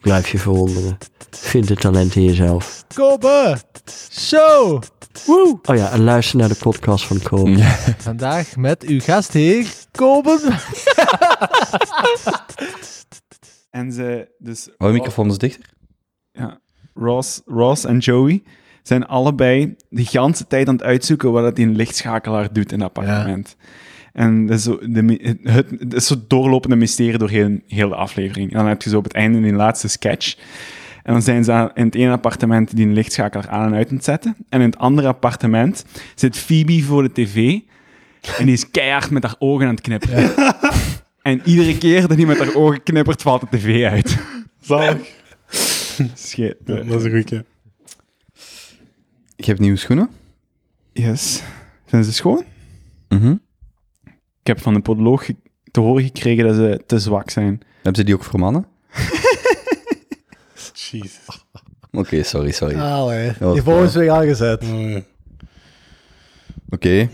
Blijf je verwonderen. Vind het talent in jezelf. Kobe Show. Woe. Oh ja, en luister naar de podcast van Kool. Vandaag met uw gastheer Kobe. En ze, dus Hou je microfoon dus dichter. Ross, Ross en Joey zijn allebei de ganse tijd aan het uitzoeken wat dat die lichtschakelaar doet in dat appartement. En dat is zo, de, mi- het, het- het is zo doorlopende mysterie door heel, heel de aflevering. En dan heb je zo op het einde die laatste sketch. En dan zijn ze aan- in het ene appartement die een lichtschakelaar aan en uit aan het zetten. En in het andere appartement zit Phoebe voor de tv. En die is keihard met haar ogen aan het knipperen. En iedere keer dat hij met haar ogen knippert, valt de tv uit. Zalig. Shit. dat is een goeie. Ik heb nieuwe schoenen. Yes. Zijn ze schoon? Mhm. Ik heb van de podoloog ge- te horen gekregen dat ze te zwak zijn. Hebben ze die ook voor mannen? Jezus. Oké, sorry, sorry. Oké, ah, hè. was Die volgende week aangezet. Oh, ja. doe Zijn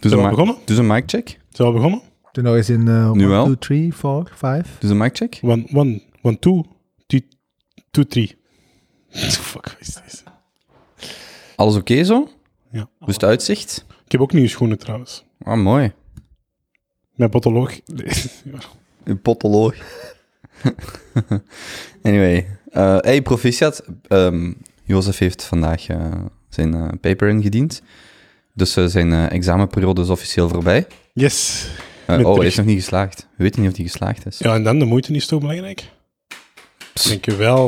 we een ma- begonnen? doe een mic check. Zijn we begonnen? Doe nog eens in eh, Nu wel. 1, 2, 3, 4, 5. Doe een mic check. One, one, one, two, two, two, three. Fuck, wat is deze? Alles oké zo? Ja. Hoe is het uitzicht? Ik heb ook nieuwe schoenen trouwens. Ah, mooi. Mijn patoloog. Ja. Een potoloog. anyway. eh hey, proficiat. Ehm, Jozef heeft vandaag eh, zijn eh, paper ingediend. Dus eh, zijn eh, examenperiode is officieel voorbij. Yes. Eh, oh, Met hij terug- is nog niet geslaagd. We weten niet of hij geslaagd is. Ja, en dan de moeite is toch belangrijk? Dankjewel.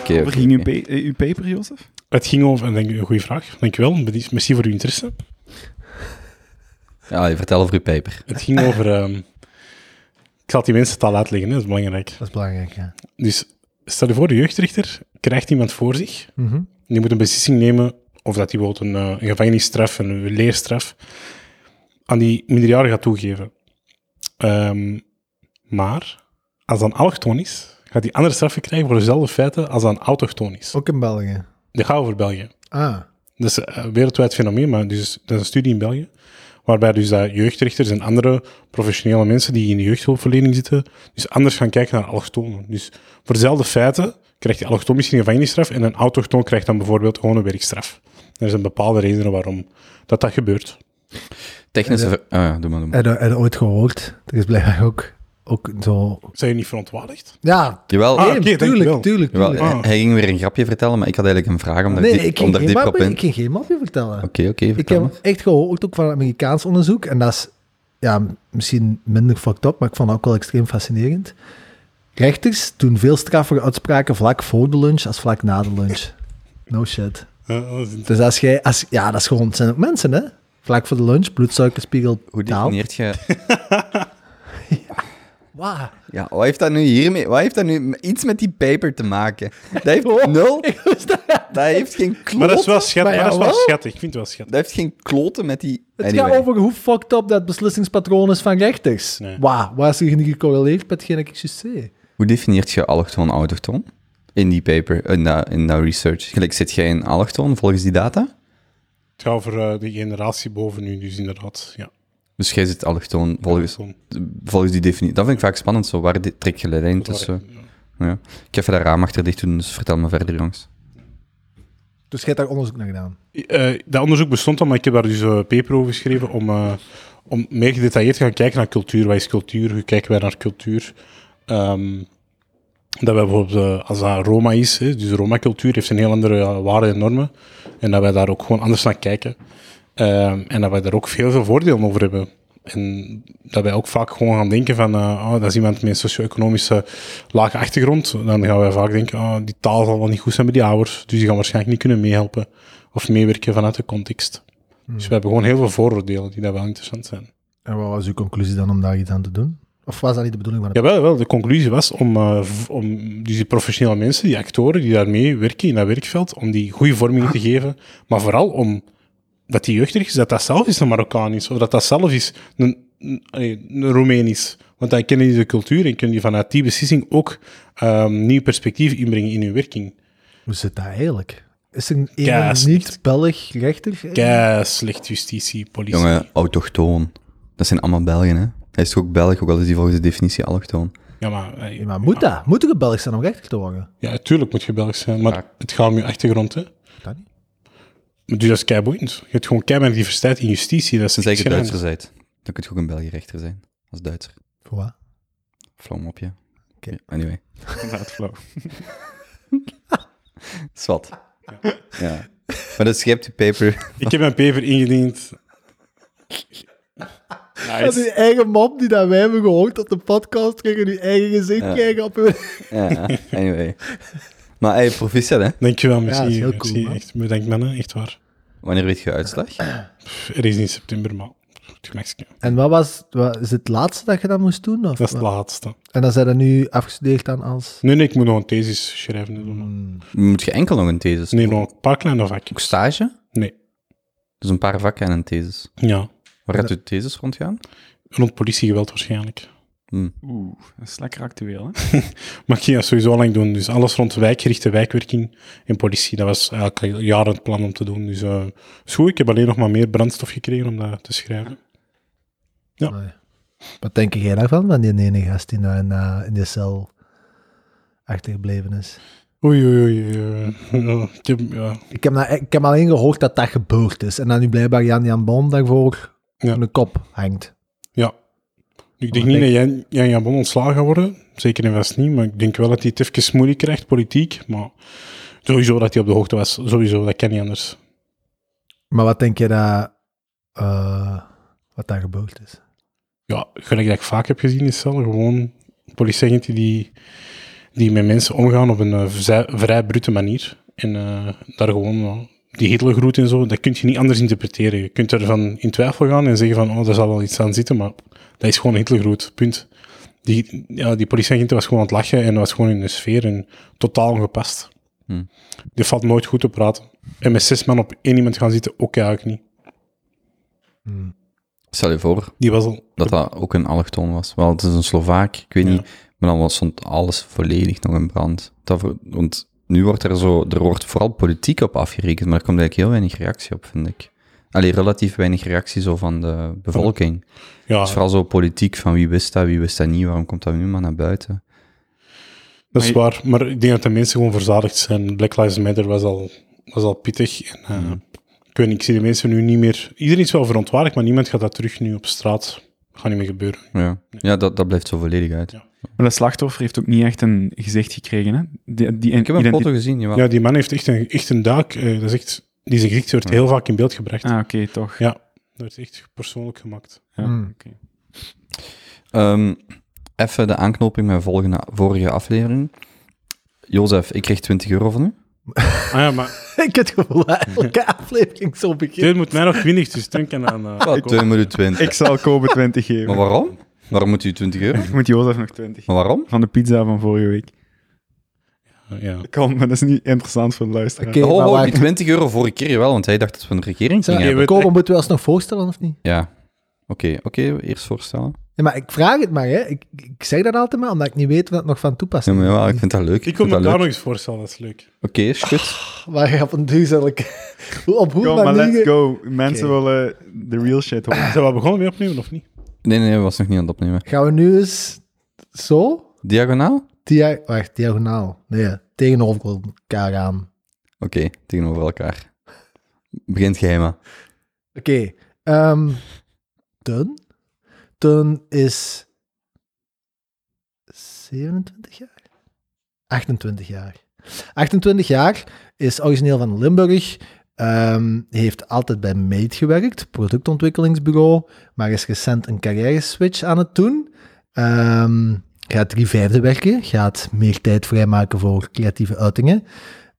Oké, Waar oké, ging uw, oké. pa- eh, uw paper, Jozef? Het ging over, en denk ik, een goede vraag. Dankjewel, merci voor uw interesse. Ja, vertel over uw paper. Het ging over. ehm, ik zal het die mensen het al uitleggen, hè, dat is belangrijk. Dat is belangrijk, ja. Dus stel je voor, de jeugdrichter krijgt iemand voor zich. Mhm. Die moet een beslissing nemen of dat hij bijvoorbeeld een, eh, een gevangenisstraf, een leerstraf, aan die minderjarige gaat toegeven. Ehm, maar als dat een allochtoon is, gaat hij andere straffen krijgen voor dezelfde feiten als dat een autochtoon is. Ook in België. Dat gaat over België. Ah. Dat is een wereldwijd fenomeen, maar dus, dat is een studie in België. Waarbij dus dat jeugdrichters en andere professionele mensen die in de jeugdhulpverlening zitten, dus anders gaan kijken naar allochtonen. Dus voor dezelfde feiten krijgt die allochtoon misschien een gevangenisstraf en een autochtoon krijgt dan bijvoorbeeld gewoon een werkstraf. Er zijn bepaalde redenen waarom dat, dat gebeurt. Technische... ver- Ah, ja, doe maar, doe maar. En, eh, en ooit gehoord. Er is blijkbaar ook, ook zo... Zijn je niet verontwaardigd? Ja, Jawel, Ah, Eh, nee, oké, tuurlijk, dankjewel. tuurlijk, jawel, tuurlijk. hij- hij ging weer een grapje vertellen, maar ik had eigenlijk een vraag omdat nee, ik, nee, ik om ging, daar geen dieper op mapje, in... ik ging geen mapje vertellen. Oké, oké, ik vertel heb maar. echt gehoord, ook van een Amerikaans onderzoek, en dat is ja, misschien minder fucked up, maar ik vond dat ook wel extreem fascinerend. Rechters doen veel straffere uitspraken vlak voor de lunch als vlak na de lunch. No shit. Ja, dat is- Dus als jij... Als, ja, dat is gewoon... Het zijn ook mensen, hè? Vlak voor de lunch, bloedsuikerspiegel, Hoe taal. definieert je... Wauw. Ja, wat heeft dat nu hiermee... Wat heeft dat nu m- iets met die paper te maken? Dat heeft nul... Dat heeft geen Maar dat is kloten... wel schattig. Maar maar dat is wel jawel. schattig. Ik vind het wel schattig. Dat heeft geen kloten met die... Het Anyway. gaat over hoe fucked up dat beslissingspatroon is van rechters. Nee. Wauw, waar is er niet gecorreleerd met hetgeen ik juist zei? Hoe definieert je allochtoon autochtoon? In die paper, in dat, in dat research. Gelijk, zit jij in allochtoon volgens die data? Het gaat over eh, de generatie boven nu, dus inderdaad. Ja. Dus jij zit allochtoon volgens, Allochtoon. volgens die definitie. Dat vind ik vaak spannend, zo. Waar di- trek je de lijn tussen... Ja. Ik heb even dat raam achter dicht doen, dus vertel me verder, jongens. Dus jij hebt daar onderzoek naar gedaan. Eh, dat onderzoek bestond al, maar ik heb daar dus een paper over geschreven om, eh, om meer gedetailleerd te gaan kijken naar cultuur. Wat is cultuur? Hoe kijken wij naar cultuur? Ehm, dat wij bijvoorbeeld, eh, als dat Roma is, hè, dus de Roma-cultuur heeft een heel andere ja, waarden en normen. En dat wij daar ook gewoon anders naar kijken. Ehm, en dat wij daar ook veel, veel voordelen over hebben. En dat wij ook vaak gewoon gaan denken van, eh, oh, dat is iemand met een socio-economische lage achtergrond. Dan gaan wij vaak denken, oh, die taal zal wel niet goed zijn bij die ouders, dus die gaan waarschijnlijk niet kunnen meehelpen of meewerken vanuit de context. Dus we hebben gewoon heel veel vooroordelen die daar wel interessant zijn. En wat was uw conclusie dan om daar iets aan te doen? Of was dat niet de bedoeling van de... Jawel, wel, de conclusie was om, eh, v- om dus die professionele mensen, die actoren die daarmee werken in dat werkveld, om die goede vorming te geven, maar vooral om dat die jeugd er is, dat dat zelf is een Marokkaan is, of dat dat zelf is een, een, allee, een Roemeen is. Want dan kennen die de cultuur en kunnen die vanuit die beslissing ook ehm, nieuw perspectief inbrengen in hun werking. Hoe zit dat eigenlijk? Is er een Keislecht. niet-Belg rechter? Kei slecht justitie, politie. Jongen, autochtoon. Dat zijn allemaal Belgen, hè? Hij is toch ook Belg, ook al is hij volgens de definitie allochtoon. Ja, maar, eh, Ja, maar moet dat? Moet er een Belg zijn om rechter te worden? Ja, tuurlijk moet je Belg zijn, maar het gaat om je achtergrond, hè. Dat niet. Maar dus dat is keiboeiend. Je hebt gewoon keiboeiend diversiteit in justitie. Dat is Tenzij je iets Duitser geraamd. bent, dan kun je ook een België rechter zijn. Als Duitser. Voor wat? Flauw op je. Oké. Ja, Anyway, Inderdaad, flauw. zwart. Ja. Maar dat schept die paper. Ik heb mijn paper ingediend. Dat is uw eigen mop die dat wij hebben gehoord op de podcast, krijgen uw eigen gezicht Ja. krijgen op uw... Ja, anyway. Maar hey, proficiat, hè? Dankjewel, Ja, merci. dat is heel merci. cool, man. echt, bedankt, mannen. Echt waar. Wanneer weet je uitslag? Pff, er is in september, maar het gemakske. En wat was wat, is het laatste dat je dat moest doen? Of Dat is het wat? laatste. En dan zijn dat nu afgestudeerd dan als... Hmm, Nee, nee, ik moet nog een thesis schrijven. dat doen we. Moet je enkel nog een thesis Nee, doen? nog een paar kleine vakjes. Ook stage? Nee. Dus een paar vakken en een thesis. Ja, Waar gaat uw thesis rondgaan? rond politiegeweld waarschijnlijk. Oeh, dat is lekker actueel, hè? Maar ik ging dat sowieso al lang doen. Dus alles rond wijkgerichte wijkwerking en politie, dat was eigenlijk al jaren het plan om te doen. Dus eh is goed, ik heb alleen nog maar meer brandstof gekregen om dat te schrijven. Ja. Nee. Wat denk jij daarvan, van die ene gast die nou in, eh, in die cel achtergebleven is? Oei, oei, oei. oei. Ja, ik heb, ja. Ik heb, nou, ik heb alleen gehoord dat dat gebeurd is. En dat nu blijkbaar Jan Jan Boom daarvoor Ja. een kop hangt. ja. Ik denk Maar niet ik- dat Jan- Jan Jabon ontslagen gaat worden. Zeker en vast niet. Maar ik denk wel dat hij het even moeilijk krijgt, politiek. Maar sowieso dat hij op de hoogte was. Sowieso, dat kan niet anders. Maar wat denk je dat... eh, wat daar gebeurd is? ja, gelijk dat ik vaak heb gezien is wel gewoon politieagenten die, die met mensen omgaan op een eh, vrij, vrij brute manier. En eh, daar gewoon ja, die Hitlergroet en zo, dat kun je niet anders interpreteren. Je kunt ervan in twijfel gaan en zeggen van, oh, daar zal wel iets aan zitten, maar dat is gewoon Hitlergroet, punt. Die, ja, die politieagent was gewoon aan het lachen en was gewoon in de sfeer en totaal ongepast. Hmm. Die valt nooit goed te praten. En met zes man op één iemand gaan zitten, ook eigenlijk niet. Stel je voor Die was al... dat dat ook een allochtoon was. Wel, het is een Slovaak, ik weet Ja. niet. Maar dan was- stond alles volledig nog in brand. Dat, voor- want nu wordt er zo, er wordt vooral politiek op afgerekend, maar er komt eigenlijk heel weinig reactie op, vind ik. Allee, relatief weinig reactie zo van de bevolking. Ja, Het is vooral zo politiek van wie wist dat, wie wist dat niet, waarom komt dat nu maar naar buiten? Dat is Maar waar, maar ik denk dat de mensen gewoon verzadigd zijn. Black Lives Matter was al, was al pittig. En, eh, Ik weet niet, ik zie de mensen nu niet meer... Iedereen is wel verontwaardigd, maar niemand gaat dat terug nu op straat. Gaat niet meer gebeuren. Ja, ja dat, dat blijft zo volledig uit. Ja. Maar dat slachtoffer heeft ook niet echt een gezicht gekregen, hè? Die, die, Ik heb een foto gezien, jawel. Ja, die man heeft echt een, echt een duik. eh, dat is echt, die zijn gezicht wordt heel vaak in beeld gebracht. Ah, oké, toch. Ja, dat is echt persoonlijk gemaakt. Ja, Hmm. oké. Ehm, even de aanknoping met volgende, vorige aflevering. Jozef, ik kreeg 20 euro van u. Ah ja, maar ik heb het gevoel dat elke aflevering zo begint. dit moet mij nog 20, dus Teun kan aan... eh, Wat, Teun moet u 20. Ik zal Kobe 20 geven. Maar waarom? Waarom moet u 20 euro? Ik moet Jozef nog 20 Maar waarom? Van de pizza van vorige week. ja. Kan, maar dat is niet interessant voor de luisteraar. Oké, oh, maar oh, wacht. die 20 euro vorige keer wel, want hij dacht dat we een regering Zo, gingen hebben. weet- Kobe, moeten we ons nog voorstellen of niet? Ja. Oké, oké, eerst voorstellen. Ja, maar ik vraag het maar, hè. Ik, ik zeg dat altijd maar, omdat ik niet weet wat het nog van Ja, toepassing maar is. ja, ik vind dat leuk. Ik wil vind me dat leuk. daar nog Oké, eens voorstellen, dat is leuk. is goed. Maar op een duur zal ik... Op hoe Kom, maar manier... let's go. Mensen Oké. willen de real shit horen. Zijn we begonnen mee opnemen, of niet? Nee, nee, nee, we was nog niet aan het opnemen. Gaan we nu eens zo? Diagonaal? Oké, Dia wacht, diagonaal. Nee, tegenover elkaar aan. tegenover elkaar. Begint geheimen. Oké. ehm Teun? Teun is 27 jaar? 28 jaar. 28 jaar, is origineel van Limburg, ehm, heeft altijd bij Made gewerkt, productontwikkelingsbureau, maar is recent een carrière-switch aan het doen. Ehm, gaat drie vijfde werken, gaat meer tijd vrijmaken voor creatieve uitingen,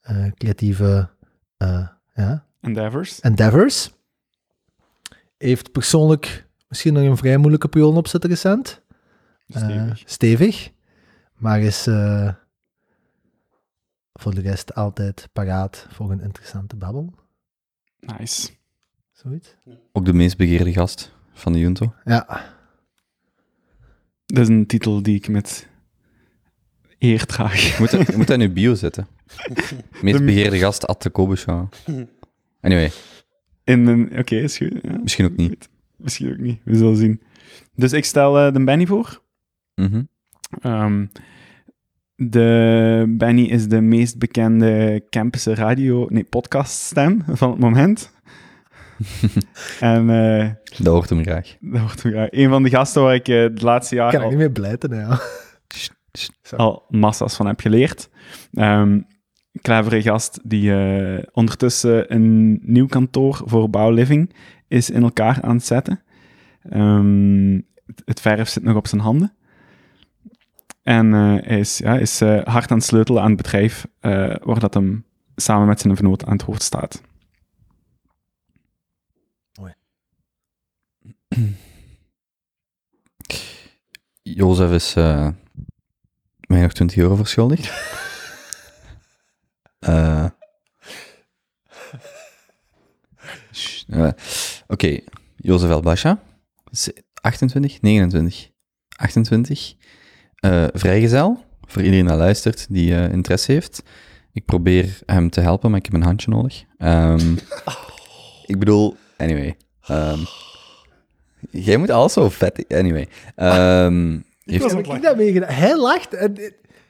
eh, creatieve eh, ja, Endeavors. Eh. endeavors. Heeft persoonlijk misschien nog een vrij moeilijke periode op zitten recent. Stevig. Eh, stevig. Maar is eh, voor de rest altijd paraat voor een interessante babbel. Nice. Zoiets? Ook de meest begeerde gast van de Junto. Ja. Dat is een titel die ik met eer draag. Je moet, dat- je moet dat in je bio zetten. Meest begeerde gast at de Kobusha. Anyway, In een- Oké, is goed. ja. misschien ook niet. Misschien ook niet. We zullen zien. Dus ik stel eh, de Benny voor. Mhm. Ehm, de Benny is de meest bekende campus radio, nee, podcaststem van het moment. en eh, Dat hoort hem graag. dat wordt ook, eh, een van de gasten waar ik eh, het laatste jaar Kan Ah, ik al- oh. niet meer blijten, hè, ja. al massa's van heb geleerd. Ehm clevere gast die eh, ondertussen een nieuw kantoor voor Bouw Living is in elkaar aan het zetten. Ehm, het, het verf zit nog op zijn handen. En eh, hij is, ja, is eh, hard aan het sleutelen aan het bedrijf eh, waar dat hem samen met zijn vernoot aan het hoofd staat. Jozef is eh, mij nog 20 euro verschuldigd. Eh. Sst, eh, Oké, Jozef Elbasha. 28, 29, 28. Eh, vrijgezel, voor iedereen dat luistert, die eh, interesse heeft. Ik probeer hem te helpen, maar ik heb een handje nodig. Ehm, Ik bedoel, anyway. ehm, jij moet alles zo vet... Anyway. ehm, heeft- Heb ik dat meegedaan? Hij lacht. En,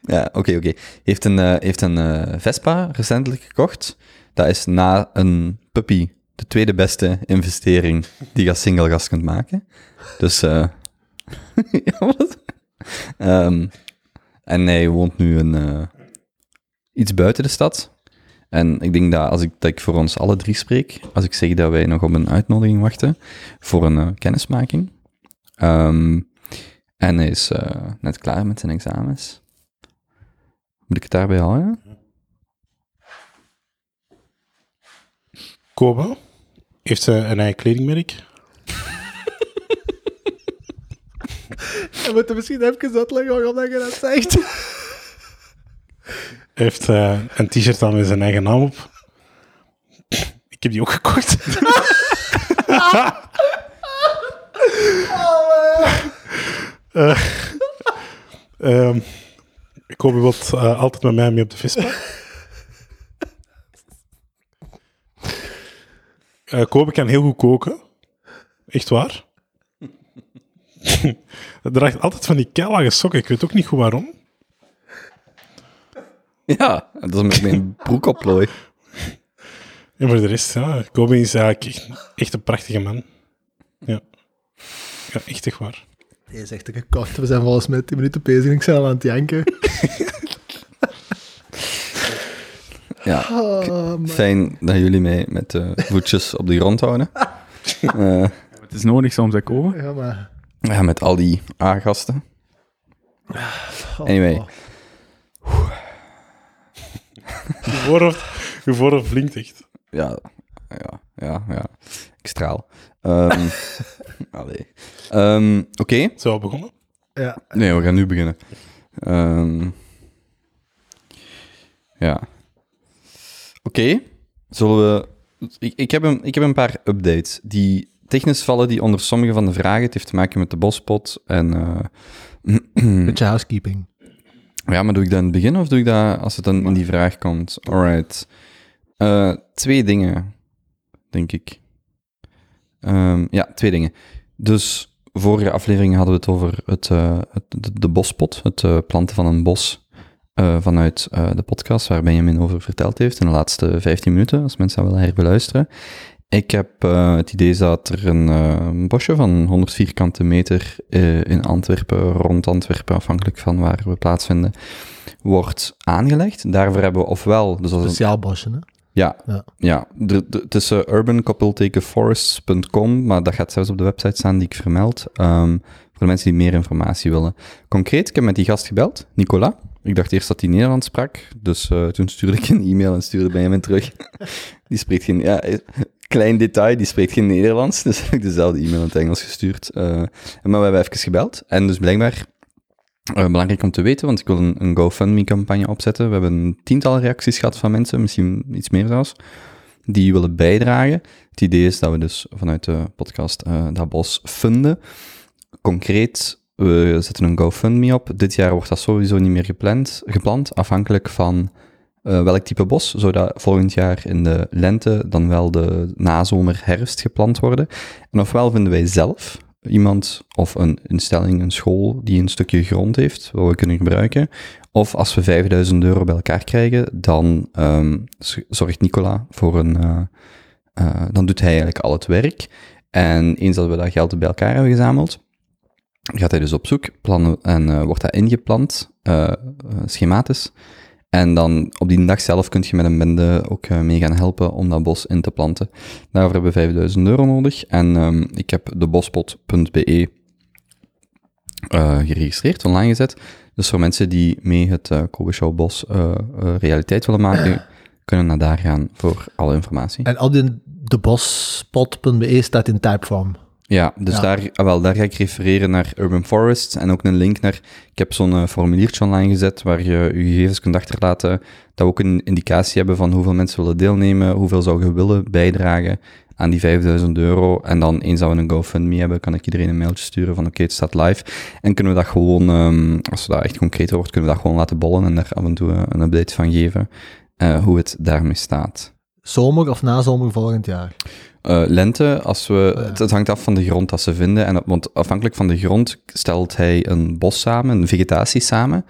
ja, oké, oké. Heeft een, eh, heeft een eh, Vespa recentelijk gekocht. Dat is na een puppy de tweede beste investering die je als single gast kunt maken. Dus, eh ja, wat? Ehm, en hij woont nu een, eh, iets buiten de stad. En ik denk dat als ik, dat ik voor ons alle drie spreek, als ik zeg dat wij nog op een uitnodiging wachten voor een eh, kennismaking. Ehm, en hij is eh, net klaar met zijn examens. Moet ik het daarbij houden? Koba heeft ze een eigen kledingmerk. we moeten misschien even uitleggen waarom dat je dat zegt. Hij heeft eh, een t-shirt aan met zijn eigen naam op. Ik heb die ook gekocht. Eh, ehm, ik hoop je wilt eh, altijd met mij mee op de Vespa. Eh Kobe kan heel goed koken. Echt waar. Hij draagt altijd van die keilage sokken. Ik weet ook niet goed waarom. Ja, dat is met mijn broek oplooi. En voor de rest, ja, Kobe is eigenlijk echt, echt een prachtige man. Ja. Ja, echt echt waar. Hij is echt gekocht. We zijn volgens mij 10 minuten bezig en ik ben al aan het janken. Ja, Oh, man. fijn dat jullie mij met de voetjes op de grond houden. Eh, Het is nodig soms, ik komen. Ja, maar... ja, met al die A-gasten. Oh. Anyway. Je voorhoofd, je voorhoofd blinkt echt. Ja, ja, ja, ja. Ik straal. Ehm, allee. Ehm, Oké, Zo al begonnen. Ja. nee, we gaan nu beginnen. Ehm, ja. Oké, zullen we... Ik, ik, heb een, ik heb een paar updates. Die technisch vallen die onder sommige van de vragen. Het heeft te maken met de bospot en... eh, Beetje housekeeping. Ja, maar doe ik dat in het begin of doe ik dat als het dan in die vraag komt? Alright. Eh, twee dingen, denk ik. Ehm, ja, twee dingen. Dus vorige aflevering hadden we het over het, eh, het, de, de bospot, het eh, planten van een bos eh, vanuit eh, de podcast waar Benjamin over verteld heeft in de laatste 15 minuten, als mensen dat willen herbeluisteren. Ik heb eh, het idee dat er een, eh, een bosje van 100 vierkante meter eh, in Antwerpen, rond Antwerpen, afhankelijk van waar we plaatsvinden, wordt aangelegd. Daarvoor hebben we ofwel... Dus als een- Speciaal bosje, hè? ja, Ja. ja. De, de, het is eh, urbankoppeltekenforests.com, maar dat gaat zelfs op de website staan die ik vermeld. ehm, voor de mensen die meer informatie willen. Concreet, ik heb met die gast gebeld, Nicola. Ik dacht eerst dat hij Nederlands sprak, dus eh, toen stuurde ik een e-mail en stuurde bij hem in terug. die spreekt geen... Ja, eh, klein detail, die spreekt geen Nederlands, dus heb ik dezelfde e-mail in het Engels gestuurd. Eh, maar we hebben even gebeld en dus blijkbaar... eh, belangrijk om te weten, want ik wil een, een GoFundMe-campagne opzetten. We hebben een tiental reacties gehad van mensen, misschien iets meer zelfs. die willen bijdragen. Het idee is dat we dus vanuit de podcast eh Dat Bos funden. Concreet, we zetten een GoFundMe op. Dit jaar wordt dat sowieso niet meer gepland, gepland afhankelijk van eh, welk type bos, zodat volgend jaar in de lente dan wel de nazomer, herfst geplant worden. En ofwel vinden wij zelf iemand of een instelling, een school die een stukje grond heeft, wat we kunnen gebruiken. Of als we 5000 euro bij elkaar krijgen, dan ehm, z- zorgt Nicola voor een. eh, eh, dan doet hij eigenlijk al het werk. En eens dat we dat geld bij elkaar hebben gezameld, gaat hij dus op zoek plannen, en eh, wordt dat ingepland, eh, eh, schematisch. En dan op die dag zelf kun je met een bende ook eh, mee gaan helpen om dat bos in te planten. Daarvoor hebben we 5000 euro nodig. En ehm, ik heb debospot.be eh, geregistreerd, online gezet. Dus voor mensen die mee het eh Kobe Show Bos eh, eh, realiteit willen maken, kunnen naar daar gaan voor alle informatie. En al die debospot.be staat in typeform. Ja, dus Ja. Daar, ah, wel, daar ga ik refereren naar Urban Forests en ook een link naar... Ik heb zo'n eh, formuliertje online gezet waar je je gegevens kunt achterlaten, dat we ook een indicatie hebben van hoeveel mensen willen deelnemen, hoeveel zou je willen bijdragen aan die 5000 euro. En dan, eens dat we een GoFundMe hebben, kan ik iedereen een mailtje sturen van oké, het staat live. En kunnen we dat gewoon, ehm, als dat echt concreter wordt, kunnen we dat gewoon laten bollen en daar af en toe eh, een update van geven, eh, hoe het daarmee staat. Zomer of nazomer volgend jaar. Eh, lente, als we, het, het hangt af van de grond dat ze vinden. En, dat- want afhankelijk van de grond stelt hij een bos samen, een vegetatie samen.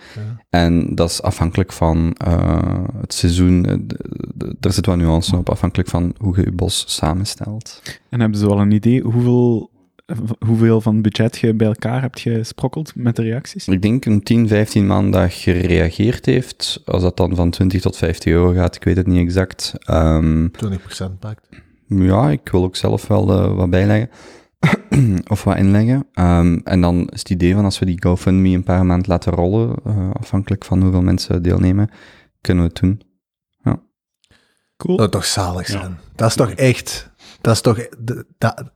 En dat is afhankelijk van eh, het seizoen. Eh, d- d- Daar zit wat nuance op, afhankelijk van hoe je je bos samenstelt. En hebben ze wel een idee hoeveel, hoeveel van budget je bij elkaar hebt gesprokkeld met de reacties? Ik denk een 10, 15 man dat gereageerd heeft. Als dat dan van 20 tot 50 euro gaat, ik weet het niet exact. Ehm 20% pakt. Ja, ik wil ook zelf wel eh, wat bijleggen. of wat inleggen. Ehm, en dan is het idee van als we die GoFundMe een paar maanden laten rollen, eh, afhankelijk van hoeveel mensen deelnemen, kunnen we het doen. Dat Cool. zou toch zalig Ja. zijn. Dat is toch echt... Dat is toch... d- da-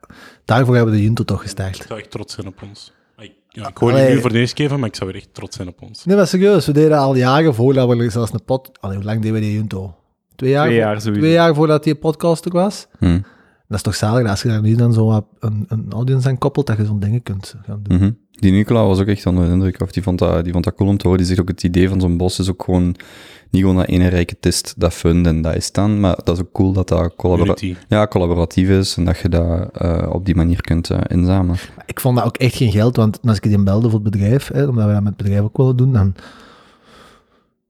daarvoor hebben we de junto toch Ik gestaakt. zou echt trots zijn op ons. Ik, ja, ik hoor het nu Allee. voor de eerste keer van, maar ik zou weer echt trots zijn op ons. Nee, maar serieus. We deden al jaren voordat we zelfs een pot... Allee, hoe lang deden we die junto? Twee jaar? Twee jaar sowieso. Twee jaar voordat die podcast er was? Hm. Dat is toch zalig als je daar nu dan zo wat een, een audience aan koppelt, dat je zo'n dingen kunt gaan doen. Mhm. Die Nicola was ook echt onder de indruk, of die vond dat, die vond dat cool om te horen. Die zegt ook het idee van zo'n bos is ook gewoon niet gewoon dat ene rijke tist dat fund en dat is dan, maar dat is ook cool dat dat collabora- Unity. ja, collaboratief is en dat je dat eh, op die manier kunt eh, inzamelen. Maar Ik vond dat ook echt geen geld, want als ik die belde voor het bedrijf, hè, omdat we dat met het bedrijf ook willen doen, dan...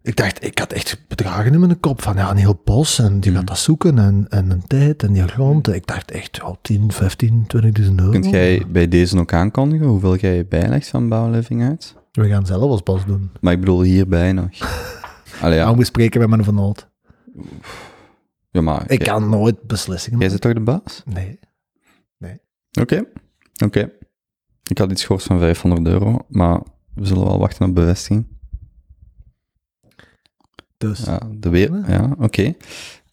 Ik dacht, ik had echt bedragen in mijn kop van ja, een heel bos en Hmm. die gaat dat zoeken en, en een tijd en die grond. Ik dacht echt, ja, 10, 15, 20.000 euro. Kunt jij bij deze ook aankondigen hoeveel jij bijlegt van Bouwliving uit? We gaan zelf als bos doen. Maar ik bedoel hierbij nog. Allee, Ja. ja. we spreken met mijn van Hout. ja, maar Ik jij- kan nooit beslissingen Jij maken. zit toch de baas? Nee. Oké. Oké. Ik had iets gehoord van 500 euro, maar we zullen wel wachten op bevestiging. Dus, Ja, de weer. Ja, oké.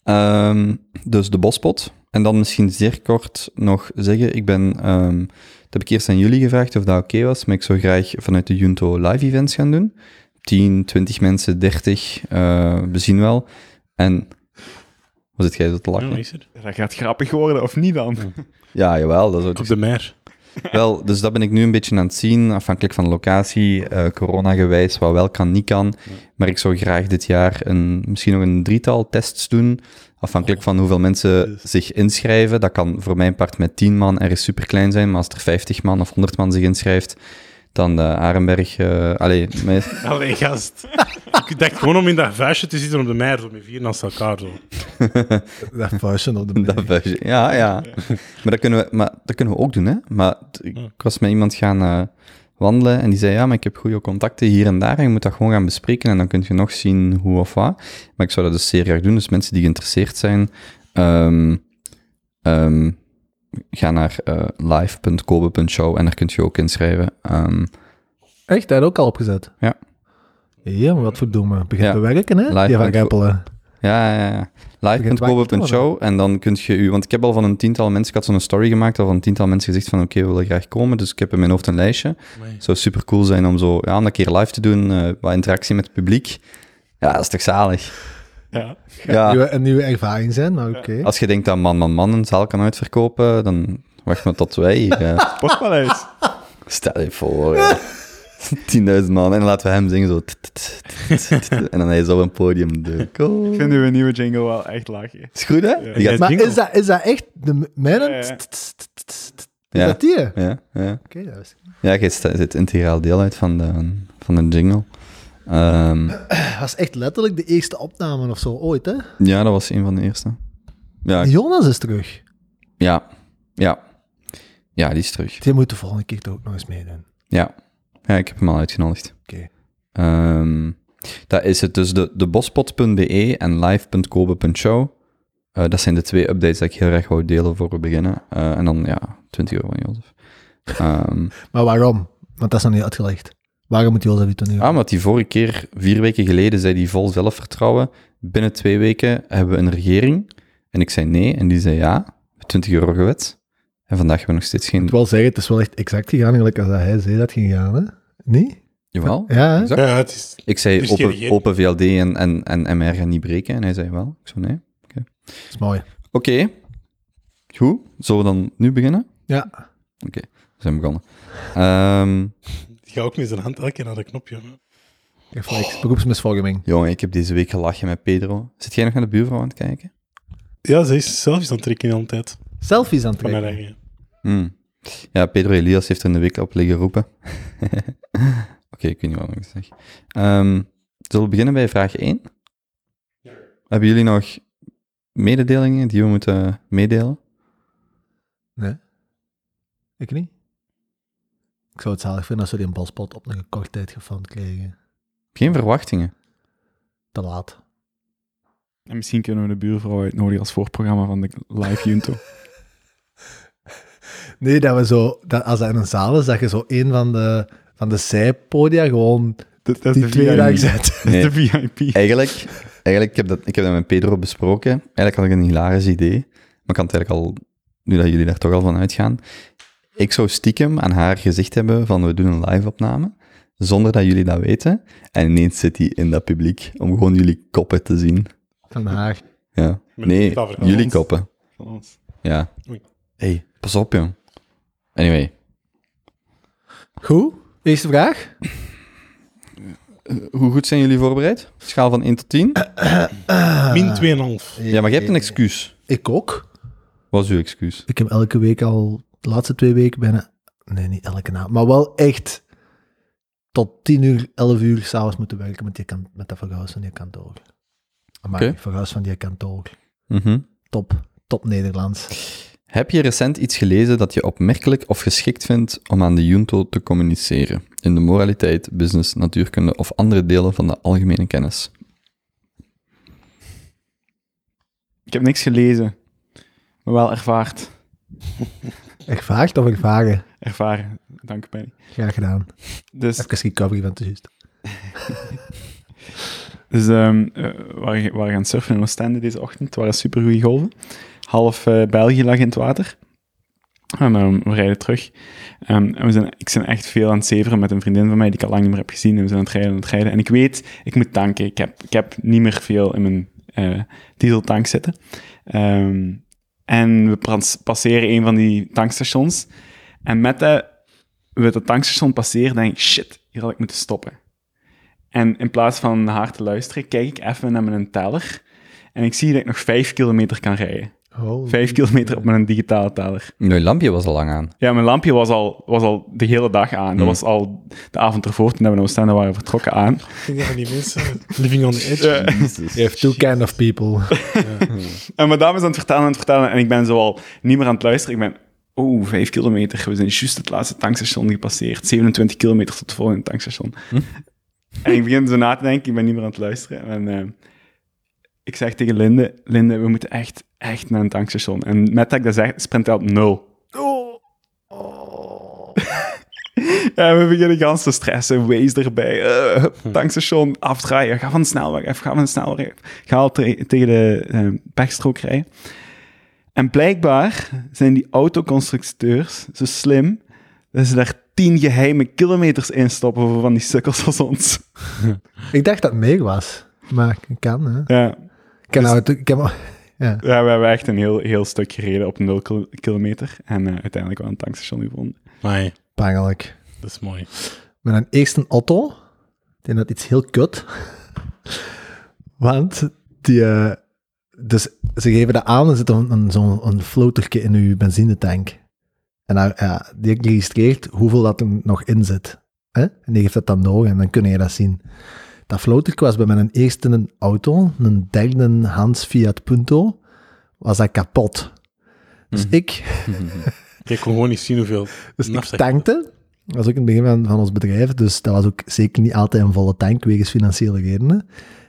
Ehm, dus de bospot. En dan misschien zeer kort nog zeggen, ik ben, ehm, dat heb ik eerst aan jullie gevraagd of dat oké was, maar ik zou graag vanuit de Junto live events gaan doen. 10, 20 mensen, 30, eh, we zien wel. En, wat zit jij zo te Ja, lachen? is er. Dat gaat grappig worden, of niet dan? Ja, jawel, dat is ook Op de mer. Wel, dus dat ben ik nu een beetje aan het zien, afhankelijk van de locatie, eh corona-gewijs, wat wel kan, niet kan. Maar ik zou graag dit jaar een, misschien nog een drietal tests doen, afhankelijk van hoeveel mensen zich inschrijven. Dat kan voor mijn part met 10 man ergens superklein zijn, maar als er 50 man of 100 man zich inschrijft, dan de Arenberg... eh allee, mij- Allee, gast. ik dacht gewoon om in dat vuistje te zitten op de mer, zo met vier naast elkaar. Zo. dat vuistje op de Dat vuistje. Ja, ja. Maar dat kunnen we, maar dat kunnen we ook doen, hè? Maar t- ik was met iemand gaan eh, wandelen en die zei: Ja, maar ik heb goede contacten hier en daar. En je moet dat gewoon gaan bespreken en dan kun je nog zien hoe of wat. Maar ik zou dat dus zeer graag doen. Dus mensen die geïnteresseerd zijn, ehm, ehm, ga naar eh, live.kobe.show en daar kun je ook inschrijven. Ehm, Echt, daar ook al opgezet? Ja. Ja, maar wat verdomme. Begint Ja. te werken, hè? Live die van met- Gempelen. Ja, ja, ja. Begint wakker te Live.kobe.show en dan kun je u... Want ik heb al van een tiental mensen... Ik had zo'n story gemaakt, al van een tiental mensen gezegd van oké, we willen graag komen. Dus ik heb in mijn hoofd een lijstje. Het zou super cool zijn om zo ja, om dat een keer live te doen, eh, wat interactie met het publiek. Ja, dat is toch zalig? Ja. Ja, Nieuwe, een nieuwe ervaring zijn, maar oké. als je denkt dat man, man, man een zaal kan uitverkopen, dan wacht maar tot wij hier... eh, Ah. Sportpaleis. Stel je voor, eh, 10.000 man. En laten we hem zingen zo... t- t- t- t- t- t- En dan hij zo op een podium. De goal. Ik vind uw nieuwe jingle wel echt lachen. Is goed, hè? Die gaat- Maar is dat, is dat echt de mijnen? Ja, ja. Is Ja, dat die? Oké, ja, ja. dat is... Ja, je zit zit integraal deel uit van de, van de jingle. Ehm, dat is echt letterlijk de eerste opname of zo ooit, hè? ja, dat was een van de eerste. Ja, Jonas is terug. ja, ja. Ja, die is terug. Die moet de volgende keer toch ook nog eens meedoen. Ja, ja ik heb hem al uitgenodigd. Oké. Ehm, dat is het dus, de, de bospot.be en live.kobe.show. Eh, dat zijn de twee updates die ik heel erg wou delen voor we beginnen. Eh, en dan, ja, 20 euro van Jozef. Ehm Maar waarom? Want dat is nog niet uitgelegd. Waarom moet Jozef dit doen? Ah, maar die vorige keer, vier weken geleden, zei die vol zelfvertrouwen. Binnen twee weken hebben we een regering. En ik zei nee, en die zei ja. 20 euro gewet. En vandaag hebben we nog steeds Ik geen... moet wel zeggen, het is wel echt exact gegaan, gelijk als dat hij zei dat het ging gaan, hè? Niet? Jawel. Ja, hè? Exact. Ja, het is... Ik Dus zei die open, regering- open VLD en, en, en MR gaan niet breken. En hij zei wel. Ik zo nee. dat is mooi. Oké. Goed. Zullen we dan nu beginnen? Ja. We zijn begonnen. Ehm, Die gaat ook met zijn hand elke keer naar de knopje. Oh. Reflex, beroepsmisvorming. jongen, ik heb deze week gelachen met Pedro. Zit jij nog naar de buurvrouw aan het kijken? Ja, ze is zelfs aan het trekken de hele tijd. Selfies aan het Van haar trekken. eigen. Hmm. Ja, Pedro Elias heeft er in de week op liggen roepen. Oké, ik weet niet wat ik zeg. Ehm, zullen we beginnen bij vraag 1? Hebben jullie nog mededelingen die we moeten meedelen? Ik niet. Ik zou het zalig vinden als we die balspot op een korte tijd gefund kregen. Geen verwachtingen. Te laat. En misschien kunnen we de buurvrouw uitnodigen als voorprogramma van de live Junto. Nee, dat we zo, dat als dat in een zaal is, dat je zo een van de, van de zijpodia gewoon Dat, dat is die de twee VIP. daar zet. Dat is Nee. de VIP. Eigenlijk, eigenlijk ik heb dat, ik heb dat met Pedro besproken. Eigenlijk had ik een hilarisch idee. Maar ik had het eigenlijk al, nu dat jullie daar toch al van uitgaan. Ik zou stiekem aan haar gezicht hebben van we doen een live-opname. Zonder dat jullie dat weten. En ineens zit hij in dat publiek om gewoon jullie koppen te zien. Van haar. Ja. Met Nee, de tafel. jullie koppen. Van ons. Ja. Oei. hey, pas op, jong. Anyway, Goed. Eerste vraag. hoe goed zijn jullie voorbereid? Schaal van 1 tot 10? Ah. Min 2,5. Ja, maar je hebt een excuus. Ik ook. Wat is uw excuus? Ik heb elke week al, de laatste twee weken bijna, nee, niet elke naam, maar wel echt tot 10 uur, 11 uur s'avonds moeten werken met, die kan, met dat verhuis van die kantoor. Maar Oké. verhuis van die kantoor. Mhm. Top. Top Nederlands. Heb je recent iets gelezen dat je opmerkelijk of geschikt vindt om aan de junto te communiceren? In de moraliteit, business, natuurkunde of andere delen van de algemene kennis? Ik heb niks gelezen, maar wel ervaard. Ervaard of ervaren? Ervaren. Dank, Penny. Graag gedaan. Dus, Even recovery van te juist. dus ehm eh, we waren, we waren gaan surfen in Oostende deze ochtend. Het waren supergoeie golven. Half eh, België lag in het water. En ehm, we rijden terug. Ehm, en we zijn, ik ben echt veel aan het zeveren met een vriendin van mij die ik al lang niet meer heb gezien. En we zijn aan het rijden, aan het rijden. En ik weet, ik moet tanken. Ik heb, ik heb niet meer veel in mijn eh, dieseltank zitten. Ehm, en we prans- passeren een van die tankstations. En met dat we dat tankstation passeren, denk ik, shit, hier had ik moeten stoppen. En in plaats van naar haar te luisteren, kijk ik even naar mijn teller. En ik zie dat ik nog vijf kilometer kan rijden. Oh. Vijf kilometer op mijn digitale teller. Nee, lampje was al lang aan. Ja, mijn lampje was al, was al de hele dag aan. Dat Hmm. was al de avond ervoor, toen we naar Oostende waren vertrokken, aan. Ik denk van die mensen. Living on the edge. Eh, You have two kind of people. En mijn dame is aan het vertellen, aan het vertellen. En ik ben zoal niet meer aan het luisteren. Ik ben, oh, vijf kilometer. We zijn juist het laatste tankstation gepasseerd. 27 kilometer tot het volgende tankstation. En ik begin zo na te denken. Ik ben niet meer aan het luisteren. En eh, ik zeg tegen Linde, Linde, we moeten echt, echt naar een tankstation. En met dat ik dat zeg, sprint hij op nul. Ja, we beginnen gans te stressen. Waze erbij. eh, hup, tankstation, afdraaien. Ga van de snelweg af. Ga van de snelweg af. Ga al te- tegen de eh pechstrook rijden. En blijkbaar zijn die autoconstructeurs zo slim dat ze daar tien geheime kilometers in stoppen voor van die sukkels als ons. Ik dacht dat het meer was. Maar ik kan, hè. Ja. ken Dus- nou het- ik heb- ja. Ja, we hebben echt een heel, heel stuk gereden op 0 kil- kilometer. En eh, uiteindelijk wel een tankstation gevonden. Amai, Pijnlijk. dat is mooi. Met een eerste auto, ik denk dat iets heel kut. Want die, eh, dus ze geven dat aan, er zit een, een, zo'n een floterke in uw benzinetank. En daar, ja, die registreert hoeveel dat er nog in zit. Hè? En die geeft dat dan door en dan kun je dat zien. Dat floterke was bij mijn eerste een auto, een derde Hans Fiat Punto, was dat kapot. Dus ik Ik kon gewoon niet zien hoeveel. dus ik Nafta- tankte. Dat was ook in het begin van, van ons bedrijf. Dus dat was ook zeker niet altijd een volle tank, wegens financiële redenen.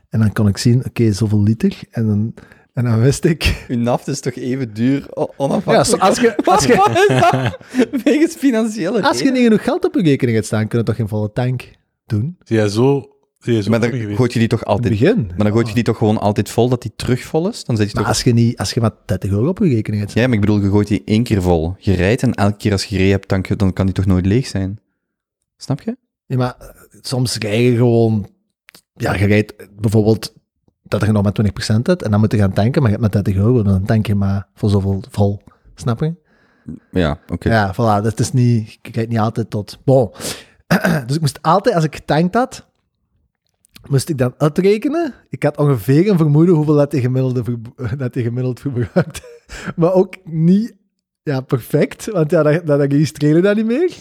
En dan kon ik zien, oké, zoveel liter. En dan, en dan wist ik... Uw naft is toch even duur o- Ja, onafhankelijk? zo- als je, als, je, Wat is dat? Wegens financiële als je niet genoeg geld op je rekening hebt staan, kun je toch geen volle tank doen? Zie jij zo... Zie jij zo Maar dan mooi geweest? gooit je die toch In het altijd... begin. Maar dan gooit je die toch gewoon altijd vol, dat die terug vol is? Dan zit je Maar toch... als je, niet, als je maar 30 euro op je rekening hebt staan. Ja, maar ik bedoel, je gooit die één keer vol. Je rijdt en elke keer als je gereden hebt, tank je- dan kan die toch nooit leeg zijn? Snap je? Ja, maar eh, soms rij je gewoon... Ja, je rijdt bijvoorbeeld dat je nog maar 20% hebt en dan moet je gaan tanken, maar je hebt maar 30 euro, dan tank je maar voor zoveel vol. Snap je? Ja, oké. Ja, voilà. Dat is niet, ik kijk niet altijd tot. Bon. Dus ik moest altijd, als ik getankt had, moest ik dan uitrekenen. Ik had ongeveer een vermoeden hoeveel dat hij gemiddelde verbru- dat hij gemiddeld verbruikt. Maar ook niet ja, perfect, want ja, dat, dat, dat registreerde dat niet meer.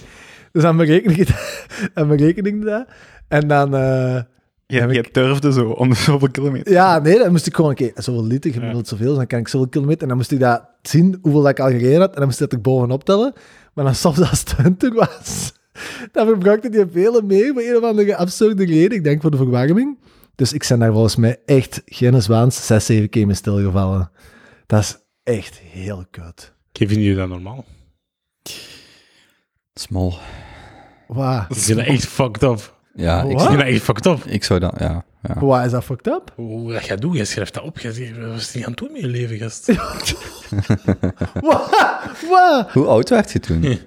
Dus dan berekende ik dat. Dan berekende ik dat. En dan... eh, Je, je turfde zo om de zoveel kilometer. ja, nee, dan moest ik gewoon, oké, zoveel liter, gemiddeld zoveel, dus dan kan ik zoveel kilometer. En dan moest ik dat zien, hoeveel dat ik al gereden had, en dan moest ik dat er bovenop tellen. Maar dan soms als het hunter was, dan verbruikte die veel meer, voor een of andere absurde reden, ik denk voor de verwarming. Dus ik ben daar volgens mij echt geen zwaans zes, zeven keer mee stilgevallen. Dat is echt heel kut. Ik vind jullie dat normaal. Small. Wauw. Ik vind dat echt fucked up. Ja, ik, Ik vind dat echt fucked up. ik zou dat... Ja, ja. Wauw, is dat fucked up? Hoe dat gaat doen? Je schrijft dat op. Je zegt, wat is die aan het doen met je leven, gast? Wauw, wauw. Hoe oud werd je toen?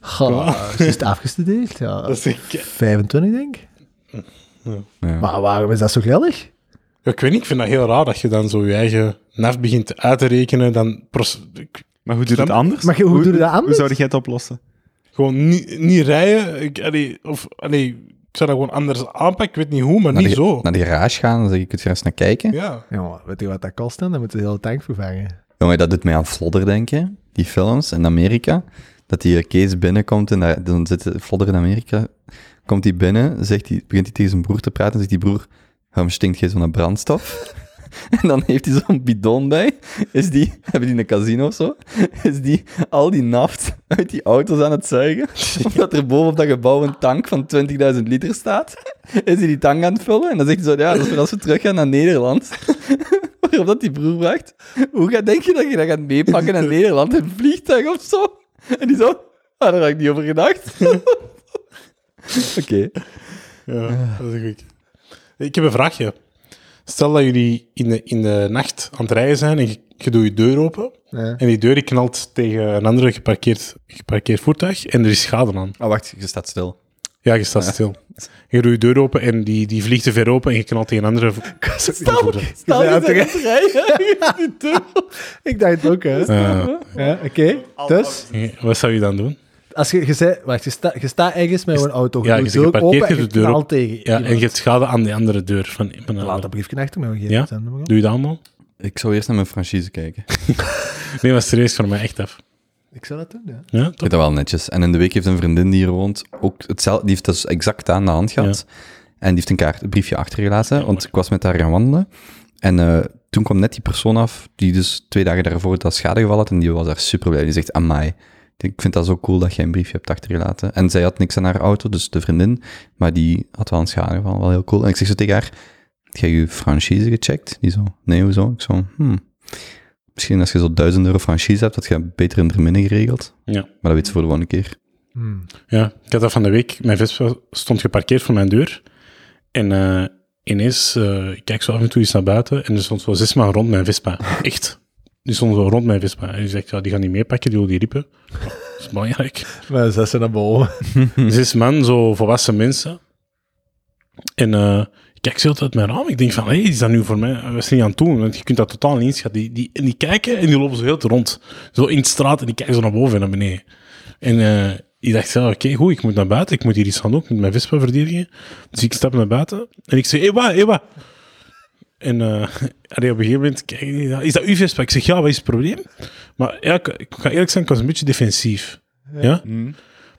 Goh, is het afgestudeerd? Ja. 25, denk ik. Ja. Maar waarom is dat zo geldig? Ja, Ik weet niet, ik vind dat heel raar dat je dan zo je eigen naf begint uit te rekenen. Dan pros- ik- Maar hoe doe je dat anders? Maar hoe doe je dat Hoe anders? zou jij het oplossen? gewoon niet, niet rijden. Ik, allee, of, allee, ik zou dat gewoon anders aanpakken. Ik weet niet hoe, maar naar, niet de, zo. naar de garage gaan, dan zeg ik, kun je er eens naar kijken? Ja. Jongen, weet je wat dat kost dan? Dan moeten we de hele tank vervangen. Jongen, dat doet mij aan Flodder denken. Die films in Amerika. Dat die eh, Kees binnenkomt en daar, dan zit Flodder in Amerika. Komt hij binnen, zegt hij, begint hij tegen zijn broer te praten. En zegt die broer, waarom stinkt jij zo naar brandstof? en dan heeft hij zo'n bidon bij. Is die, hebben die een casino of zo? Is die al die naft uit die auto's aan het zuigen? Omdat er boven op dat gebouw een tank van 20.000 liter staat. Is hij die tank aan het vullen? En dan zegt hij zo, ja, dat is voor als we teruggaan naar Nederland. Waarop dat die broer vraagt, hoe ga, denk je dat je dat gaat meepakken naar Nederland? Een vliegtuig of zo? En die zo, ah, daar had ik niet over gedacht. Oké. Ja, dat is goed. Ik heb een vraagje. Stel dat jullie in de, in de nacht aan het rijden zijn en je, je doet je deur open. Ja. En die deur die knalt tegen een andere geparkeerd, geparkeerd voertuig en er is schade aan. Oh, wacht, je staat stil. Ja, je staat stil. Je doet je deur open en die, die vliegt te ver open en je knalt tegen een andere vo- voertuig. Stel, je bent bent aan het rijden. Ik dacht het ook, hè. Eh, Ja, Oké, dus... wat zou je dan doen? Als je, je zei... Wacht, je, sta, je staat ergens met een auto. Je ja, je doet zit deur open geparkeerd, je en je doet deur knalt op. tegen Ja, en iemand. je hebt schade aan die andere deur. Van, van een- Laat dat briefje achter me geven. Ja? Zend hem maar op. Doe je dat allemaal? Ik zou eerst naar mijn franchise kijken. Ik Nee, maar serieus, voor mij echt af. Ik zou dat doen, ja. Ja, toch? vind dat wel netjes. En in de week heeft een vriendin die hier woont, ook hetzelfde, die heeft dat exact aan de hand gehad. En die heeft een, kaart, een briefje achtergelaten, want ik was met haar gaan wandelen. En eh, toen kwam net die persoon af, die dus twee dagen daarvoor dat schadegeval had, en die was daar super blij. Die zegt, amai, ik vind dat zo cool dat jij een briefje hebt achtergelaten. En zij had niks aan haar auto, dus de vriendin, maar die had wel een schadegeval, wel heel cool. En ik zeg zo tegen haar, heb je je franchise gecheckt? Die zo, nee, hoezo? Ik zo, hmm. Misschien als je zo duizend euro franchise hebt, dat je beter in terminen geregeld. Ja. Maar dat weet ze voor de volgende keer. Hmm. Ja, ik had dat van de week. Mijn Vespa stond geparkeerd voor mijn deur. En eh, ineens, eh, ik kijk zo af en toe eens naar buiten en er stond zo zes man rond mijn Vespa. Echt. Die stonden zo rond mijn Vespa. En die zegt, ja, die gaan niet meepakken, die wil die riepen. Ja, dat is belangrijk. Maar zes zijn naar boven. Zes man, zo volwassen mensen. En eh, kijk ze altijd mijn raam. Ik denk van, hé, is dat nu voor mij? Eh, Wat is niet aan het doen? Want je kunt dat totaal niet inschatten. Die, die, en die kijken en die lopen zo heel te rond. Zo in de straat en die kijken zo naar boven en naar beneden. En eh, ik dacht, ja, oké, goed, ik moet naar buiten. Ik moet hier iets gaan doen. Ik moet mijn Vespa verdedigen. Dus ik stap naar buiten en ik zeg, Ewa, Ewa. En eh, allee, op een gegeven moment, kijk, die daar, is dat uw Vespa? Ik zeg, ja, wat is het probleem? Maar ja, ik, ik ga eerlijk zijn, ik was een beetje defensief. Ja?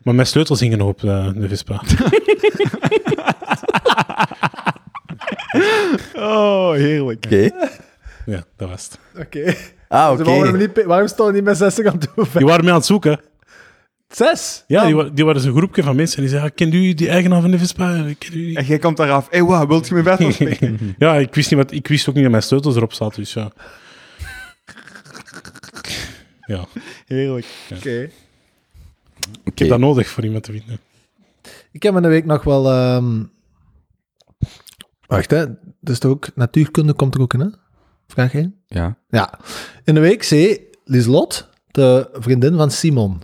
Maar mijn sleutels hingen nog op eh, de Vespa. Oh, heerlijk. Oké. ja, dat was het. Oké. Ah, oké. Dus Waarom, niet, waarom staan we niet met 60 aan toe? Die waren mee aan het zoeken. Zes? Ja, die, wa- die waren zo'n groepje van mensen en die zeiden, ah, kent u die eigenaar van de Vespa? Kent u die? En jij komt daar af. Hé, hey, wat, wilt je mijn Vespa spreken? Ja, ik wist, niet wat, ik wist ook niet dat mijn sleutels erop zaten, dus ja. Ja, ik Heerlijk. Oké. heb dat nodig voor iemand te winnen. Ik heb in de week nog wel... ehm, Wacht, hè. Dus toch ook... Natuurkunde komt er ook in, hè? Vraag 1. Ja. Ja. In de week zei Lislot, de vriendin van Simon,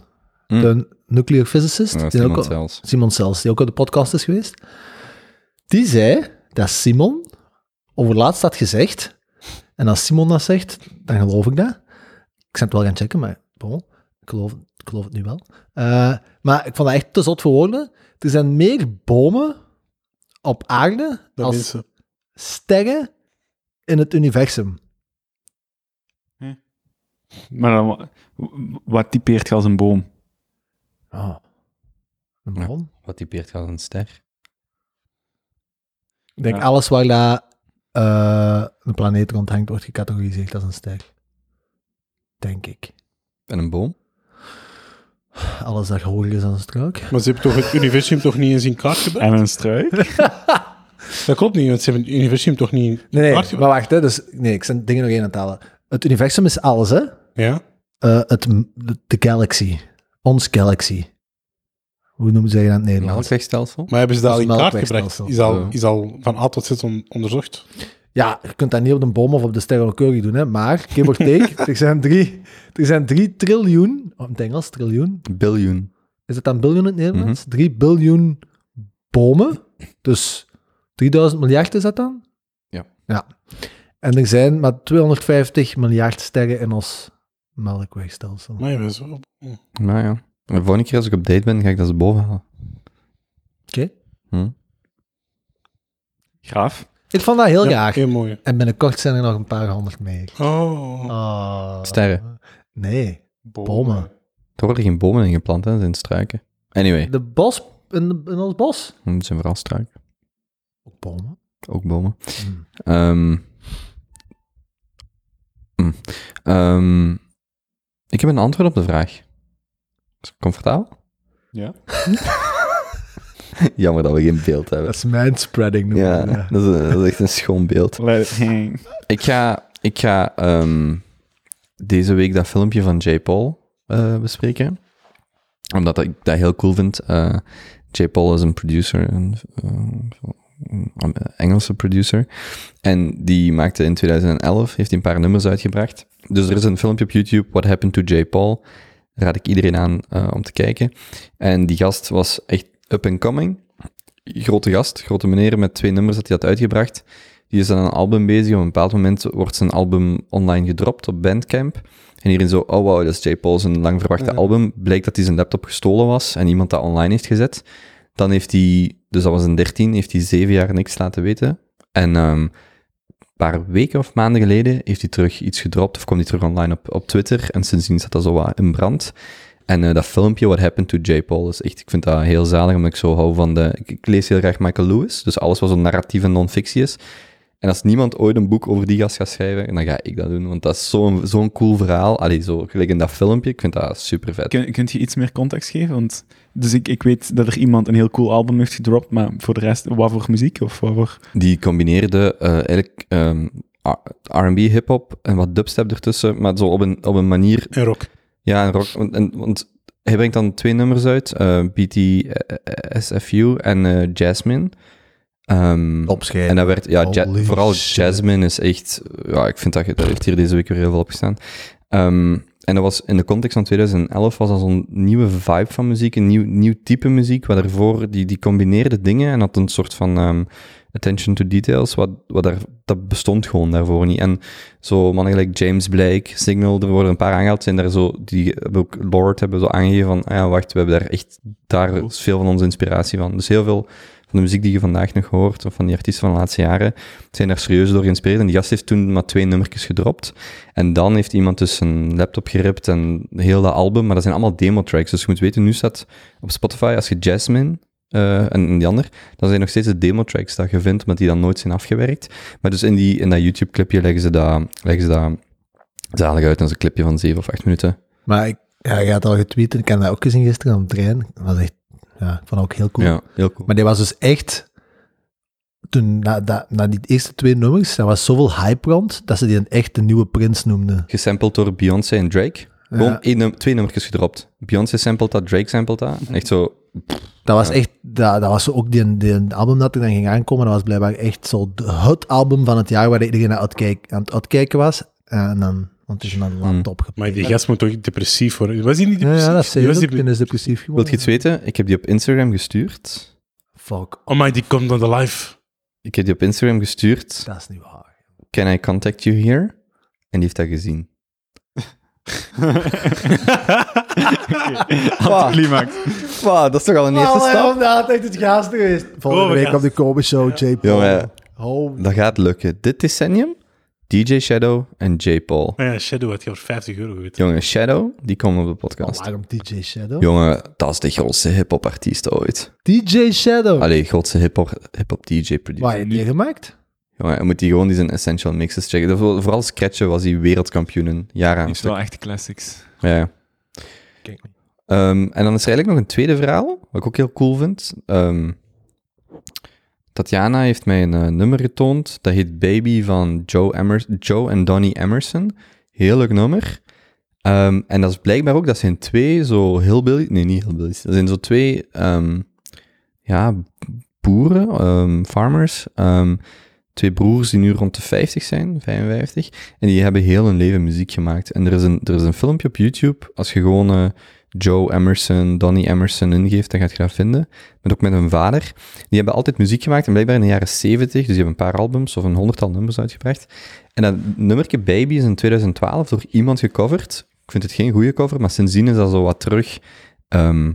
Hm. de nuclear physicist, Dat is die ook niemand al- zelfs. Simon Sels, die ook op de podcast is geweest, die zei dat Simon over laatst had gezegd, en als Simon dat zegt, dan geloof ik dat. Ik zou het wel gaan checken, maar bon, ik, geloof, ik geloof het nu wel. Eh, maar ik vond dat echt te zot voor woorden. Er zijn meer bomen op aarde Dat als mensen. sterren in het universum. Maar dan, wa- w- wat typeert je als een boom? Oh. Een Ja. bron? Wat typeert als een ster? Ik denk Ja. alles waar dat, eh, een planeet rond hangt, wordt gecategoriseerd als een ster. Denk ik. En een boom? Alles dat hoger is dan een struik. Maar ze hebben toch het universum toch niet eens in kaart gebracht? En een struik? Dat klopt niet, want ze hebben het universum toch niet in Ah. Nee, kaart nee maar gebracht? wacht, hè, dus, nee, ik zijn dingen nog één aan het halen. Het universum is alles, hè? Ja? Eh, het, de, de galaxy. Ons galaxy. Hoe noemen ze dat in het Een Nederlands? melkwegstelsel? Maar hebben ze dat al Dat in is kaart melkwegstelsel. gebracht? Is al, Ja. is al van A tot Z on- onderzocht? Ja, je kunt dat niet op een boom of op de ster willekeurig doen, hè? Maar, give or take, er zijn drie, er zijn drie triljoen, op het Engels triljoen, Biljoen. is het dan biljoen in het Nederlands? Mhm. 3 biljoen bomen. Dus 3000 miljard is dat dan? Ja. ja. En er zijn maar 250 miljard sterren in ons melkwegstelsel. Maar hebben ze wel- Nou ja. De volgende keer als ik op date ben, ga ik dat eens boven halen. Oké. Hm? Graaf. Ik vond dat heel Ja, graag. Heel mooi. En binnenkort zijn er nog een paar honderd meer. Oh. Ah. Sterren. Nee, bomen. Er worden geen bomen in geplant, hè. Er zijn struiken. Anyway, De bos, in, in ons bos. het zijn vooral struiken. Ook bomen. Ook bomen. Hm. Ehm. Hm. Ehm. ik heb een antwoord op de vraag. Is het comfortabel? Ja. Jammer dat we geen beeld Dat hebben. is manspreading. noemen Ja, we dat. dat is, dat is echt een schoon beeld. Let it hang. Ik ga, ik ga ehm, deze week dat filmpje van J. Paul eh, bespreken. Omdat ik dat heel cool vind. Eh, J. Paul is een producer, een, eh, een Engelse producer. En die maakte in 2011, heeft hij een paar nummers uitgebracht. Dus er is een filmpje op YouTube, What Happened to J. Paul. Daar raad ik iedereen aan eh, om te kijken. En die gast was echt up and coming. Grote gast, grote meneer, met twee nummers had hij dat uitgebracht. Die is aan een album bezig. Op een bepaald moment wordt zijn album online gedropt op Bandcamp. En hierin zo, oh wow, dat is J. Paul zijn lang verwachte album. Blijkt dat hij zijn laptop gestolen was en iemand dat online heeft gezet. Dan heeft hij, dus dat was in 13, heeft hij zeven jaar niks laten weten. En ehm, een paar weken of maanden geleden heeft hij terug iets gedropt of kwam hij terug online op, op Twitter. En sindsdien staat dat zo wat in brand. En eh, dat filmpje, What Happened to J. Paul, is echt, ik vind dat heel zalig, omdat ik zo hou van de... Ik, ik lees heel graag Michael Lewis, dus alles wat zo'n narratief en non-fictie is. En als niemand ooit een boek over die gast gaat schrijven, dan ga ik dat doen, want dat is zo'n zo'n cool verhaal. Allee, zo gelijk in dat filmpje, ik vind dat super vet. Kun, kunt je iets meer context geven? Want, dus ik, ik weet dat er iemand een heel cool album heeft gedropt, maar voor de rest, wat voor muziek? Of wat voor... Die combineerde eh, eigenlijk ehm, R- R&B, hip-hop en wat dubstep ertussen, maar zo op een, op een manier En rock. Ja, en rock. Want, en, want hij brengt dan twee nummers uit: eh, BT eh, SFU en eh, Jasmine. Ehm, Opschrijven. en dat werd, ja, ja- Holy vooral shit. Jasmine is echt, ja, ik vind dat, dat heeft hier deze week weer heel veel opgestaan. Ehm, En dat was in de context van 2011 was dat zo'n nieuwe vibe van muziek, een nieuw, nieuw type muziek, wat daarvoor, die, die combineerde dingen en had een soort van ehm, attention to details, wat, wat daar, dat bestond gewoon daarvoor niet. En zo mannen gelijk James Blake, Signal, er worden een paar aangehaald, zijn daar zo, die hebben ook Lord hebben zo aangegeven van, ah ja, wacht, we hebben daar echt, daar is veel van onze inspiratie van. Dus heel veel van de muziek die je vandaag nog hoort, of van die artiesten van de laatste jaren, zijn daar serieus door geïnspireerd. En die gast heeft toen maar twee nummertjes gedropt. En dan heeft iemand dus zijn laptop geript en heel dat album, maar dat zijn allemaal demo-tracks. Dus je moet weten, nu staat op Spotify, als je Jasmine eh, en, en die ander, dan zijn nog steeds de demo-tracks dat je vindt, maar die dan nooit zijn afgewerkt. Maar dus in, die, in dat YouTube-clipje leggen ze dat, leggen ze dat zalig uit. Dat is een clipje van 7 of 8 minuten. Maar ik, ja, je had al getweet en ik heb dat ook gezien gisteren op de trein. Dat was echt, ja, ik vond dat ook heel cool. Ja, heel cool. Maar die was dus echt, toen, na, na, na die eerste twee nummers, daar was zoveel hype rond, dat ze die een echt de nieuwe prins noemden. gesampled door Beyoncé en Drake. Gewoon één num- twee nummertjes gedropt. Beyoncé sampled dat, Drake sampled dat. Echt zo, Dat was echt, dat, dat was ook die, die album dat er dan ging aankomen, dat was blijkbaar echt zo de- het album van het jaar waar iedereen naar uitkijk, aan het uitkijken was. En dan, want het is dan Hmm. laptop gepakt. Maar die gast moet toch depressief worden? Was hij niet Ja, depressief? ja, dat Die zei was je ook, depre- die is depressief wilt geworden. je iets weten? Ik heb die op Instagram gestuurd. Fuck, Oh my, die komt aan de live. Ik heb die op Instagram gestuurd. dat is niet waar. Can I contact you here? En die heeft dat gezien. Anticlimax. Wow, dat is toch al een dat had echt het gaas geweest. Volgende Oh, week ja. op de Kobe Show, J. Paul. Jongen, Oh, dat gaat lukken. Dit decennium, DJ Shadow en J. Paul. Maar Oh ja, Shadow had je voor 50 euro geweten. Jongen, Shadow, die komen op de podcast. waarom DJ Shadow? Jongen, dat is de grootste hip-hop artiest ooit. DJ Shadow. Allee, grootste hip-hop hip DJ producer. Waar heb je die gemaakt? Jongen, dan moet hij gewoon die zijn essential mixes checken. Dat- Vooral Scratchen was hij wereldkampioen in jaren aan een is stuk. wel echt classics. Ja, ja. Kijk niet. Ehm, en dan is er eigenlijk nog een tweede verhaal, wat ik ook heel cool vind. Ehm Tatjana heeft mij een eh, nummer getoond. Dat heet Baby van Joe, Emers Joe en Donnie Emerson. Heel leuk nummer. Ehm, en dat is blijkbaar ook, dat zijn twee zo heel Nee, niet heel Dat zijn zo twee ehm, ja, boeren, ehm, farmers. ehm, twee broers die nu rond de 50 zijn, 55. En die hebben heel hun leven muziek gemaakt. En er is een, er is een filmpje op YouTube. Als je gewoon eh, Joe Emerson, Donnie Emerson ingeeft, dan gaat je dat vinden. Met ook met hun vader. Die hebben altijd muziek gemaakt en blijkbaar in de jaren 70. Dus die hebben een paar albums of een honderdtal nummers uitgebracht. En dat nummerke Baby is in 2012 door iemand gecoverd. Ik vind het geen goede cover, maar sindsdien is dat zo wat terug ehm,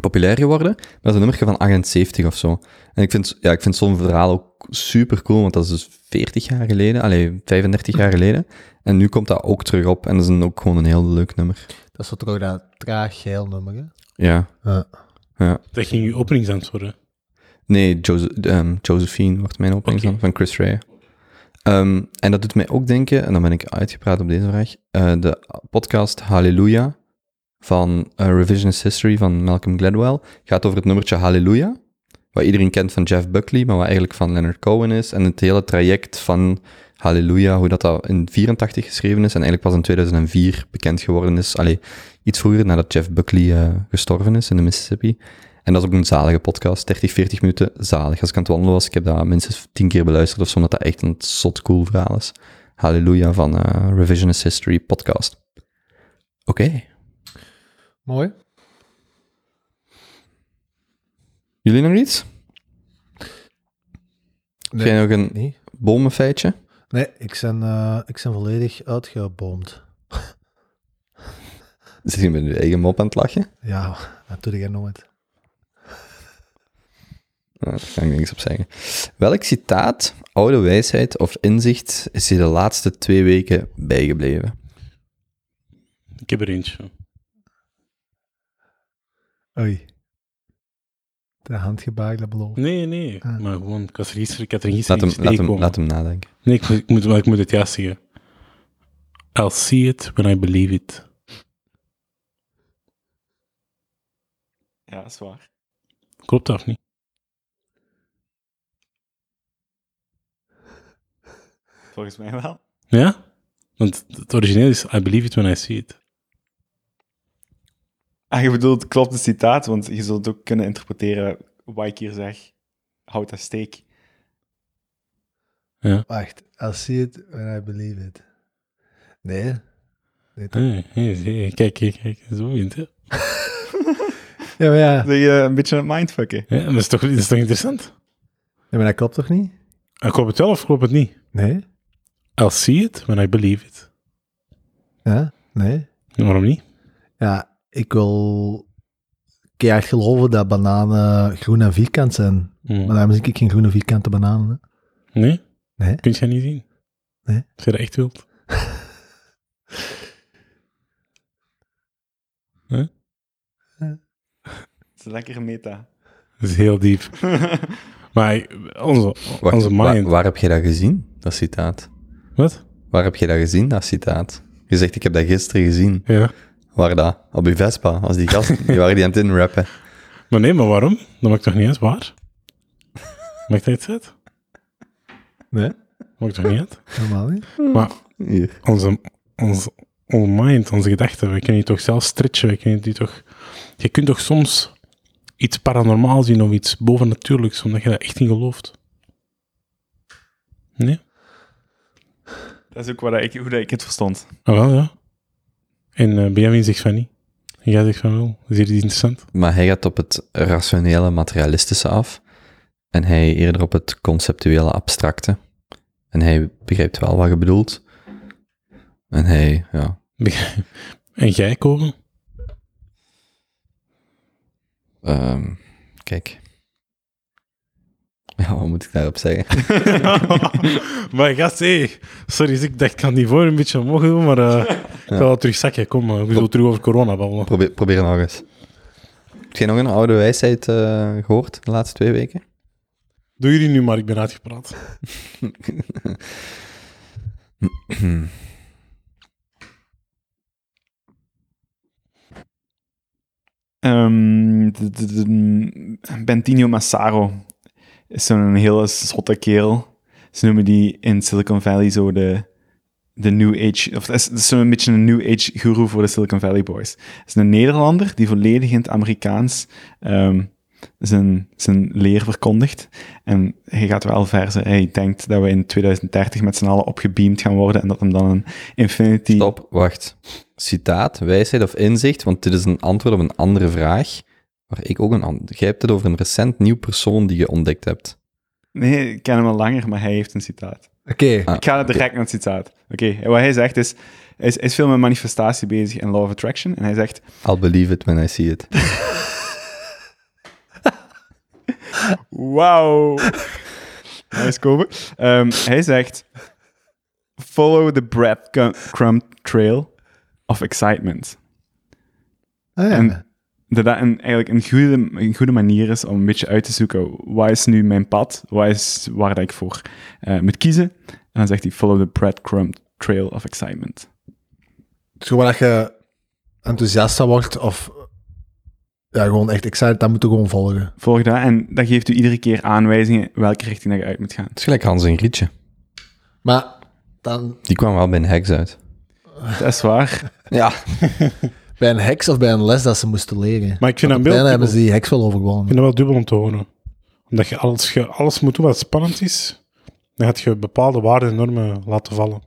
populair geworden. Maar dat is een nummerke van 78 of zo. En ik vind, ja, ik vind zo'n verhaal ook super cool, want dat is dus 40 jaar geleden, allee, 35 jaar geleden. En nu komt dat ook terug op en dat is een, ook gewoon een heel leuk nummer. Dat is zo toch ook dat traag geil nummer, hè? Ja. Ja. ja. Dat ging je openingsant worden. Nee, Jose- ehm, Josephine wordt mijn opening Oké. van, van Chris Rea. Ehm, en dat doet mij ook denken, en dan ben ik uitgepraat op deze vraag, eh, de podcast Hallelujah van eh, Revisionist History van Malcolm Gladwell gaat over het nummertje Hallelujah, wat iedereen kent van Jeff Buckley, maar wat eigenlijk van Leonard Cohen is, en het hele traject van Hallelujah, hoe dat, dat in 84 geschreven is en eigenlijk pas in 2004 bekend geworden is. Allee, iets vroeger nadat Jeff Buckley eh, gestorven is in de Mississippi. En dat is ook een zalige podcast, 30, 40 minuten zalig. Als ik aan het wandelen was, ik heb dat minstens 10 keer beluisterd of zo, omdat dat echt een zot cool verhaal is. Hallelujah van eh, Revisionist History podcast. Oké. Mooi. Jullie nog iets? Nee. Heb jij nog een Nee, bomenfeitje? nee ik, ben, eh, ik ben volledig uitgeboomd. Zit je met je eigen mop aan het lachen? Ja, dat doe ik nooit. Nou, daar kan ik niks op zeggen. Welk citaat, oude wijsheid of inzicht is je de laatste twee weken bijgebleven? Ik heb er eentje. Oei. De handgebaar, dat beloof ik. Nee, nee. Ah. Maar gewoon, ik was er gisteren, ik had er Laat gisteren hem, iets laat, hem, tegenkomen. laat hem nadenken. Nee, ik, moet- ik moet, maar ik moet het juist zeggen. I'll see it when I believe it. Ja, dat is waar. Klopt dat of niet? Volgens mij wel. Ja? Want het origineel is I believe it when I see it. Ah, je bedoelt, klopt het citaat, want je zult ook kunnen interpreteren wat ik hier zeg. Houd dat steek. Wacht, I see it when I believe it. Nee. Nee, toch? Hey, Ah, hey, hey, Kijk, kijk, kijk. Zo wint hè. Ja, maar ja. Dat je een beetje aan het mindfucken. Ja, maar dat is, toch, dat is toch interessant? Ja, maar dat klopt toch niet? Ik hoop het wel of ik hoop het niet? Nee? I'll see it when I believe it. Ja? Nee? En waarom niet? Ja, ik wil keihard geloven dat bananen groen en vierkant zijn. Hmm. Maar daarom zie ik geen groene vierkante bananen. hè. Nee? Nee. Kun je dat niet zien? Nee. Als je dat echt wilt. Het is lekker meta. Dat is heel diep. maar onze, Wacht, onze wa- mind... waar heb je dat gezien, dat citaat? Wat? Waar heb je dat gezien, dat citaat? Je zegt, ik heb dat gisteren gezien. Ja. Waar dat? Op je Vespa, als die gast, die waren die aan het inrappen. Maar nee, maar waarom? Dat maakt toch niet uit? Waar? maakt dat iets uit? Nee? Maakt toch niet uit? Helemaal niet? Maar Hier. onze, onze, onze mind, onze gedachten, we kunnen die toch zelf stretchen. We kunnen die toch, je kunt toch soms iets paranormaal zien of iets bovennatuurlijks, omdat je daar echt in gelooft. Nee? Dat is ook wat ik, hoe dat ik het verstond. Ah, wel, ja. En eh Benjamin zegt van niet. En jij zegt van wel. Is hier iets interessant? Maar hij gaat op het rationele, materialistische af. En hij eerder op het conceptuele, abstracte. En hij begrijpt wel wat je bedoelt. En hij, ja. En jij, Koren? ehm, kijk. Ja, wat moet ik daarop zeggen? maar gast, hé. Sorry, ik dacht, ik kan die voor een beetje omhoog doen, maar eh, ik ga wel terug zakken. Kom, eh, we zullen terug over corona babbelen. Probeer, probeer nog eens. Heb jij nog een oude wijsheid eh, gehoord de laatste twee weken? Doe jullie nu maar, ik ben uitgepraat. Ehm, d- d- d- Bentinho Massaro is zo'n hele zotte kerel. Ze noemen die in Silicon Valley zo de, de New Age... Of dat is, dat is zo'n beetje een New Age guru voor de Silicon Valley Boys. Het is een Nederlander die volledig in het Amerikaans ehm, zijn, zijn leer verkondigt. En hij gaat wel ver. Ze- Hij denkt dat we in 2030 met z'n allen opgebeamd gaan worden en dat hem dan een Infinity... Stop, wacht. Citaat, wijsheid of inzicht, want dit is een antwoord op een andere vraag. Waar ik ook een antwoord... Jij hebt het over een recent nieuw persoon die je ontdekt hebt. Nee, ik ken hem al langer, maar hij heeft een citaat. Oké. Ah. Ik ga direct naar het citaat. Oké, wat hij zegt is, hij is, hij is veel met manifestatie bezig en law of attraction. En hij zegt, I'll believe it when I see it. wauw. nice komen. Ehm, hij zegt, follow the breadcrumb trail of excitement. Ah, ja. En dat dat een, eigenlijk een goede, een goede manier is om een beetje uit te zoeken, wat is nu mijn pad? Wat is waar dat ik voor eh, moet kiezen? En dan zegt hij, follow the breadcrumb trail of excitement. Het is gewoon dat je enthousiast van wordt of ja, gewoon echt excited, dat moet je gewoon volgen. Volg dat en dat geeft u iedere keer aanwijzingen welke richting dat je uit moet gaan. Het is gelijk Hans en Grietje. Maar dan Die kwam wel bij een heks uit. Dat is waar. Ja. bij een heks of bij een les dat ze moesten leren. Maar ik vind dat Dan beeld... hebben ze die heks wel overwonnen. Ik vind dat wel dubbel om te horen. Omdat je alles, je alles moet doen wat spannend is, dan gaat je bepaalde waarden en normen laten vallen.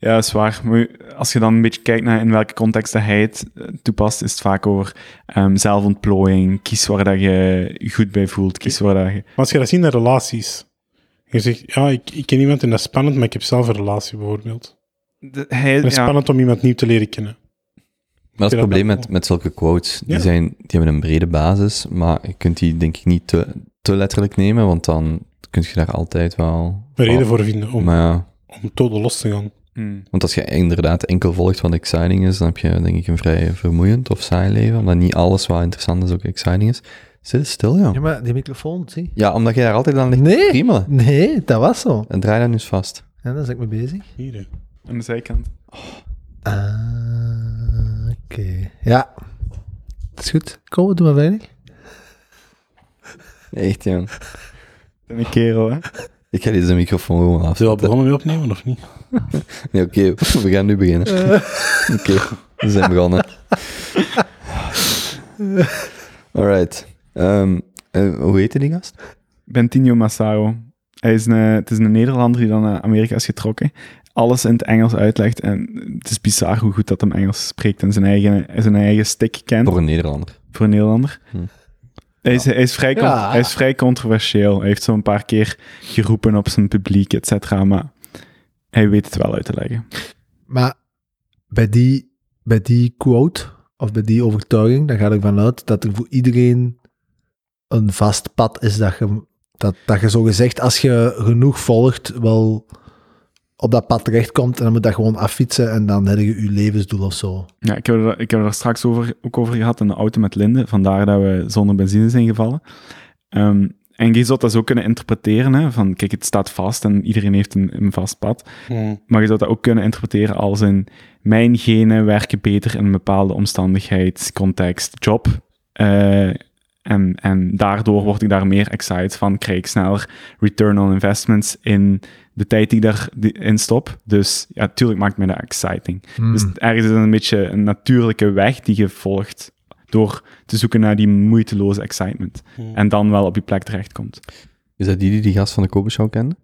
Ja, dat is waar. Maar als je dan een beetje kijkt naar in welke context dat hij het eh, toepast, is het vaak over ehm, zelfontplooiing. Kies waar dat je je goed bij voelt. Kies waar dat je... Maar als je dat ziet naar relaties, je zegt, ja, ik, ik ken iemand en dat is spannend, maar ik heb zelf een relatie bijvoorbeeld. De- hij, Het is ja, spannend om iemand nieuw te leren kennen. Maar dat is Ja, het probleem dat- met, met zulke quotes. Die, Ja. zijn, die hebben een brede basis, maar je kunt die denk ik niet te, te letterlijk nemen, want dan kun je daar altijd wel... Een reden voor vinden om, Maar ja, om tot los te gaan. Hmm. Want als je inderdaad enkel volgt wat exciting is, dan heb je denk ik een vrij vermoeiend of saai leven. Omdat niet alles wat interessant is ook exciting is. Zit eens stil, joh. Ja, maar die microfoon, zie. Ja, omdat je daar altijd aan ligt Nee. te priemelen. Nee, dat was zo. En draai dat nu eens vast. En daar ben ik mee bezig. Hier, hè. Aan de zijkant. Ah, oké. Ja. Dat is goed. Kom, we doen maar weinig. Echt, joh. Een kerel, hè? Ik ga deze microfoon gewoon af. Zullen we al begonnen mee opnemen of niet? Nee, oké, we gaan nu beginnen. Oké, we zijn begonnen. Alright. Ehm, eh, hoe heette die gast? Bentinho Massaro. Hij is een, het is een Nederlander die dan naar Amerika is getrokken. alles in het Engels uitlegt. En het is bizar hoe goed dat hem Engels spreekt en zijn eigen, zijn eigen stick kent Voor een Nederlander. voor een Nederlander. Hm. Hij, is, hij, is vrij con- Ja. hij is vrij controversieel. Hij heeft zo'n paar keer geroepen op zijn publiek, et cetera. Maar hij weet het wel uit te leggen. Maar bij die, bij die quote of bij die overtuiging, dan ga ik vanuit dat er voor iedereen een vast pad is dat je, dat, dat je zo gezegd, als je genoeg volgt, wel op dat pad terechtkomt en dan moet dat gewoon affietsen en dan heb je je levensdoel of zo. Ja, ik heb er, ik heb er straks over, ook over gehad in de auto met Linde. Vandaar dat we zonder benzine zijn gevallen. Ehm, en je zou dat zo kunnen interpreteren. Hè, van kijk, het staat vast en iedereen heeft een, een vast pad. Maar je zou dat ook kunnen interpreteren als in mijn genen werken beter in een bepaalde omstandigheid, context, job. Eh, en, en daardoor word ik daar meer excited van, krijg ik sneller return on investments in de tijd die ik daarin stop. Dus ja, natuurlijk maakt mij dat exciting. Dus ergens is het een beetje een natuurlijke weg die je volgt door te zoeken naar die moeiteloze excitement. En dan wel op je plek terechtkomt. Is dat die die die gast van de Kobe Show kende?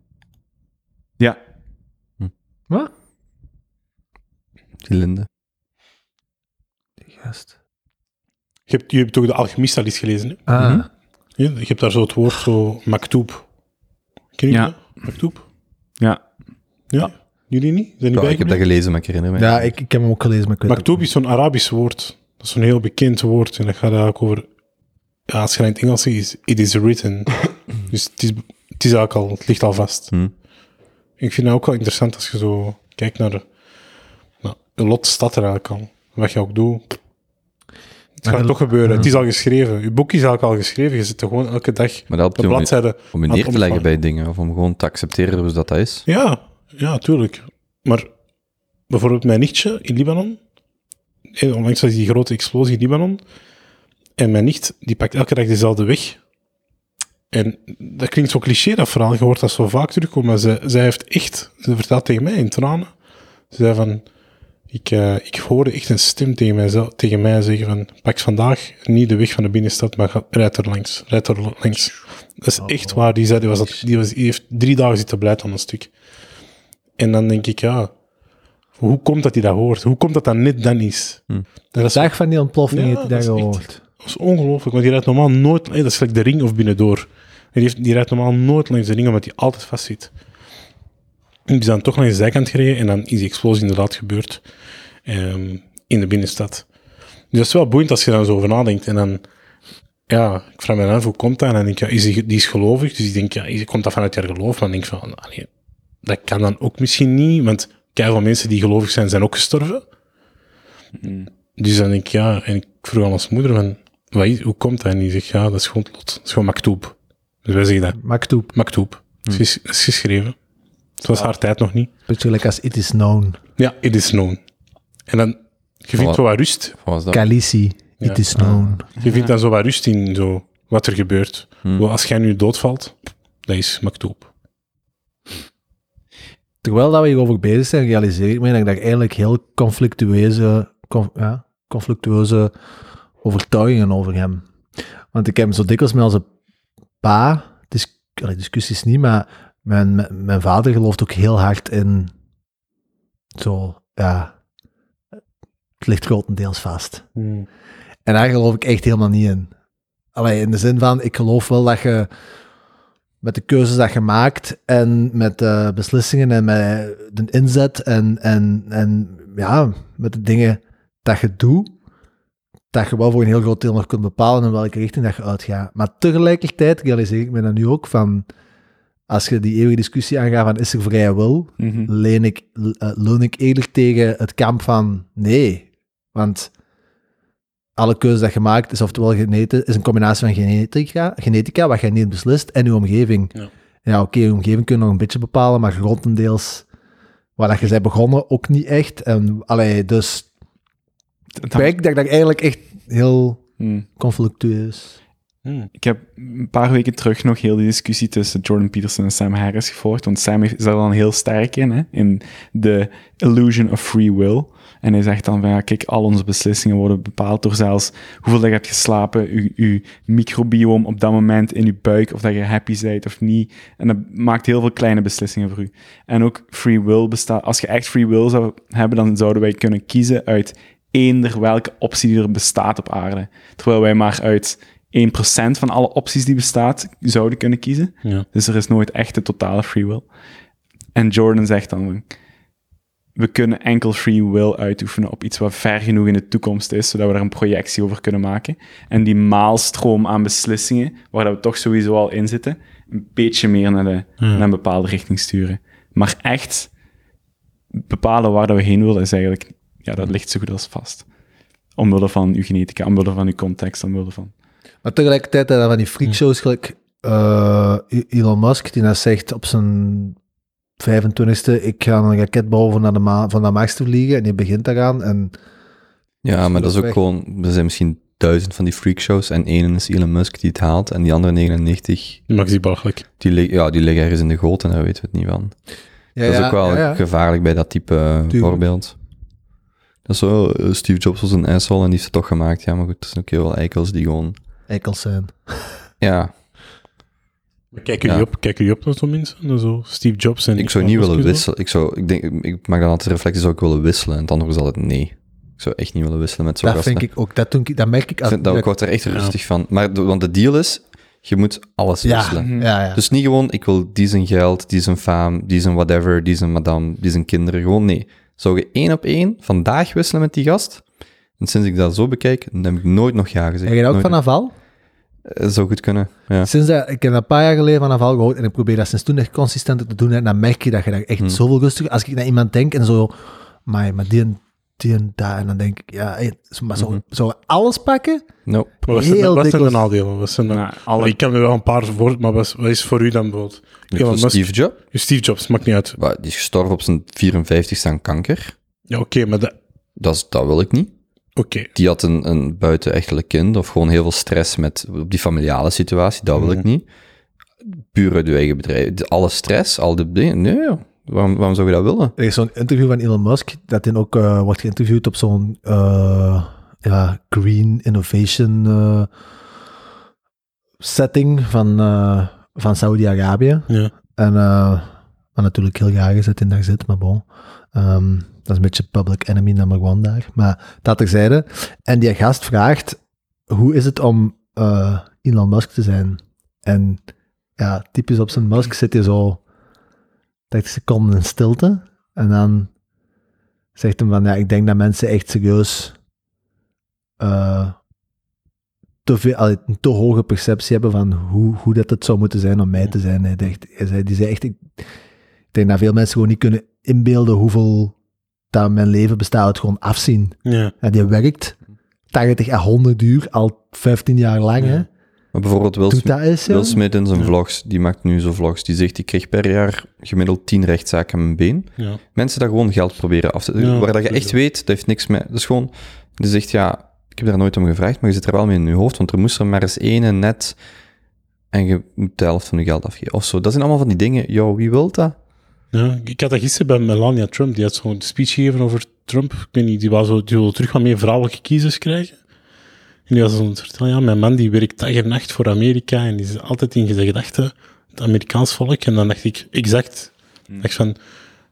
Ja, Die Linde. Je, hebt, je hebt toch de alchemist al eens gelezen, hè? Ah, Je, je hebt daar zo het woord, zo, maktoub. Ken je Ja. dat? Maktoub? ja. Ja. Jullie niet? Zijn Ja, jullie ik heb dat bijgebleven? gelezen, maar ik herinner me. ja, ik, ik heb hem ook gelezen, maar ik weet het Maktoub is zo'n Arabisch woord. Dat is zo'n heel bekend woord. En dat gaat eigenlijk over... Ja, als je het in het Engels ziet, is it is written. dus het is, het is eigenlijk al... Het ligt al vast. Hm. Ik vind het ook wel interessant als je zo kijkt naar... Nou, een lot staat er eigenlijk al. Wat je ook doet... Het gaat je- toch gebeuren. Het is al geschreven. Je boek is eigenlijk al geschreven. Je zit er gewoon elke dag Maar dat helpt de je om- bladzijde om je aan neer het te leggen ontvangen. bij dingen, of om gewoon te accepteren hoe dat dat is. Ja, ja, tuurlijk. Maar bijvoorbeeld mijn nichtje in Libanon, en onlangs was die grote explosie in Libanon, en mijn nicht, die pakt elke dag dezelfde weg. En dat klinkt zo cliché, dat verhaal. Je hoort dat zo vaak terugkomen, maar zij, zij heeft echt, ze vertelt tegen mij in tranen, ze zei van, ik, eh, ik hoorde echt een stem tegen mij, zo- tegen mij zeggen van, pak vandaag niet de weg van de binnenstad, maar ga- rijd er langs, rijd er langs. Dat is echt waar, die zei, die, was, dat- die, was, die heeft drie dagen zitten blijten aan een stuk. En dan denk ik, ja, hoe komt dat hij dat hoort? Hoe komt dat dat net dan is? Dat, niet. is, dat Dag van die ontploffing Ja, heeft hij dat daar is echt- gehoord. is ongelooflijk, want die rijdt normaal nooit... Hey, dat is gelijk de ring of binnendoor. En Die, heeft, die rijdt normaal nooit langs de ring, omdat hij altijd vast zit. En die is dan toch langs de zijkant gereden en dan is die explosie inderdaad gebeurd ehm, in de binnenstad. Dus dat is wel boeiend als je daar zo over nadenkt. En dan, ja, ik vraag me dan af, hoe komt dat? En dan denk ik, ja, is die, die is gelovig, dus ik denk, ja, is- komt dat vanuit haar geloof? Maar dan denk ik van, allee, dat kan dan ook misschien niet, want keihard mensen die gelovig zijn, zijn ook gestorven. Dus dan denk ik, ja, en ik vroeg aan ons moeder, van, wat is- hoe komt dat? En die zegt, ja, dat is gewoon het lot. Dat is gewoon maktoub. Dus wij zeggen dat, Maktoub, maktoub. Hm. Dat is, dat is geschreven. Het was haar tijd nog niet. beetje gelijk als It Is Known. Ja, it is known. En dan, je vindt Voilà. zo wat rust. Wat was dat? Khaleesi, Ja. It Is Known. Je vindt dan zo wat rust in zo, wat er gebeurt. Hm. Wel, Als jij nu doodvalt, dat is maktoub. Terwijl dat we hierover bezig zijn, realiseer ik me dat ik daar eigenlijk heel conflictueuze, conf- ja, conflictueuze overtuigingen over heb. Want ik heb zo dikwijls met onze pa, dis, allee, discussies niet, maar mijn, mijn- mijn vader gelooft ook heel hard in zo, ja, het ligt grotendeels vast. En daar geloof ik echt helemaal niet in. Allee, in de zin van, ik geloof wel dat je met de keuzes dat je maakt en met de beslissingen en met de inzet en, en, en ja, met de dingen dat je doet, dat je wel voor een heel groot deel nog kunt bepalen in welke richting dat je uitgaat. Maar tegelijkertijd realiseer ik me dan nu ook van, als je die eeuwige discussie aangaat van is er vrije wil, Mhm. leen ik, l- eh, leun ik eerder tegen het kamp van nee. Want alle keuze dat je maakt is oftewel geneten, is een combinatie van genetica, genetica wat jij niet beslist, en je omgeving. Ja. Ja, oké, je omgeving kun je nog een beetje bepalen, maar grotendeels waar dat je bent begonnen ook niet echt. En, allee, dus Dat- ik merk dat ik daar eigenlijk echt heel Hmm. conflictueus Hmm. Ik heb een paar weken terug nog heel die discussie tussen Jordan Peterson en Sam Harris gevolgd. Want Sam is daar dan heel sterk in, hè? in de illusion of free will. En hij zegt dan van, ja, kijk, al onze beslissingen worden bepaald door zelfs hoeveel dat je hebt geslapen, je, je microbioom op dat moment in je buik, of dat je happy bent of niet. En dat maakt heel veel kleine beslissingen voor u. En ook free will bestaat, als je echt free will zou hebben, dan zouden wij kunnen kiezen uit eender welke optie die er bestaat op aarde. Terwijl wij maar uit 1% van alle opties die bestaat zouden kunnen kiezen. Ja. Dus er is nooit echt de totale free will. En Jordan zegt dan: We kunnen enkel free will uitoefenen op iets wat ver genoeg in de toekomst is, zodat we daar een projectie over kunnen maken. En die maalstroom aan beslissingen, waar dat we toch sowieso al in zitten, een beetje meer naar, de, naar een bepaalde richting sturen. Maar echt bepalen waar dat we heen willen, is eigenlijk, ja, dat ligt zo goed als vast. Omwille van uw genetica, omwille van uw context, omwille van. Maar tegelijkertijd dat van die freakshows, gelijk eh, Elon Musk, die dan zegt op zijn 25e, ik ga een raket bouwen om naar de maan, van de Mars te vliegen. En die begint daaraan. En Ja, maar dat is ook Weg. gewoon... Er zijn misschien duizend van die freakshows en één is Elon Musk die het haalt en die andere 99, Die maakt die belachelijk. die, lig- ja, die liggen ergens in de goot en daar weten we het niet van. ja, dat is ja, ook wel ja, ja. gevaarlijk bij dat type eh, voorbeeld. Dat is zo, eh, Steve Jobs was een asshole en die heeft het toch gemaakt. Ja, maar goed, er zijn ook heel veel eikels die gewoon... Eikels zijn. Ja, Maar Kijk jullie Ja. op, kijk jullie op tot zo'n mensen? Dan Zo Steve Jobs en... ik zou niet willen wisselen. Ik, zou, ik, denk, ik maak dan altijd de reflectie, zou ik willen wisselen? En het antwoord is altijd nee. Ik zou echt niet willen wisselen met zo'n Dat vind ik ook. Dat, doe ik, dat merk ik. Ik, als- vind, dat, ik word er echt rustig van. Maar de- want de deal is, je moet alles ja, Mhm. wisselen. ja, ja. Dus niet gewoon, ik wil die zijn geld, die zijn faam, die zijn whatever, die zijn madame, die zijn kinderen. Gewoon nee. Zou je één op één vandaag wisselen met die gast? En sinds ik dat zo bekijk, dan heb ik nooit nog ja Heb gezegd. je dat ook Nooit van Aval? nog- Eh, zou goed kunnen, ja. Sinds dat, ik heb dat een paar jaar geleden van Aval gehoord en ik probeer dat sinds toen echt consistenter te doen. En dan merk je dat je daar Hmm. echt zoveel rustiger... Als ik naar iemand denk en zo... Maar, maar die en die en daar. En dan denk ik, ja, hey, maar Mhm. zou, zou we alles pakken? Nope. Maar wat zijn, Heel de- wat zijn de dikwijls. nadelen? Wat zijn de- Nou, alle- Ik kan er wel een paar voor, maar wat is, wat is voor u dan bijvoorbeeld? Elon Musk, Steve Jobs, Steve Jobs, maakt niet uit. wa- die is gestorven op zijn 54ste aan kanker. Ja, oké, maar dat... Dat, is, dat wil ik niet. Oké. die had een, een buitenechtelijk kind of gewoon heel veel stress met op die familiale situatie, dat wil Mhm. ik niet. Puur uit je eigen bedrijf. De- Alle stress, al die dingen. Nee, joh. waarom, waarom zou je dat willen? Er is zo'n interview van Elon Musk, dat hij ook eh, wordt geïnterviewd op zo'n eh, ja, green innovation eh, setting van, eh, van Saudi-Arabië. Ja. En eh wat natuurlijk heel raar is dat hij daar zit, maar bon. Ehm, dat is een beetje public enemy number one daar. Maar dat terzijde. En die gast vraagt, hoe is het om eh, Elon Musk te zijn? En ja, typisch op zijn Musk zit hij zo 30 seconden in stilte. En dan zegt hij van, ja, ik denk dat mensen echt serieus eh, te, veel, allee, een te hoge perceptie hebben van hoe, hoe dat het zou moeten zijn om mij te zijn. Hij dacht, hij zei, die zei echt, ik, ik denk dat veel mensen gewoon niet kunnen inbeelden hoeveel dat mijn leven bestaat uit gewoon afzien. Ja. En die werkt 80 à 100 uur, al 15 jaar lang. Hè? Maar bijvoorbeeld Will, Doet Smith- dat eens, Will joh. Smith in zijn vlogs, die maakt nu zo vlogs, die zegt, ik kreeg per jaar gemiddeld 10 rechtszaken aan mijn been. Ja. Mensen daar gewoon geld proberen af te... Ja, waar dat je sowieso. echt weet, dat heeft niks met... Dat is gewoon... Die zegt, ja, ik heb daar nooit om gevraagd, maar je zit er wel mee in je hoofd, want er moest er maar eens ene net en je moet de helft van je geld afgeven. Of zo. Dat zijn allemaal van die dingen. Yo, wie wil dat? Ja, ik had dat gisteren bij Melania Trump. Die had zo'n speech gegeven over Trump. Ik weet niet, die, was zo, die wil terug wat meer vrouwelijke kiezers krijgen. En die was aan het vertellen, ja, mijn man die werkt dag en nacht voor Amerika en die is altijd in zijn gedachten het Amerikaans volk. En dan dacht ik, exact, Hm. dacht van,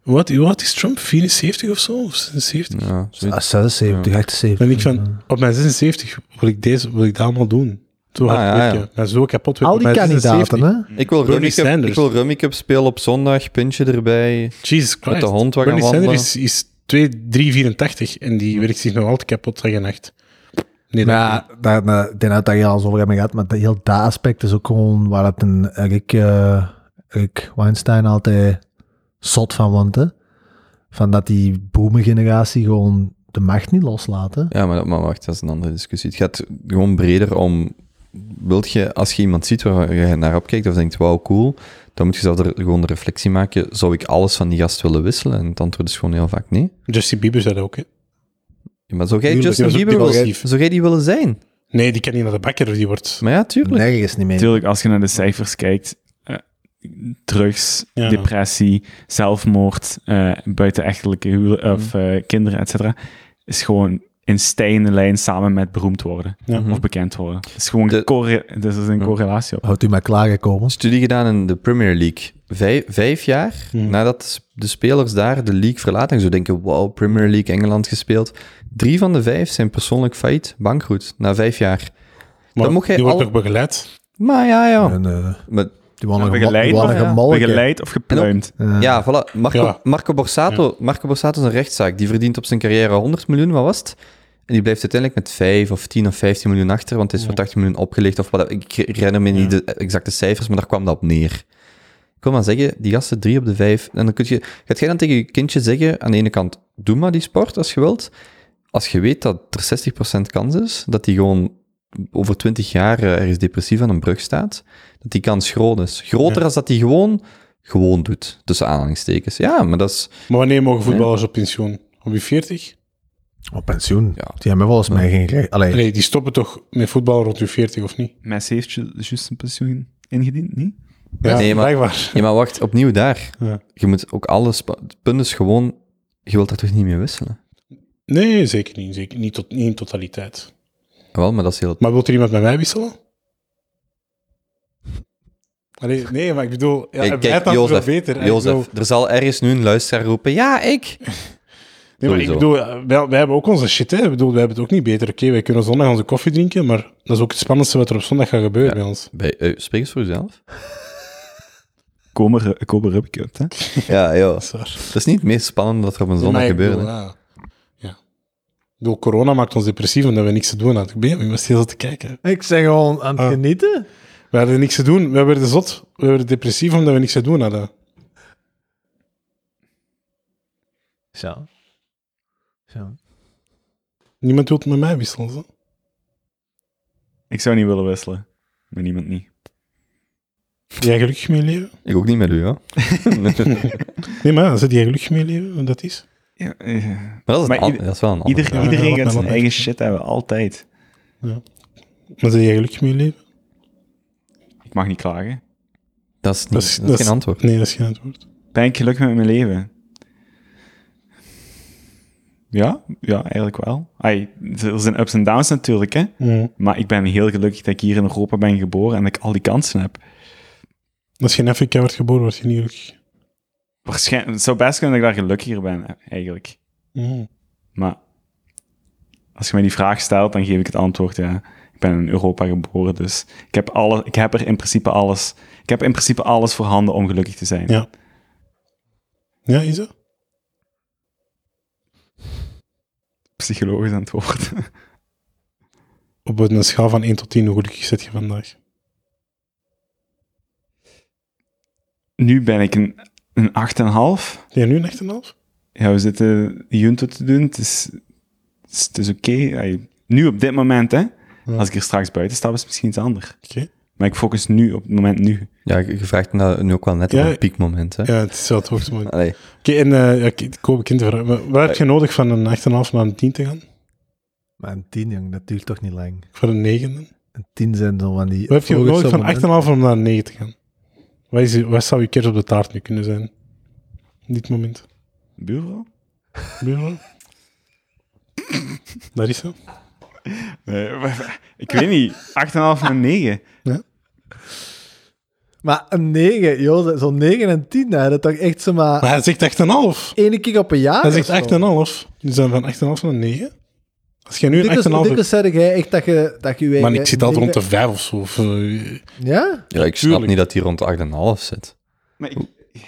wat, wat is Trump, 74 of zo? Of 76? Ja, zoiets. Ah, 76, 78. Dan denk ik van, op mijn 76 wil ik, deze, wil ik dat allemaal doen. Zo hard Ah, ja, werken. ja. Maar zo kapot werken. Al op die mijn 76. kandidaten, hè? Ik wil Bernie Rummy Cup- Sanders. ik wil Rummy Cup spelen op zondag, pintje erbij. Jesus Christ. de hond waar Bernie gaan Sanders is, wandelen. is 2, 384 en die werkt zich nog altijd kapot dag en nacht. Nee, dat- Maar ja, daar, daar, ik denk dat we het daar al eens over hebben gehad, maar dat, heel dat aspect is ook gewoon waar het een Rick, eh, Rick Weinstein altijd zot van want, hè. Van dat die boomer-generatie gewoon de macht niet loslaten. Ja, maar, maar wacht, dat is een andere discussie. Het gaat gewoon breder om... Wilt je, als je iemand ziet waar je naar opkijkt of denkt, wauw, cool, dan moet je zelf er gewoon de reflectie maken, zou ik alles van die gast willen wisselen? En het antwoord is gewoon heel vaak nee. Justin Bieber zei dat ook, hè? Ja, maar zou jij Tuurlijk, Justin dat is ook Bieber willen, depressief. zou jij die willen zijn? Nee, die kan niet naar de bakker. Die wordt... Maar ja, tuurlijk. Nergens niet mee. Natuurlijk, als je naar de cijfers kijkt, eh, drugs, Ja. depressie, zelfmoord, eh buitenechtelijke Mhm. huwel- of eh, kinderen, et cetera, is gewoon in stijgende lijn samen met beroemd worden Ja. Mhm. of bekend worden. Het is gewoon De- gecorre- dus er is een correlatie op. Houdt u maar klaargekomen. Studie gedaan in de Premier League. Vijf, vijf jaar Hmm. nadat de spelers daar de league verlaten. En zo denken, wow, Premier League, Engeland gespeeld. Drie van de vijf zijn persoonlijk failliet, bankroet, na vijf jaar. Maar Dan mocht jij die wordt al- toch begeleid? Maar ja, ja. En, eh, Maar, die waren Ja, nog begeleid, ja. gemolken. Begeleid of gepluimd. Eh, ja, voilà. Marco, Ja. Marco Borsato, Marco Borsato is een rechtszaak. Die verdient op zijn carrière 100 miljoen, wat was het? En die blijft uiteindelijk met 5 of 10 of 15 miljoen achter, want het is voor 80 miljoen opgelegd. Of wat, ik herinner me niet de exacte cijfers, maar daar kwam dat op neer. Ik wil maar zeggen, die gasten drie op de vijf. En dan kun je, gaat jij dan tegen je kindje zeggen, aan de ene kant, doe maar die sport als je wilt. Als je weet dat er 60% kans is, dat die gewoon over 20 jaar eh, ergens depressief aan een brug staat, dat die kans groot is. Groter als dat die gewoon, gewoon doet, tussen aanhalingstekens. Ja, maar dat is... Maar wanneer mogen voetballers op pensioen? Op je 40? Op pensioen. Ja. Die hebben volgens mij geen recht. Allee, Nee, die stoppen toch met voetbal rond je 40 of niet? Messi heeft ju- juist een pensioen ingediend, niet? Ja, Nee, maar- blijkbaar. Ja, maar wacht, opnieuw daar. Ja. Je moet ook alles... punt is gewoon, je wilt daar toch niet mee wisselen? Nee, zeker niet. Zeker niet, tot, niet in totaliteit. Wel, maar dat is heel... Maar wilt er iemand met mij wisselen? Allee, nee, maar ik bedoel, ja, Hey, hij kijk, weet dat Jozef, wel beter. En ik Jozef, bedoel- er zal ergens nu een luisteraar roepen, ja, ik... Nee, maar ik Sowieso. bedoel, eh, wij, wij hebben ook onze shit, hè. Ik bedoel, wij hebben het ook niet beter. Oké, wij kunnen zondag onze koffie drinken, maar dat is ook het spannendste wat er op zondag gaat gebeuren bij ons. Bij, eh, spreek eens voor jezelf. Komen Kobe Rubik Cup, hè? Ja, joh. Dat is waar. Dat is niet het meest spannende dat er op een zondag Maar ik gebeurt. bedoel, hè. ja. ja. Ik bedoel, corona maakt ons depressief omdat we niks te doen hadden. Ik ben je was heel te kijken. Ik zeg gewoon aan het Ah. genieten. We hadden niks te doen. We werden zot. We werden depressief omdat we niks te doen hadden. Zo. Zo. Niemand wil met mij wisselen. zo. Ik zou niet willen wisselen. Maar niemand niet. Die jij gelukkig mee leven? Ik ook niet met u, hoor. eh, maar Nee, maar zit jij gelukkig mee leven? Want Dat is. Ja, eh, dat is, Maar een an- ieder- dat is wel een ander. ieder, ja, iedereen wat gaat mij zijn betreft. eigen shit hebben, altijd. Maar zit jij gelukkig mee leven? Ik mag niet klagen. Dat is, niet, Dat is- dat is dat is- geen antwoord. Nee, dat is geen antwoord. Ben ik gelukkig met mijn leven? Ja, ja, eigenlijk wel. Ai, er zijn ups en downs natuurlijk, hè. Mm. Maar ik ben heel gelukkig dat ik hier in Europa ben geboren en dat ik al die kansen heb. Als je in Afrika wordt geboren, word je niet gelukkig. Waarschijnlijk, het zou best kunnen dat ik daar gelukkiger ben, eh, eigenlijk. Mm. Maar als je mij die vraag stelt, dan geef ik het antwoord, ja. Ik ben in Europa geboren, dus ik heb, alle, ik heb er in principe alles... Ik heb in principe alles voorhanden om gelukkig te zijn. Ja. Ja, is dat? Psychologisch antwoord. Op een schaal van 1 tot 10, hoe gelukkig zit je vandaag? Nu ben ik een, een 8,5. Ben je nu een echt een half? Ja, we zitten junto te doen. Het is, het is, het is oké. Ai, Nu op dit moment, hè. Als ik er straks buiten sta, is het misschien iets anders. Oké. Maar ik focus nu op het moment nu. Ja, je je vraagt nou, nu ook wel net Ja. op een piekmoment, hè. Ja, het is wel het hoogste moment. Allee, Oké, en eh, ja, ik koop ik in te vragen. Maar Waar heb je nodig van een 8,5 naar een 10 te gaan? Maar een tien, jong, dat duurt toch niet lang. Voor een 9 dan? Een tien zijn dan van die... Wat heb je volgens nodig zo'n van 8,5 moment. om naar een 9 te gaan? Wat, is, wat zou je kerst op de taart nu kunnen zijn? Op dit moment. Buurvrouw? Buurman? Daar is ze. Nee, ik weet niet. 8,5 naar 9. Maar een negen, joh, zo'n negen en tien, hè, dat toch echt zomaar... Maar hij zegt 8,5. Ene keer op een jaar. Hij of zo. zegt 8,5. Dus dan van 8,5 naar 9. Als jij nu Hoe een 8,5 dikwijls- hoe hebt... dikwijls zeg jij echt dat je... Dat je je Maar eigen ik zit altijd rond negen- de 5 of zo. Of, eh, Ja? ja, ik snap Tuurlijk. niet dat hij rond de 8,5 zit. Maar ik,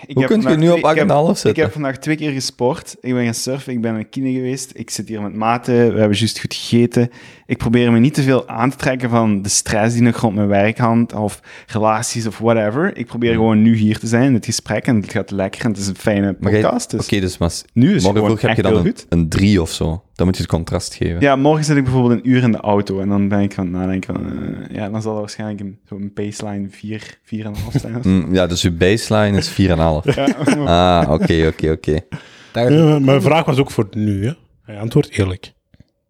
ik Hoe kun heb je vandaag nu twee- ik op 8,5 heb- zitten? Ik heb vandaag twee keer gesport. Ik ben gaan surfen, ik ben een kine geweest. Ik zit hier met maten, we hebben juist goed gegeten. Ik probeer me niet te veel aan te trekken van de stress die nog rond mijn werk hangt, of relaties of whatever. Ik probeer gewoon nu hier te zijn, in het gesprek, en het gaat lekker en het is een fijne Maar jij- podcast. Oké, Dus dus maar, s- nu is het morgen gewoon vroeg heb echt je dan heel een, goed. een 3 of zo. Dan moet je het contrast geven. Ja, morgen zit ik bijvoorbeeld een uur in de auto en dan ben ik van nadenken van, eh, ja, dan zal er waarschijnlijk een, zo'n baseline 4, 4,5 zijn. of zo. Mm, ja, dus je baseline is 4,5. Ah, oké, oké, oké. ja, maar mijn vraag was ook voor nu. Hè. Hij antwoordt eerlijk.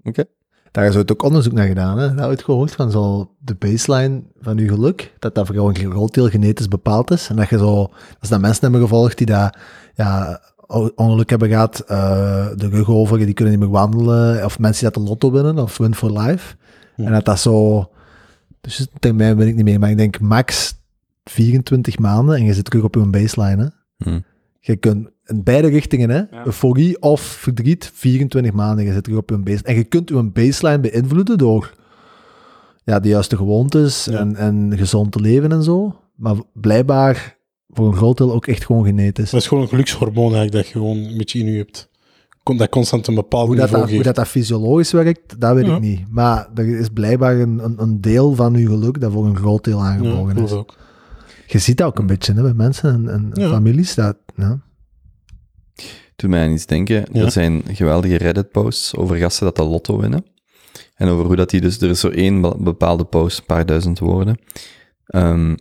Oké. Daar is ooit ook onderzoek naar gedaan. Hè? Daar hebben we het gehoord van zo de baseline van je geluk, dat dat voor jou een groot deel genetisch bepaald is. En dat je zo, als dat mensen hebben gevolgd die dat ja, on- ongeluk hebben gehad, eh, de rug over, die kunnen niet meer wandelen, of mensen die dat de lotto winnen, of win for life. En dat dat zo, dus een termijn ben ik niet mee, maar ik denk max 24 maanden en je zit terug op je baseline. Hè? Hm. Je kunt in beide richtingen, hè? Ja. euforie of verdriet, 24 maanden, je zit terug op je baseline. En je kunt je baseline beïnvloeden door ja, de juiste gewoontes en, en gezond te leven en zo. Maar blijkbaar voor een groot deel ook echt gewoon genetisch. Dat is gewoon een gelukshormoon eigenlijk dat je gewoon een beetje in je hebt. Kon- Dat constant een bepaald Hoe dat, niveau dat, hoe geeft. dat, dat fysiologisch werkt, dat weet Ja. ik niet. Maar er is blijkbaar een, een, een deel van je geluk dat voor een groot deel Ja, ik aangeboren geloof is. dat ook. Je ziet dat ook een beetje hè, bij mensen en, en en Ja. families. Dat, ja. doet mij aan iets denken. Ja. Er zijn geweldige Reddit-posts over gasten dat de lotto winnen. En over hoe dat die dus... Er is zo één be- bepaalde post, een paar duizend woorden, ehm,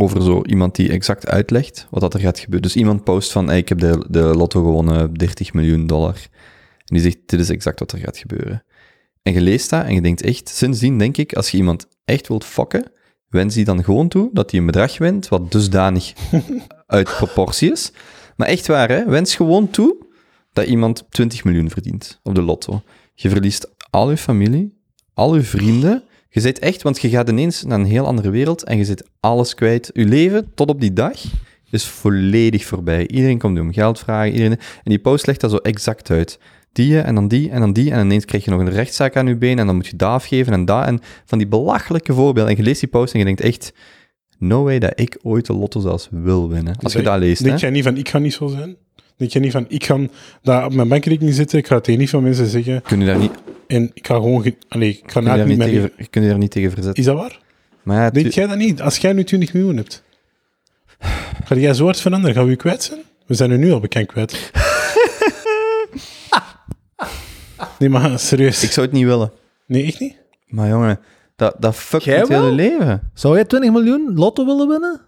over zo iemand die exact uitlegt wat dat er gaat gebeuren. Dus iemand post van, hey, ik heb de, de lotto gewonnen, 30 miljoen dollar. En die zegt, dit is exact wat er gaat gebeuren. En je leest dat en je denkt echt... Sindsdien denk ik, als je iemand echt wilt fokken, wens die dan gewoon toe dat hij een bedrag wint wat dusdanig uit proportie is. Maar echt waar, hè? wens gewoon toe dat iemand 20 miljoen verdient op de lotto. Je verliest al je familie, al je vrienden. Je zit echt, want je gaat ineens naar een heel andere wereld en je zit alles kwijt. Je leven tot op die dag is volledig voorbij. Iedereen komt je om geld vragen. Iedereen... En die post legt dat zo exact uit. Die en dan die en dan die. En ineens krijg je nog een rechtszaak aan je been en dan moet je daar afgeven en daar. En van die belachelijke voorbeelden. En je leest die post en je denkt echt, no way dat ik ooit de lotto zelfs wil winnen. Als je Denk- dat leest, hè? Denk jij niet van, ik ga niet zo zijn? Denk jij niet van, ik ga daar op mijn bankrekening zitten, ik ga het tegen niet veel mensen zeggen, Kun je daar niet, en ik ga gewoon... ge- Allee, ik ga kun je na daar niet niet, mijn tegen, leven- kun je daar niet tegen verzetten. Is dat waar? Maar ja, tu- Denk jij dat niet? Als jij nu 20 miljoen hebt, ga jij zo hard veranderen? Gaan we je kwijt zijn? We zijn u nu al bekend kwijt. nee, maar serieus. ik zou het niet willen. Nee, echt niet? Maar jongen, dat, dat fuckt Jij het wel? hele leven. Zou jij 20 miljoen lotto willen winnen?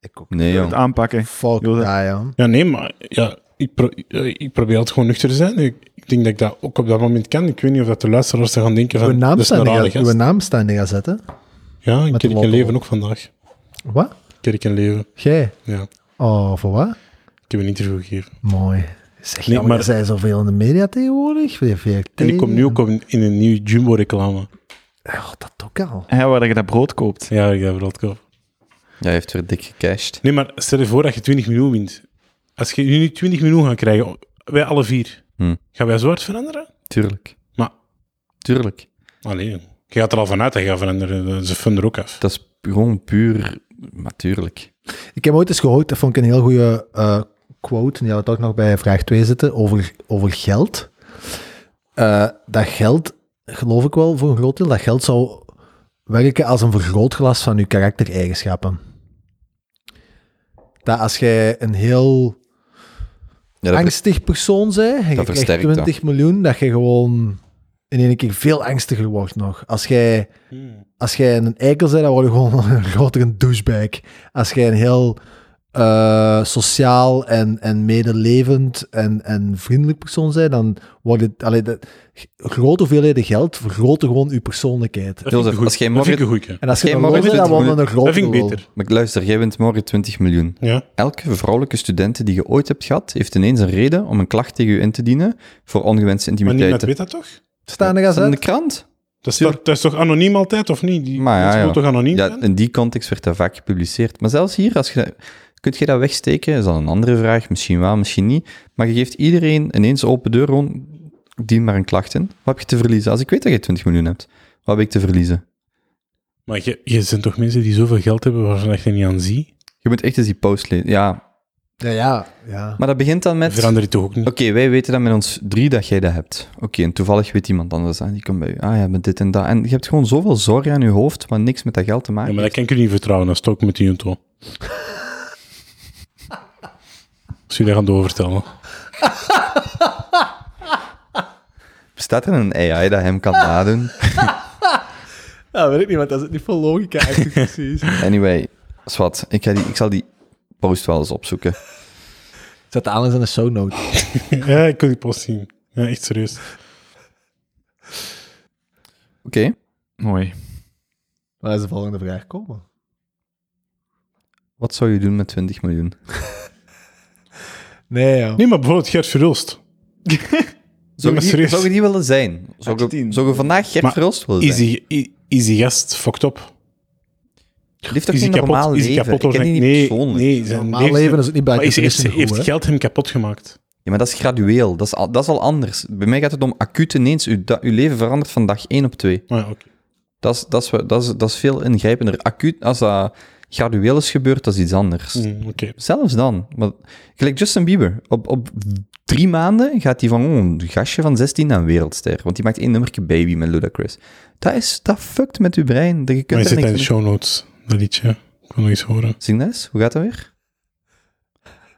Ik ook. Nee, Het jong. aanpakken. Fuck Joh, dat- dat, joh. Ja, nee, maar ja, ik, pro- eh, ik probeer het gewoon nuchter te zijn. Ik, ik denk dat ik dat ook op dat moment kan. Ik weet niet of dat de luisteraars dan gaan denken Uw van, dat naam is een staat rare niet aan- uw gast. naam staat niet aan zetten. Ja, ik met de ken ik een lotto. leven ook vandaag. Wat? Ken ik een leven, Jij? ja. Oh, voor wat? Ik heb een interview gegeven. Mooi. Zeg, Nee, nee, maar maar- er zijn zoveel in de media tegenwoordig. Weer VRT. En ik kom nu ook op een- in een nieuwe Jumbo-reclame. Oh, dat ook al. Hè, waar je dat brood koopt. Ja, ik heb dat koop. Jij heeft weer dik gecashed. Nee, maar stel je voor dat je 20 miljoen wint. Als je nu 20 miljoen gaat krijgen, wij alle vier, Hm. gaan wij zo hard veranderen? Tuurlijk. Maar- Tuurlijk. Allee, joh. je gaat er al vanuit dat je gaat veranderen. Ze funden er ook af. Dat is gewoon puur... Maar tuurlijk. Ik heb ooit eens gehoord, dat vond ik een heel goede eh, quote, en die had ook nog bij vraag 2 zitten, over, over geld. Eh, dat geld, geloof ik wel voor een groot deel, dat geld zou werken als een vergrootglas van je karaktereigenschappen. Dat als jij een heel Ja, dat angstig persoon zijn en je Eh, dat krijgt versterkt 20 miljoen, dat je gewoon in één keer veel angstiger wordt nog. Als jij, als jij een eikel bent, dan word je gewoon een grotere douchebag. Als jij een heel eh, sociaal en, en medelevend en, en vriendelijk persoon bent, dan wordt het... Allee, de, grote hoeveelheden geld vergroten gewoon je persoonlijkheid. Dat vind ik Jozef, een goeie. als jij Dat vind morgen- ik een goeie. En als je Jij een mag lul bent, het dan doen. wordt het een grote Dat vind ik lul. beter. Maar luister, jij wint morgen 20 miljoen. Ja. Elke vrouwelijke studente die je ooit hebt gehad, heeft ineens een reden om een klacht tegen je in te dienen voor ongewenste Maar niemand intimiteiten. weet dat toch? Staan er Dat is in de gazet? krant. Dat is, toch- dat is toch anoniem altijd, of niet? Die, Maar ja, dat moet ja. toch anoniem Ja, zijn? in die context werd dat vaak gepubliceerd. Maar zelfs hier, als je, kunt je dat wegsteken? Is dat een andere vraag? Misschien wel, misschien niet. Maar je geeft iedereen ineens open deur gewoon, dien maar een klacht in. Wat heb je te verliezen? Als ik weet dat je 20 miljoen hebt, wat heb ik te verliezen? Maar je, je zijn toch mensen die zoveel geld hebben waarvan ik er niet aan zie? Je moet echt eens die post lezen. Ja, Ja, ja. ja. maar dat begint dan met... Oké, Verander je toch ook niet? wij weten dat met ons drie dat jij dat hebt. Oké, en toevallig weet iemand anders aan, die komt bij u. Ah ja, met dit en dat. En je hebt gewoon zoveel zorg aan je hoofd, maar niks met dat geld te maken Ja, maar heeft. dat kan ik je niet vertrouwen, dat is het ook met die junto. Als jullie dat gaan doorvertellen. Bestaat er een AI dat hem kan nadoen? Ja, weet ik niet, want dat is niet veel logica eigenlijk precies. Anyway, zwart. Ik, ga die, ik zal die post wel eens opzoeken. Zet de aanleiding in de show notes. Ja, ik wil die post zien. Ja, echt serieus. Mooi. Waar is de volgende vraag komen? Wat zou je doen met 20 miljoen? Nee, ja. Nee, maar bijvoorbeeld Gert Verhulst. Zou je, maar die, serieus. zou je die willen zijn? Zou je, 18. zou je vandaag Gert Maar Verhulst willen Is zijn? die, i- is die gast fucked up? Die heeft toch is geen die normaal kapot? Is die leven? kapot? Ik ken die niet nee, persoonlijk. nee, zijn Normaal leven- leven is het niet bij Maar is, heeft, heeft goed, hè? geld hem kapot gemaakt? Ja, maar dat is gradueel. Dat is al, dat is al anders. Bij mij gaat het om acuut ineens. Uw, da- uw leven verandert van dag 1 op 2. Ah, ja, oké. Dat is, dat, is, wa- dat, is, dat is veel ingrijpender. Acuut, als dat gradueel is gebeurd, dat is iets anders. Mm, oké. Zelfs dan. Maar, gelijk Justin Bieber. Op, op drie maanden gaat hij van oh, een gastje van 16 naar een wereldster. Want die maakt één nummerke Baby met Ludacris. Dat, is, dat fuckt met uw brein. Dat je Maar kunt daar je zit in de niks mee- show notes, dat liedje. Ik wil nog iets horen. Zing dat eens. Hoe gaat dat weer?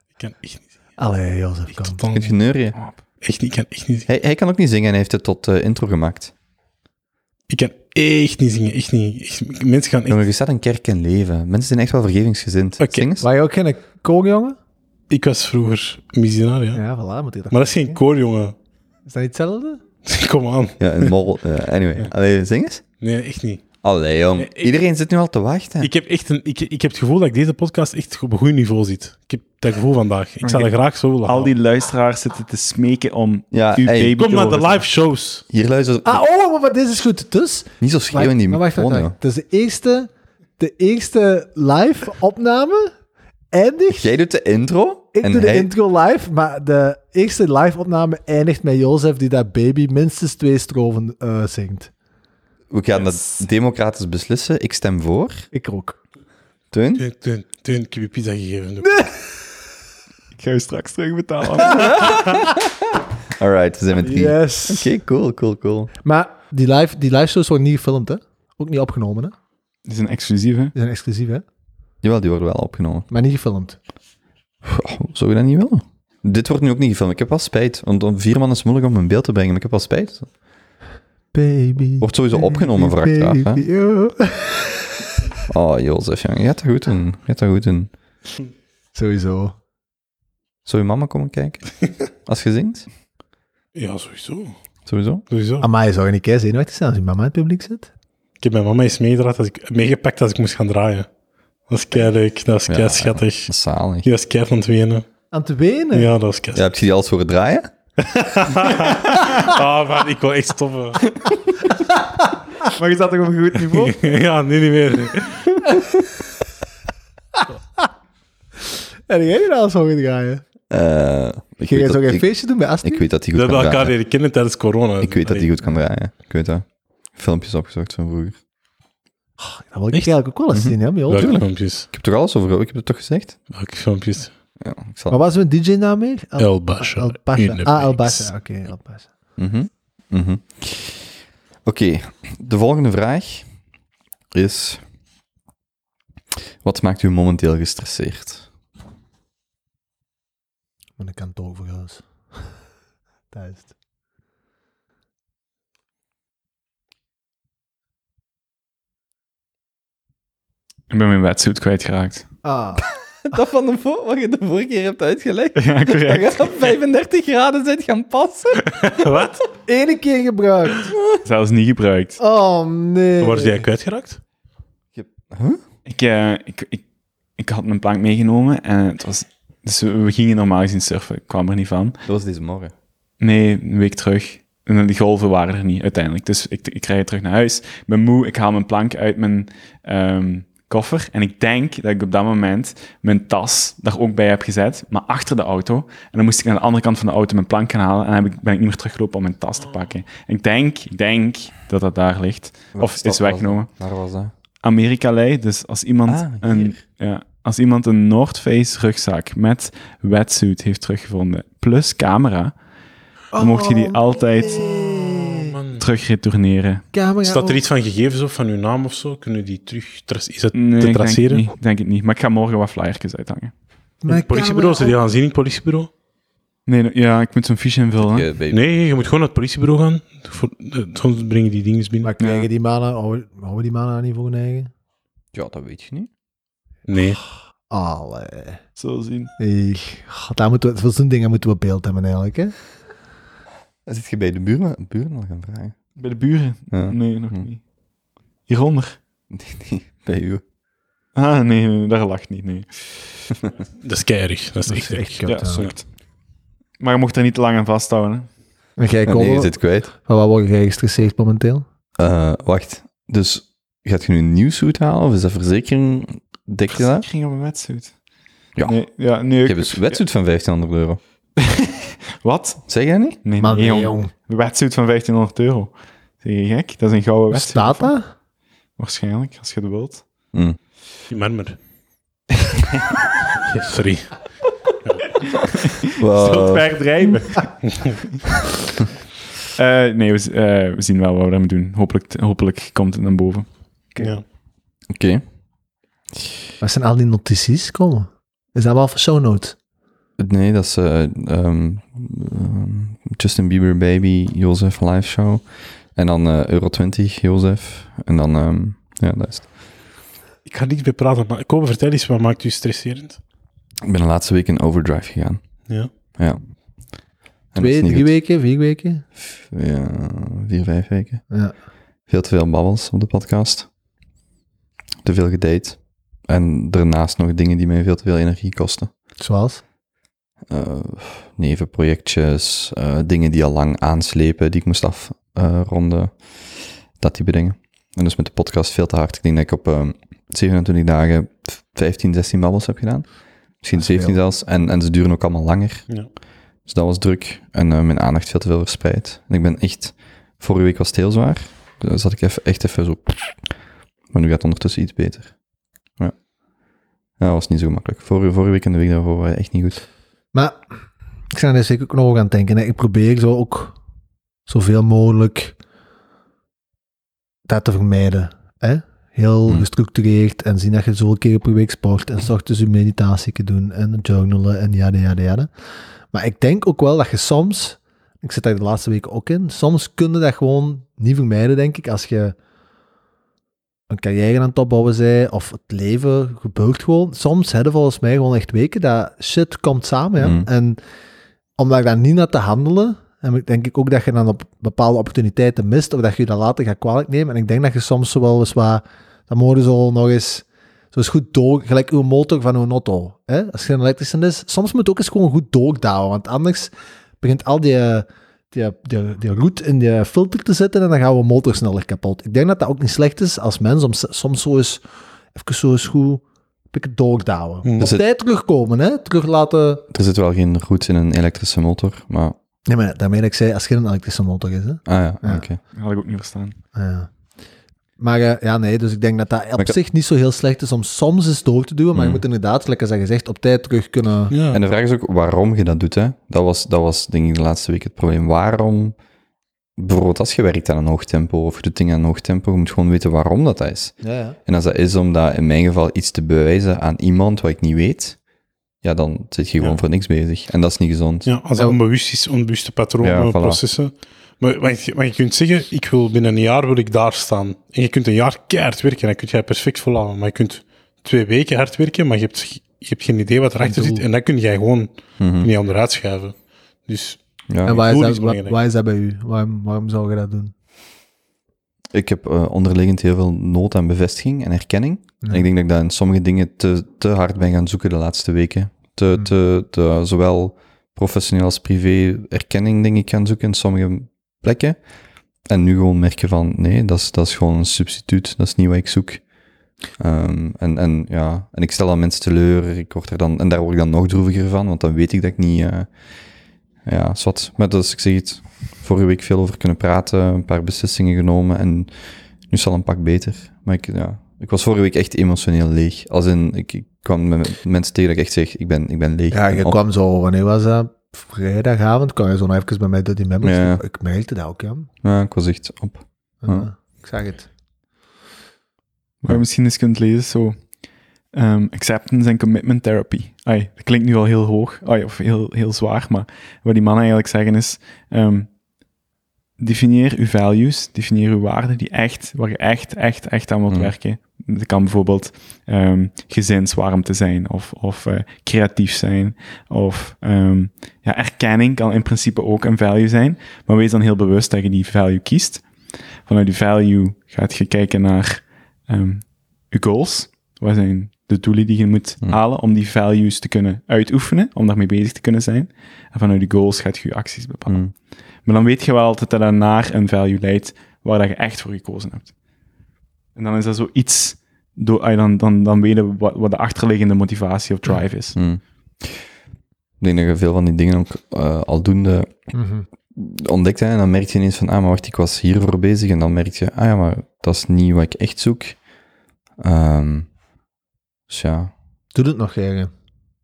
Ik kan echt niet. Allee, Jozef, Ik kom. totaal Kunt je niet. neurien? Echt niet. Ik kan echt niet. Hij, hij kan ook niet zingen en hij heeft het tot eh, intro gemaakt. Ik kan echt niet zingen. Echt niet. Echt- mensen gaan echt... Jongen, je staat een kerk in leven. Mensen zijn echt wel vergevingsgezind. Oké. Zing eens. Waar je ook geen koorjongen? Ik was vroeger missionair, ja. Ja, voilà, moet je dat. Maar dat is geen koor, jongen. Is dat niet hetzelfde? Kom aan. Ja, een mol. eh, anyway, allee, zing eens. Nee, echt niet. Allee, jong. Nee, ik- Iedereen zit nu al te wachten. Ik heb echt een... Ik, ik heb het gevoel dat ik deze podcast echt op een goed niveau zit. Ik heb dat gevoel vandaag. Ik zou dat graag zo willen Al houden. die luisteraars zitten te smeken om Ja, uw hey, baby Kom te naar de horen. live shows. Hier luister Ah, oh, maar- maar dit is goed. Dus... niet zo schreeuwen in die maar wacht, wacht, microfoon, wacht. Het is de eerste, de eerste live opname. joh. Eindigt. Jij doet de intro. Ik en doe de hij- intro live, maar de eerste live opname eindigt met Jozef die dat baby minstens twee stroven eh, zingt. We gaan dat democratisch beslissen. Ik stem voor. Ik ook. Teun? Teun, Teun, Teun, ik heb je pizza gegeven. Doe. Ik ga je straks terugbetalen. Alright, we zijn met drie. Yes. Oké, cool, cool, cool. Maar die live, die live shows worden niet gefilmd, hè? Ook niet opgenomen, hè? Dit is een exclusieve. Die zijn exclusief, hè? Jawel, die worden wel opgenomen. Maar niet gefilmd. Goh, zou je dat niet willen? Dit wordt nu ook niet gefilmd. Ik heb wel spijt. Want om vier man is het moeilijk om in beeld te brengen, maar ik heb wel spijt. Baby. Wordt sowieso opgenomen, vraag ik af. Hè? baby, oh. Oh, Jozef, jong. je gaat dat goed doen. Je gaat dat goed doen. Sowieso. Zou je mama komen kijken? Als je zingt? Ja, sowieso. Sowieso. sowieso. Amai, zou je niet kei zenuwachtig zijn als je mama in het publiek zit? Ik heb mijn mama eens meegedraaid als ik, meegepakt als ik moest gaan draaien. Dat is kei leuk. Dat is Ja, kei schattig. Dat is zalig. Die was kei van het wenen. Aan het wenen? Ja, dat was kei Ja, heb je die alles horen draaien? Ah, man, ik wil echt stoppen. Maar je zat toch op een goed niveau? ja, nu niet meer. En jij hier alles over draaien? Eh, ik, Ging weet jij zo dat, geen ik, feestje doen bij Astrid? ik weet dat die We goed hebben kan elkaar draaien. leren kennen tijdens corona. Ik weet dat die Allee, goed kan draaien. Ik weet dat. Filmpjes opgezocht van vroeger. dat wil ik eigenlijk ook wel Mhm. eens zien, hè? maar joh, Welke tuurlijk. filmpjes? Ik heb toch alles over... Ik heb het toch gezegd? Welke filmpjes? Ja, ik zal... Maar wat is mijn DJ-naam meer? El, El Basha. El In Pasha. the Ah, El mix. Basha. Oké, El Pasha. Mhm. Mhm. Oké, de volgende vraag is... Wat maakt u momenteel gestresseerd? Met een kantoor voor huis. Thuis. Ik ben mijn wetsuit kwijtgeraakt. Ah. Dat van de wat je de vorige keer hebt uitgelegd. Ja, correct. je op 35 graden bent gaan passen. Wat? Eén keer gebruikt. Zelfs niet gebruikt. Oh, nee. Waar is jij kwijtgeraakt? Ik, eh, ik, ik, ik had mijn plank meegenomen en het was... Dus we we gingen normaal gezien surfen. Ik kwam er niet van. Dat was deze morgen. Nee, een week terug. En die golven waren er niet uiteindelijk. Dus ik, ik rijd terug naar huis. Ik ben moe. Ik haal mijn plank uit mijn ehm, koffer. En ik denk dat ik op dat moment mijn tas daar ook bij heb gezet. Maar achter de auto. En dan moest ik aan de andere kant van de auto mijn plank gaan halen. En dan heb ik, ben ik niet meer teruggelopen om mijn tas te pakken. Ik denk, ik denk dat dat daar ligt. Of Welke stad is was weggenomen. dat? Waar was dat? Amerika-lei. Dus als iemand Ah, hier. een... Ja, als iemand een North Face rugzak met wetsuit heeft teruggevonden, plus camera, dan mocht je die altijd man. terug retourneren. Camera Staat er op. iets van gegevens op van uw naam of zo? Kunnen die terug... tra- Is dat Nee, te ik denk, het traceren? niet, ik denk het niet. Maar ik ga morgen wat flyertjes uithangen. In Mijn het politiebureau? Zijn camera die aan zien in het politiebureau? Nee, nee, ja, ik moet zo'n fiche invullen. Ja, baby. Nee, je moet gewoon naar het politiebureau gaan. Voor- eh, Soms brengen die dingen binnen. Maar krijgen die mannen, houden houden we die mannen niet voor hun eigen? Ja, dat weet je niet. Nee. Allee. Zo zien. Ik, God, daar moeten we, voor zo'n dingen moeten we beeld hebben eigenlijk, hè? Dan zit je bij de buurman, buurman al gaan vragen. Bij de buren? Ja. Nee, nog Hm. niet. Hieronder? Nee, nee, bij u. Ah, nee, nee, daar lacht niet, nee. Dat is keirig. Dat is echt erg. kut. ja, hè. sukt. Maar je mocht er niet te lang aan vasthouden, hè. En jij, Ja, Cole, nee, je zit kwijt. van wat word je geregistreerd momenteel? Eh, wacht, dus gaat je nu een nieuwsuit halen of is dat verzekering? Dek je dat? Verzekering op een wetsuit. Ja. Nee, ja, nee. Je ik- hebt een wetsuit van 1500 euro. Wat? Zeg jij niet? Nee, Maar nee, nee, jong. jong. Een wetsuit van 1500 euro. Zeg je gek? Dat is een gouden wetsuit. Staat dat? Waarschijnlijk, als je het wilt. Hm. Marmer. Sorry. Wow. drijven. nee, we, z- eh, we zien wel wat we daarmee doen. Hopelijk, hopelijk komt het naar boven. Ja. Oké. Waar zijn al die notities komen? Is dat wel voor show note? Nee, dat is eh, ehm, ehm, Justin Bieber Baby, Jozef Live Show. En dan eh, Euro 20, Jozef. En dan, ehm, ja, dat is het. Ik ga niet meer praten, maar kom, vertel eens, wat maakt u stresserend? Ik ben de laatste week in overdrive gegaan. Ja. Ja. En dat is Twee, niet drie goed. weken, vier weken? F- Ja, vier, vijf weken. Ja. Veel te veel babbels op de podcast. Te veel gedate. En daarnaast nog dingen die mij veel te veel energie kosten. Zoals? eh nevenprojectjes, eh, dingen die al lang aanslepen, die ik moest afronden. dat type dingen. En dus met de podcast veel te hard. Ik denk dat ik op eh, 27 dagen 15, 16 babbels heb gedaan. Misschien Dat is veel. 17 zelfs. En, en ze duren ook allemaal langer. Ja. Dus dat was druk. En eh, mijn aandacht veel te veel verspreid. En ik ben echt... Vorige week was het heel zwaar. Dus Dan zat ik even, echt even zo... Maar nu gaat het ondertussen iets beter. Ja. Ja, dat was niet zo makkelijk. Vorige, vorige week en de week daarvoor waren echt niet goed. Maar ik ben er dus zeker ook nog over aan het denken. hè. Ik probeer zo ook zoveel mogelijk dat te vermijden. Hè? Heel Hmm. gestructureerd en zien dat je zoveel keer per week sport en 's ochtends je meditatie kunt doen en journalen en jade jade jade. Maar ik denk ook wel dat je soms, ik zit daar de laatste weken ook in, soms kun je dat gewoon niet vermijden, denk ik, als je een carrière aan het opbouwen zij of het leven gebeurt gewoon. Soms hebben volgens mij gewoon echt weken dat shit komt samen. Ja. Mm. En om daar dan niet naar te handelen, heb ik- denk ik ook dat je dan op bepaalde opportuniteiten mist of dat je dat later gaat kwalijk nemen. En ik denk dat je soms zo wel eens wat, dan mogen ze al nog eens zo eens goed door, gelijk uw motor van uw auto. Hè? Als je een elektrische is, soms moet het ook eens gewoon goed doordouwen, want anders begint al die, eh, die, die, die roet in die filter te zitten en dan gaan we motor sneller kapot. Ik denk dat dat ook niet slecht is als mens om s- soms zo eens even zo eens goed pikken doordouwen. Hmm. Op Dus het- tijd terugkomen, hè? terug laten... Er zit wel geen roet in een elektrische motor, maar... Nee, maar daarmee dat ik zei, als geen elektrische motor is. Hè? Ah ja, Ja. oké. Dat had ik ook niet verstaan. Ja. Maar eh, ja, nee, dus ik denk dat dat op ik had- zich niet zo heel slecht is om soms eens door te duwen, maar je Hmm. moet inderdaad, zoals je zegt, op tijd terug kunnen... Ja. En de vraag is ook waarom je dat doet, hè? Dat was, dat was denk ik de laatste week het probleem. Waarom, bijvoorbeeld als je werkt aan een hoog tempo, of je doet dingen aan een hoog tempo, je moet gewoon weten waarom dat, dat is. Ja, ja. En als dat is om dat in mijn geval iets te bewijzen aan iemand wat ik niet weet, ja, dan zit je gewoon Ja. voor niks bezig. En dat is niet gezond. Ja, als dat Ja. onbewust is, onbewuste patronen, Ja, voilà. processen. Maar, maar, je, maar je kunt zeggen, ik wil binnen een jaar wil ik daar staan. En je kunt een jaar keihard werken, dan kun jij perfect volhouden. Maar je kunt twee weken hard werken, maar je hebt, ge- je hebt geen idee wat erachter Doel. zit. En dan kun jij gewoon Mhm. Hm. niet onderuit schuiven. Dus Ja. En waar is, doel dat, is belangrijk. waar- waar is dat bij u? Waarom, waarom zou je dat doen? Ik heb eh, onderliggend heel veel nood aan bevestiging en erkenning. Ja. En ik denk dat ik daar in sommige dingen te, te hard ben gaan zoeken de laatste weken. Te, Mm. te, te, zowel professioneel als privé erkenning, denk ik, gaan zoeken in sommige plekken. En nu gewoon merken van, nee, dat is, dat is gewoon een substituut. Dat is niet wat ik zoek. Ehm, en, en, ja, en ik stel dan mensen teleur. Ik word er dan, en daar word ik dan nog droeviger van, want dan weet ik dat ik niet... eh, ja, zwart. Maar dat is, ik zeg het, vorige week veel over kunnen praten, een paar beslissingen genomen en nu is het al een pak beter. Maar ik, ja, ik was vorige week echt emotioneel leeg. Als in, ik, ik kwam met mensen tegen dat ik echt zeg, ik ben, ik ben leeg. Ja, je En al- kwam zo, wanneer was dat? Vrijdagavond kwam je zo nog even bij mij door die memories. Ja. Ik merkte dat ook, ja. Ja, ik was echt op. Ja, Ja. Ik zag het. Maar je misschien eens kunt lezen, zo... ehm, acceptance and commitment therapy. Ai, dat klinkt nu al heel hoog, ai, of heel, heel zwaar, maar wat die mannen eigenlijk zeggen is... ehm, definieer uw values, definieer uw waarden die echt, waar je echt, echt, echt aan wilt Mm. werken. Dat kan bijvoorbeeld ehm, gezinswarmte zijn, of, of eh, creatief zijn, of ehm, ja, erkenning kan in principe ook een value zijn, maar wees dan heel bewust dat je die value kiest. Vanuit die value gaat je kijken naar ehm, je goals. Wat zijn de doelen die je moet halen om die values te kunnen uitoefenen, om daarmee bezig te kunnen zijn. En vanuit die goals gaat je je acties bepalen. Mm. Maar dan weet je wel altijd dat dat naar een value leidt waar dat je echt voor gekozen hebt. En dan is dat zoiets, do- ah, dan, dan, dan weten we wat, wat de achterliggende motivatie of drive is. Hmm. Ik denk dat je veel van die dingen ook eh, aldoende Mhm. ontdekt. Hè, en dan merk je ineens van, ah, maar wacht, ik was hiervoor bezig. En dan merk je, ah ja, maar dat is niet wat ik echt zoek. Ehm, dus ja, Doe het nog, Jaren.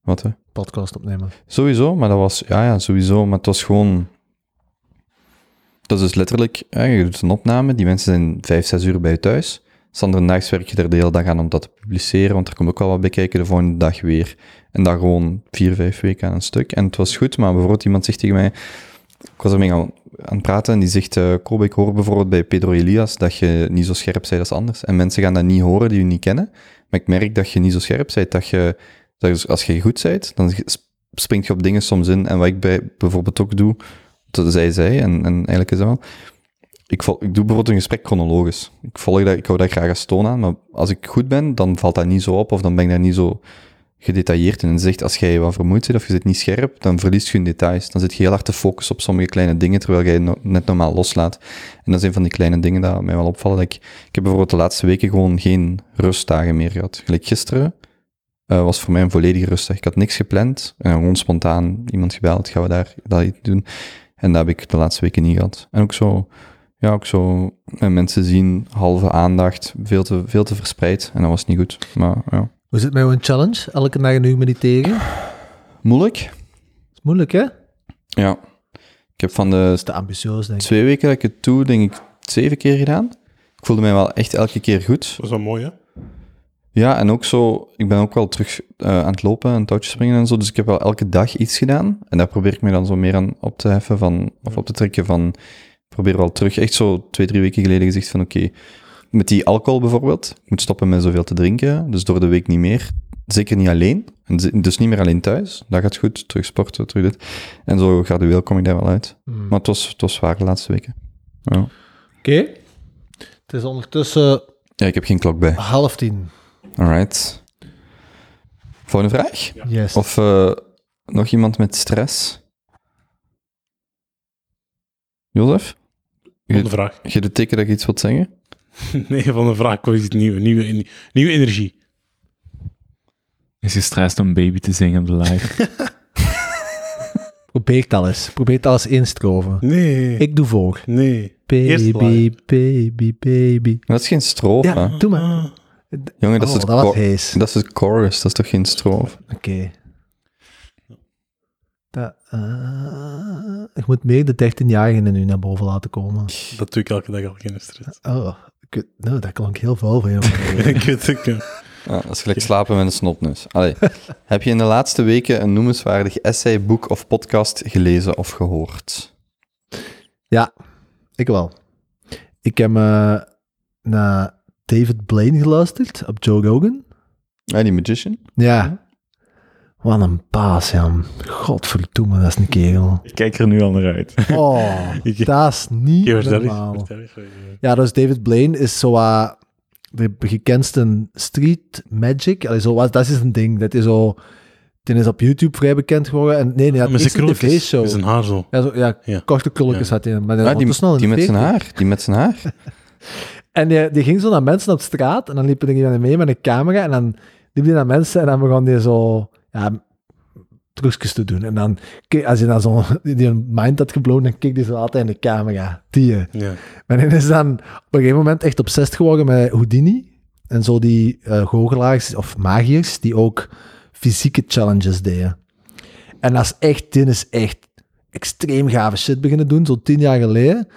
wat hè? Podcast opnemen. Sowieso, maar dat was, ja, ja, sowieso. Maar het was gewoon. Dat is dus letterlijk, hè, je doet een opname, die mensen zijn vijf, zes uur bij je thuis. Standaardaags werk je er de hele dag aan om dat te publiceren, want er komt ook wel wat bij kijken de volgende dag weer. En dan gewoon vier, vijf weken aan een stuk. En het was goed, maar bijvoorbeeld iemand zegt tegen mij, ik was ermee aan, aan het praten en die zegt, eh Kobe, ik hoor bijvoorbeeld bij Pedro Elias dat je niet zo scherp bent als anders. En mensen gaan dat niet horen die je niet kennen, maar ik merk dat je niet zo scherp bent, dat je, dat je- als je goed bent, dan springt je op dingen soms in. En wat ik bij, bijvoorbeeld ook doe, dat zij zij, en, en eigenlijk is dat wel... Ik, vol, ik doe bijvoorbeeld een gesprek chronologisch. Ik, volg dat, ik hou daar graag als toon aan, maar als ik goed ben, dan valt dat niet zo op, of dan ben ik daar niet zo gedetailleerd in. En zegt, als jij wat vermoeid zit of je zit niet scherp, dan verliest je in details. Dan zit je heel hard te focussen op sommige kleine dingen, terwijl jij no- net normaal loslaat. En dat is een van die kleine dingen dat mij wel opvallen. Dat ik, ik heb bijvoorbeeld de laatste weken gewoon geen rustdagen meer gehad. Gelijk gisteren, eh, was voor mij een volledige rustdag. Ik had niks gepland. En gewoon spontaan iemand gebeld, gaan we daar dat iets doen. En dat heb ik de laatste weken niet gehad. En ook zo, ja, ook zo eh, mensen zien, halve aandacht, veel te, veel te verspreid. En dat was niet goed. Maar ja, Hoe zit het met jouw challenge? Elke dag een uur mediteren? moeilijk. is moeilijk, hè? Dat Ja. Ik heb van de is te ambitieus, denk ik. twee weken dat ik het doe, denk ik, zeven keer gedaan. Ik voelde mij wel echt elke keer goed. Dat is wel mooi, hè? Ja, en ook zo, ik ben ook wel terug eh, aan het lopen en touwtjes springen en zo, dus ik heb wel elke dag iets gedaan. En daar probeer ik me dan zo meer aan op te heffen van, of op te trekken van, ik probeer wel terug, echt zo twee, drie weken geleden gezegd van, oké, met die alcohol bijvoorbeeld, ik moet stoppen met zoveel te drinken, dus door de week niet meer. Zeker niet alleen, en ze- dus niet meer alleen thuis, dat gaat goed, terug sporten, terug dit. En zo gradueel kom ik daar wel uit. Hmm. Maar het was, het was zwaar de laatste weken. Ja. Oké. Het is ondertussen ja, ik heb geen klok bij. half tien. Alright. Volgende vraag? Yes. Of eh, nog iemand met stress? Jozef? Van de vraag. Je doet teken dat je iets wilt zeggen? Nee, van de vraag was iets nieuw. Nieuwe, nieuwe, nieuwe energie. Is gestrest om baby te zingen op de live? Probeer het al eens. Probeer het al eens instroven. Nee. Ik doe voor. Nee. Eerst Baby, live. baby, baby. Maar dat is geen strofe. Ja, doe maar. Oh, Jongen, dat, dat, is het was chor- hees. dat is het chorus, dat is toch geen strofe? Oké. Dat, eh, ik moet meer de 13-jarigen nu naar boven laten komen. Dat doe ik elke dag al geen stress. Oh, kut. nou, dat klonk heel vuil van je. ik weet het niet. Ja, dat is gelijk slapen met een snotneus. Allee. Heb je in de laatste weken een noemenswaardig essay, boek of podcast gelezen of gehoord? ik wel. Ik heb eh, naar David Blaine geluisterd op Joe Rogan. Ja, Ah, die magician? Ja. Wat een baas, Jan. Godverdomme, dat is een kerel. ik kijk er nu al naar uit. Oh, Ik- dat is niet Je hoort dat normaal. niet. Je hoort dat niet. Ja, dus David Blaine is zo eh, de gekendste street magic. Allee, zo, wat- dat is een ding. Dat is zo... Die is op YouTube vrij bekend geworden. En, nee, nee, dat Maar is zijn een krulletjes, tv-show. zijn haar zo. Ja, zo, ja, Ja. korte krulletjes Ja. had hij. Maar Ja, Ah, die, ondertussen al dus in die de met zijn 40. haar. Die met zijn haar. En die, die ging zo naar mensen op straat. En dan liepen er iemand mee met een camera. En dan liep hij naar mensen. En dan begon hij zo... Ja, trucjes te doen. En dan, keek- als je dan zo'n die een mind had geblown, dan keek hij zo altijd in de camera. Die. eh. Ja. Maar hij is dan op een gegeven moment echt obsessed geworden met Houdini. En zo die eh goochelaars of magiërs die ook fysieke challenges deden. En dat is echt, dit is echt extreem gave shit beginnen doen, zo tien jaar geleden.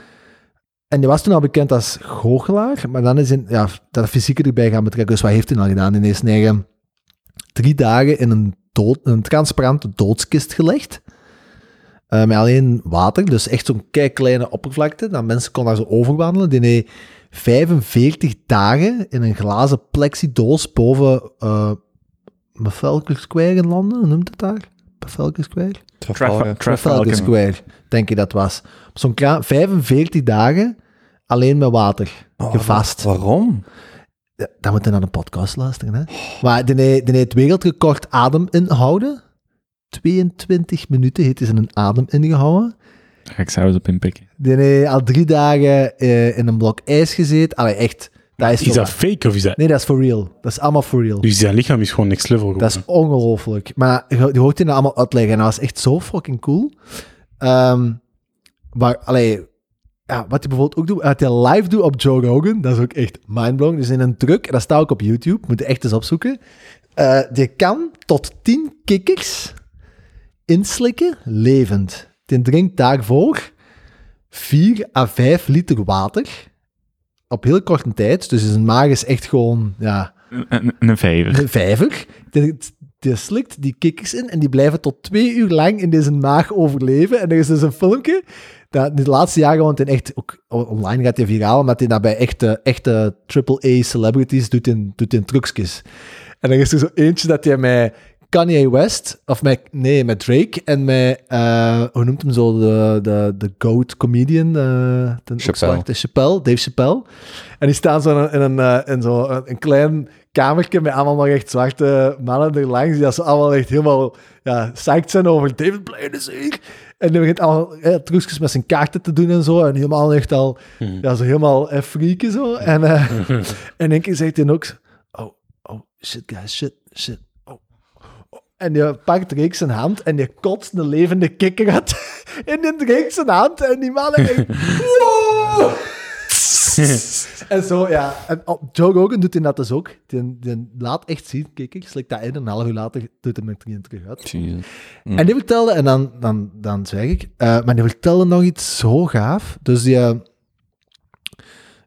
En die was toen al bekend als goochelaar, maar dan is hij ja, dat fysieke erbij gaan betrekken. Dus wat heeft hij nou gedaan? Hij is negen drie dagen in een, dood, een transparante doodskist gelegd. Eh, met alleen water, dus echt zo'n kei kleine oppervlakte. Dan mensen konden daar zo overwandelen. Die heeft 45 dagen in een glazen plexidoos boven eh Trafalgar Square in Londen. Hoe noemt het daar? Trafalgar Square? Trafalgar. Trafalgar Square, denk ik dat was. Op Zo'n kraan, 45 dagen alleen met water. Gevast. Waarom? Ja, Dan moet je naar een podcast luisteren. Hè? Maar die heeft- die heeft het wereldrecord adem inhouden. 22 minuten heeft hij zijn adem ingehouden. Daar ga ik zelfs op inpikken. Die heeft al drie dagen eh, in een blok ijs gezeten. Allee, echt. Dat is, Is toch- dat fake of is dat... Nee, dat is for real. Dat is allemaal for real. Dus zijn lichaam is gewoon next level Dat geworden. is ongelooflijk. Maar je je hoort die nou allemaal uitleggen. En dat was echt zo fucking cool. Ehm, maar, allee, ja, wat hij bijvoorbeeld ook doet, wat hij live doet op Joe Rogan, dat is ook echt mindblowing. Dus in een truck, en dat staat ook op YouTube, moet je echt eens opzoeken. Eh je kan tot 10 kikkers inslikken levend. Die drinkt daarvoor 4 à 5 liter water. Op heel korte tijd. Dus zijn maag is echt gewoon, ja, Een, een vijver. de vijver. Die, die slikt die kikkers in en die blijven tot twee uur lang in deze maag overleven. En er is dus een filmpje. Dat, de laatste jaren, want in echt, ook online gaat hij viraal, omdat hij dat bij echte, echte AAA celebrities doet in, doet in trucjes. En er is er zo eentje dat hij met Kanye West, of met, nee, met Drake en met, eh, hoe noemt hem zo, de, de, de GOAT comedian, eh ten Chappelle. opzichte- Chappelle, Dave Chappelle. En die staan zo in een, in een, eh, in zo een, een klein kamertje met allemaal nog echt zwarte mannen er langs, die dat ze allemaal echt helemaal ja, psyched zijn over David Blaine is hier. En die begint allemaal eh, trucjes met zijn kaarten te doen en zo, en helemaal echt al, ja, zo helemaal eh, freaken zo. En, eh, en één keer zegt hij ook, oh, oh, shit guys, shit, shit, oh. En je pakt Drake zijn hand en je kotst een levende kikker uit in de Drake zijn hand. En die man denkt, wow! en zo, ja. En oh, Joe Rogan doet hij dat dus ook. Die, die laat echt zien, kikker, slikt dat in. En een half uur later doet hij met drieën terug uit. Jezus. En die vertelde, en dan, dan, dan zeg ik, eh, maar die vertelde nog iets zo gaaf. Dus die, eh,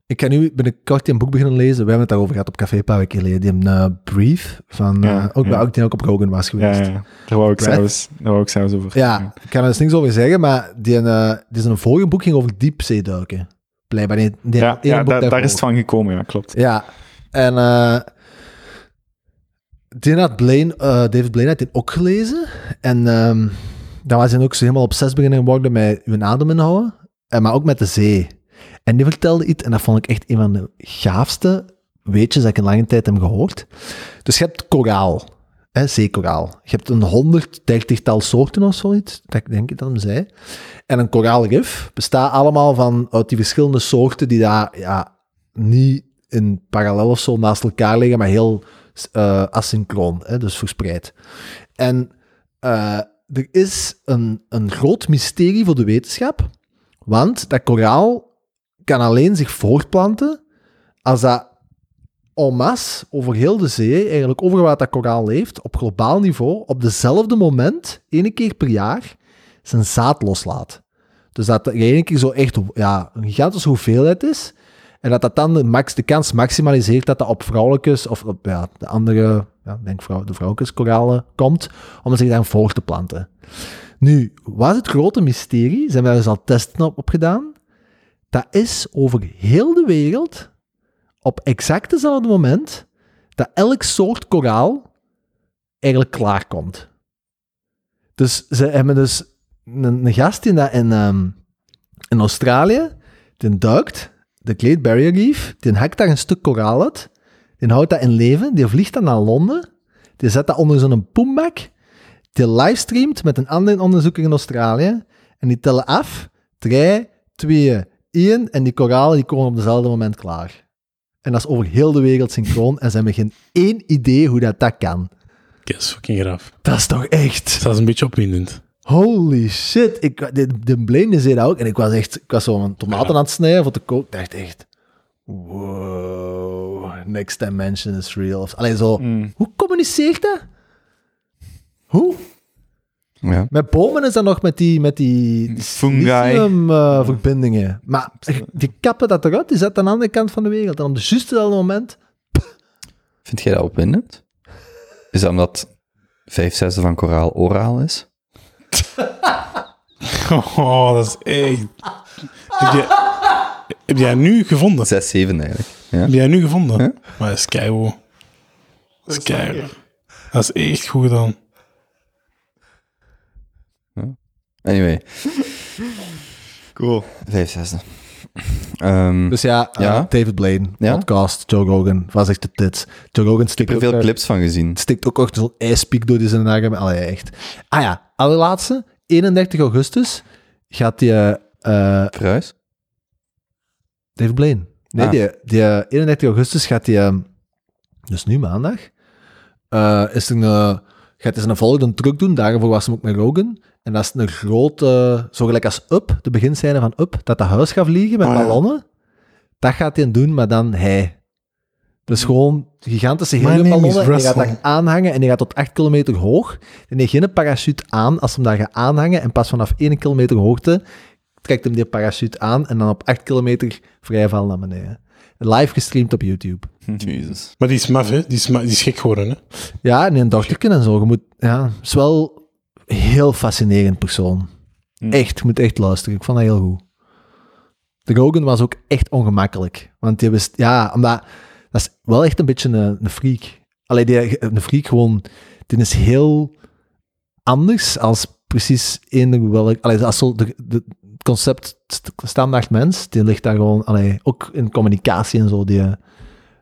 ik kan nu binnenkort een boek beginnen lezen. We hebben het daarover gehad op café een paar weken geleden. Die hebben een brief van, Ja, eh, ook, bij ja. ook die ook op Rogan was Ja, geweest. ja, Ja, ja. Daar wou ik Right? zelfs, daar wou ik zelfs over. ik kan er dus niks over zeggen, maar die, eh die zijn vorige boek ging over diepzeeduiken. Blijkbaar. Die, die ja, ene ja boek daar, daar daarvoor. is het van gekomen, ja, klopt. Ja, en eh die had Blaine, eh, David Blaine had dit ook gelezen. En ehm dan was hij ook zo helemaal obsessief beginnen worden met uw adem inhouden, en maar ook met de zee. En die vertelde iets, en dat vond ik echt een van de gaafste weetjes dat ik in lange tijd heb gehoord. Dus je hebt koraal, hè, zeekoraal. Je hebt een 130 tal soorten of zoiets, dat ik denk ik dat hem zei. En een koraalrif bestaat allemaal van uit die verschillende soorten die daar ja, niet in parallel of zo naast elkaar liggen, maar heel eh, asynchroon, hè, dus verspreid. En eh, er is een, een groot mysterie voor de wetenschap, want dat koraal kan alleen zich voortplanten als dat en masse over heel de zee, eigenlijk overal waar dat koraal leeft, op globaal niveau, op dezelfde moment, ene keer per jaar, zijn zaad loslaat. Dus dat er ene keer zo echt ja, een gigantische hoeveelheid is, en dat dat dan de, max, de kans maximaliseert dat dat op vrouwelijkes of op ja, de andere, ja, ik denk vrouw, de vrouwelijkeskoralen komt, om zich daar voor te planten. Nu, wat is het grote mysterie? Zijn wij dus al testen op, op gedaan? Dat is over heel de wereld, op exact hetzelfde moment, dat elk soort koraal eigenlijk klaarkomt. Dus ze hebben dus een, een gast in, dat, in, ehm, in Australië, die duikt de Great Barrier Reef, die hakt daar een stuk koraal uit, die houdt dat in leven, die vliegt dan naar Londen, die zet dat onder zo'n poembak, die livestreamt met een andere onderzoeker in Australië, en die tellen af, 3, 2, 1, en die koralen die komen op dezelfde moment klaar. En dat is over heel de wereld synchroon, en ze hebben geen één idee hoe dat, dat kan. Dat is fucking graaf. Dat is toch echt... Dat is een beetje opwindend. Holy shit. Ik, de, de blinde zei dat ook. En ik was echt, ik was zo een tomaten aan het snijden voor te koken. Ik dacht echt, wow, next dimension is real. Of- Allee, zo, hoe communiceert dat? Hoe? Ja. Met bomen is dat nog met die, met die, die Fungi. silicium, eh, verbindingen. Maar die kappen dat eruit, die zet aan de andere kant van de wereld. En op de juiste moment, Vind jij dat opwindend? Is dat omdat vijf zesde van koraal oraal is? Oh, dat is echt... heb, jij, heb jij nu gevonden? Zes, zeven eigenlijk. Ja? Heb jij nu gevonden? Ja. Maar dat is keiwo. Dat is keiwo. Dat is echt goed gedaan. Anyway, Cool. vijf zesde. Ehm, Dus ja, eh, Ja. David Blaine, Ja. podcast, Joe Rogan, was echt de tits. Joe Rogan ik heb stikt er ook, veel daar- clips van gezien. stikt ook echt zo'n ijspiek door die zijn arm. Allee, echt. Ah ja, allerlaatste, 31 augustus gaat die eh, Verhuis? David Blaine. Nee, Ah. die, die eh, 31 augustus gaat die, ehm, dus nu maandag, eh, is er een, eh, gaat hij zijn volgende truc doen. Daarvoor was hem ook met Rogan. En dat is een grote, zo gelijk als Up, de beginscène van Up, dat dat huis gaat vliegen met Ah, ja. ballonnen. Dat gaat hij doen, maar dan hij. Dus gewoon gigantische My name is heliumballonnen. En je gaat Russell. dat aanhangen en je gaat tot 8 kilometer hoog. En je geen parachute aan als hem daar gaat aanhangen. En pas vanaf 1 kilometer hoogte trekt hem die parachute aan. En dan op 8 kilometer vrijval naar beneden. Live gestreamd op YouTube. Mhm. Jezus. Maar die is maf, hè? Die is, ma- die is gek geworden, hè? Ja, en een dochterke en zo. Je moet, ja, is wel een heel fascinerend persoon. Hmm. Echt, je moet echt luisteren. Ik vond dat heel goed. De Rogan was ook echt ongemakkelijk. Want die wist, ja, omdat, dat is wel echt een beetje een, een freak. Allee, die, een freak gewoon, die is heel anders als precies eender welk, allee, als zo de, de, het concept st- standaard mens, die ligt daar gewoon, allee, ook in communicatie en zo, die,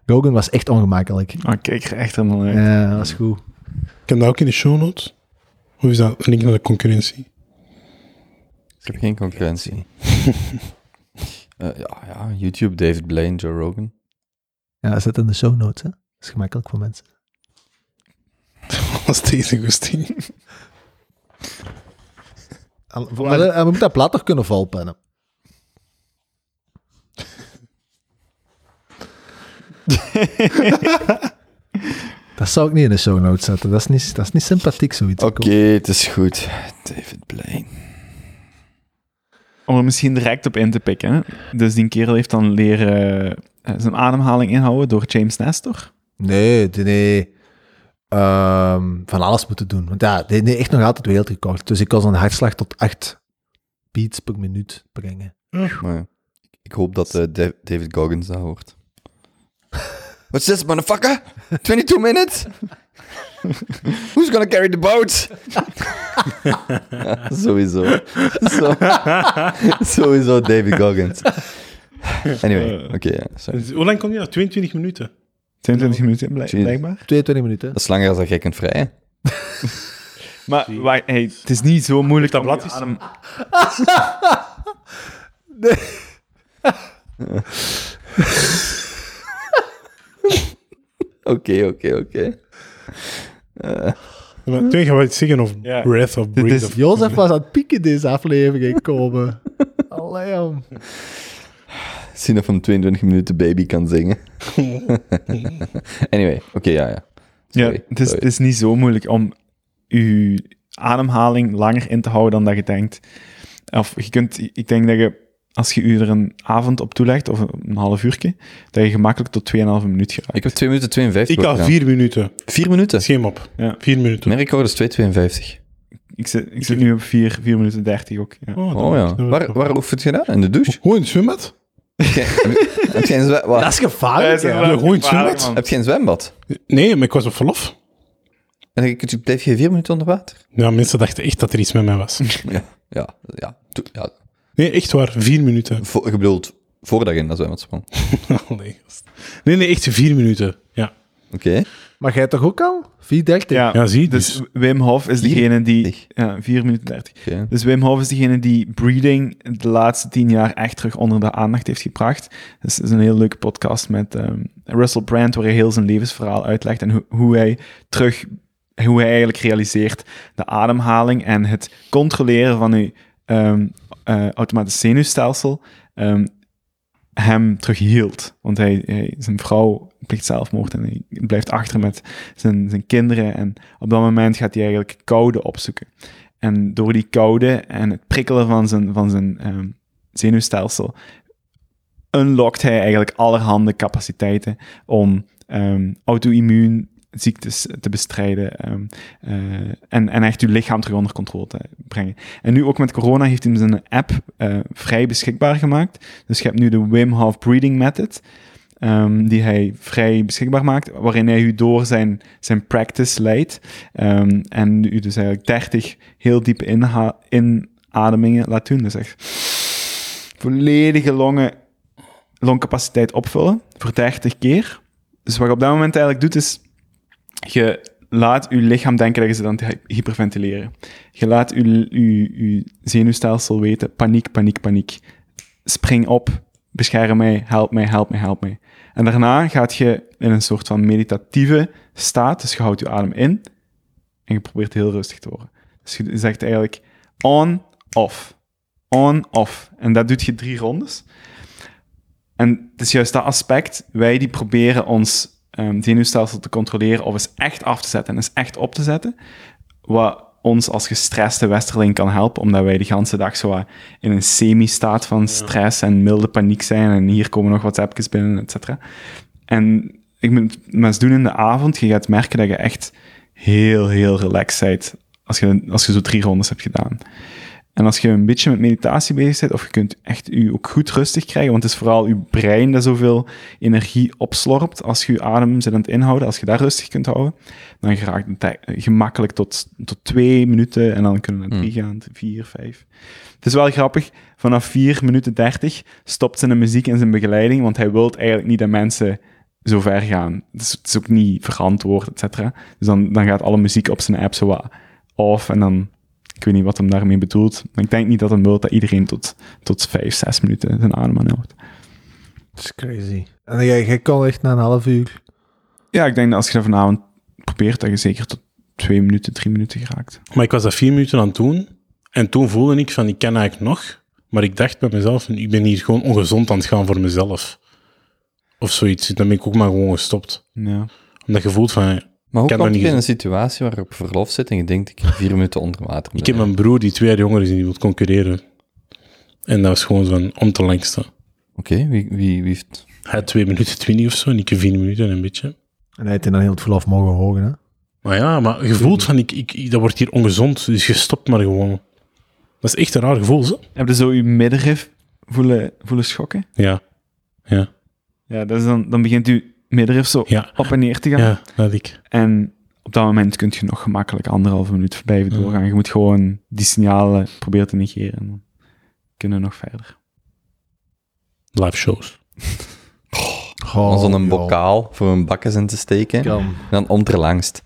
Rogan was echt ongemakkelijk. Ah, kijk er echt helemaal uit. Ja, dat is goed. Ik heb dat ook in de show notes. Hoe is dat? Link naar de concurrentie. Ik heb geen concurrentie. Eh, ja, ja, YouTube, David Blaine, Joe Rogan. Ja, zet in de show notes. Hè. Dat is gemakkelijk voor mensen. Als deze goesting. Maar, eh, we moeten dat plat toch kunnen volpennen. dat zou ik niet in de show notes zetten. Dat is niet, dat is niet sympathiek, zoiets. Oké, het is goed. David Blaine. Om er misschien direct op in te pikken. Hè? Dus die kerel heeft dan leren eh, zijn ademhaling inhouden door James Nestor. Nee, die- nee. Ehm, van alles moeten doen. Want ja, die, die echt nog altijd wereldrecord. Dus ik kan zijn hartslag tot 8 beats per minuut brengen. Maar ja, ik hoop dat eh, Da- David Goggins dat hoort. What's this, motherfucker? 22 minutes? Who's gonna carry the boat? Ja, sowieso. Zo- sowieso David Goggins. Anyway, Eh. oké. ja, sorry. Hoe lang komt die dat? 22 minuten. 22 minuten blijk- Jeez. blijkbaar. 22 minuten. Dat is langer dan gek en vrij. hè? Maar wacht, hey, het is niet zo moeilijk dat blad is- adem... Oké, oké, oké. Maar Toen gaan we iets zeggen over Ja. breath of Dit breed. is- of- Jozef was aan het pieken deze aflevering komen. Allee, jong. Zien of hem 22 minuten baby kan zingen. anyway, oké, ja, ja. Ja, Sorry, het is, sorry. het is niet zo moeilijk om uw ademhaling langer in te houden dan dat je denkt. Of je kunt, ik denk dat je, als je u er een avond op toelegt, of een half uurtje, dat je gemakkelijk tot 2,5 minuut geraakt. Ik heb 2 minuten 52 Ik had gedaan. 4 minuten. 4 minuten? Schema op. Ja. 4 minuten. Mijn record is 2,52. Ik zit, ik zit nu op 4, 4 minuten 30 ook. Ja. dat Oh wordt- ja. dat wordt Waar, toch- waar oefent je dat? In de douche? Gewoon in het zwembad? Heb je- heb je een zwe- wat? Dat is gevaarlijk, hè. wel goed zwembad. Heb je een zwembad? Nee, maar ik was op verlof. En dan kun je- blijf je 4 minuten onder water? Ja, mensen dachten echt dat er iets met mij was. Ja. Ja. ja. Toe- ja. Nee, echt waar. Vier minuten. Vo- je bedoelt, voordat je in dat zwembad sprong. Oh, nee, gast. nee, nee, echt vier minuten. Ja, Oké. Maar jij toch ook al? 430. Ja, ja zie je? Dus, dus Wim Hof is degene die... 30. Ja, 4 minuten 30. oké. Dus Wim Hof is degene die breeding de laatste tien jaar echt terug onder de aandacht heeft gebracht. Dus het is een heel leuke podcast met ehm, Russell Brand, waar hij heel zijn levensverhaal uitlegt en hoe- hoe hij terug, hoe hij eigenlijk realiseert de ademhaling en het controleren van uw ehm eh, automatisch zenuwstelsel ehm, hem terughield. Want hij, hij- zijn vrouw pleegt zelfmoord en hij blijft achter met zijn, zijn kinderen. En op dat moment gaat hij eigenlijk koude opzoeken. En door die koude en het prikkelen van zijn, van zijn ehm, zenuwstelsel unlockt hij eigenlijk allerhande capaciteiten om ehm auto-immuun ziektes te bestrijden ehm, eh, en, en echt uw lichaam terug onder controle te brengen. En nu ook met corona heeft hij zijn app eh, vrij beschikbaar gemaakt. Dus je hebt nu de Wim Hof Breathing Method, ehm, die hij vrij beschikbaar maakt, waarin hij u door zijn, zijn practice leidt ehm, en u dus eigenlijk 30 heel diepe inha- inademingen laat doen. Dus echt volledige longen, longcapaciteit opvullen voor 30 keer. Dus wat je op dat moment eigenlijk doet, is je laat je lichaam denken dat je ze dan hyperventileren. Je laat je, je, je zenuwstelsel weten, paniek, paniek, paniek. Spring op, bescherm mij, help mij, help mij, help mij. En daarna gaat je in een soort van meditatieve staat, dus je houdt je adem in en je probeert heel rustig te worden. Dus je zegt eigenlijk on, off, on, off. En dat doet je drie rondes. En het is juist dat aspect, wij die proberen ons ehm, zenuwstelsel te controleren of eens echt af te zetten en eens echt op te zetten, wat ons als gestreste westerling kan helpen, omdat wij de hele dag zo wat in een semi-staat van stress en milde paniek zijn en hier komen nog WhatsAppjes binnen, et cetera. En ik moet het maar eens doen in de avond, je gaat merken dat je echt heel, heel relaxed bent als je, als je zo drie rondes hebt gedaan. En als je een beetje met meditatie bezig bent, of je kunt echt je ook goed rustig krijgen, want het is vooral je brein dat zoveel energie opslorpt als je je adem zit aan het inhouden, als je dat rustig kunt houden, dan geraakt het tij- gemakkelijk tot, tot twee minuten en dan kunnen we naar drie gaan, vier, vijf. Het is wel grappig, vanaf vier minuten dertig stopt zijn muziek en zijn begeleiding, want hij wil eigenlijk niet dat mensen zo ver gaan. Het is, het is ook niet verantwoord, et cetera. Dus dan, dan gaat alle muziek op zijn app zo wat off en dan ik weet niet wat hem daarmee bedoelt. Maar ik denk niet dat hem wil dat iedereen tot, tot vijf, zes minuten zijn adem aanhoudt. Dat is crazy. En jij, jij kan echt na een half uur... Ja, ik denk dat als je dat vanavond probeert, dat je zeker tot twee minuten, drie minuten geraakt. Maar ik was dat vier minuten aan het doen. En toen voelde ik van, ik ken eigenlijk nog. Maar ik dacht bij mezelf, van, ik ben hier gewoon ongezond aan het gaan voor mezelf. Of zoiets. Dan ben ik ook maar gewoon gestopt. Ja. Omdat je voelt van, Maar hoe Ken kom dat je niet. in een situatie waar je op verlof zit en je denkt, ik heb vier minuten onder water ik heb een broer die twee jaar jonger is en die wil concurreren. En dat was gewoon zo'n om te langste. Oké, wie, wie, wie heeft... Hij had twee minuten twintig of zo en ik heb vier minuten en een beetje. En hij heeft dan heel het verlof mogen hogen, hè? Maar ja, maar je voelt van, ik, ik, ik- dat wordt hier ongezond. Dus je stopt maar gewoon. Dat is echt een raar gevoel, zo. Heb je zo je middenrif voelen, voelen schokken? Ja. Ja. Ja, dat is dan, dan begint je middenrif zo Ja. op en neer te gaan. Ja, dat had ik. En op dat moment kun je nog gemakkelijk anderhalve minuut blijven doorgaan. Je moet gewoon die signalen proberen te negeren. en Dan kunnen we nog verder. Live shows. Oh, om zo'n joh. bokaal voor een bakkes in te steken. Kan. En dan om ter langst.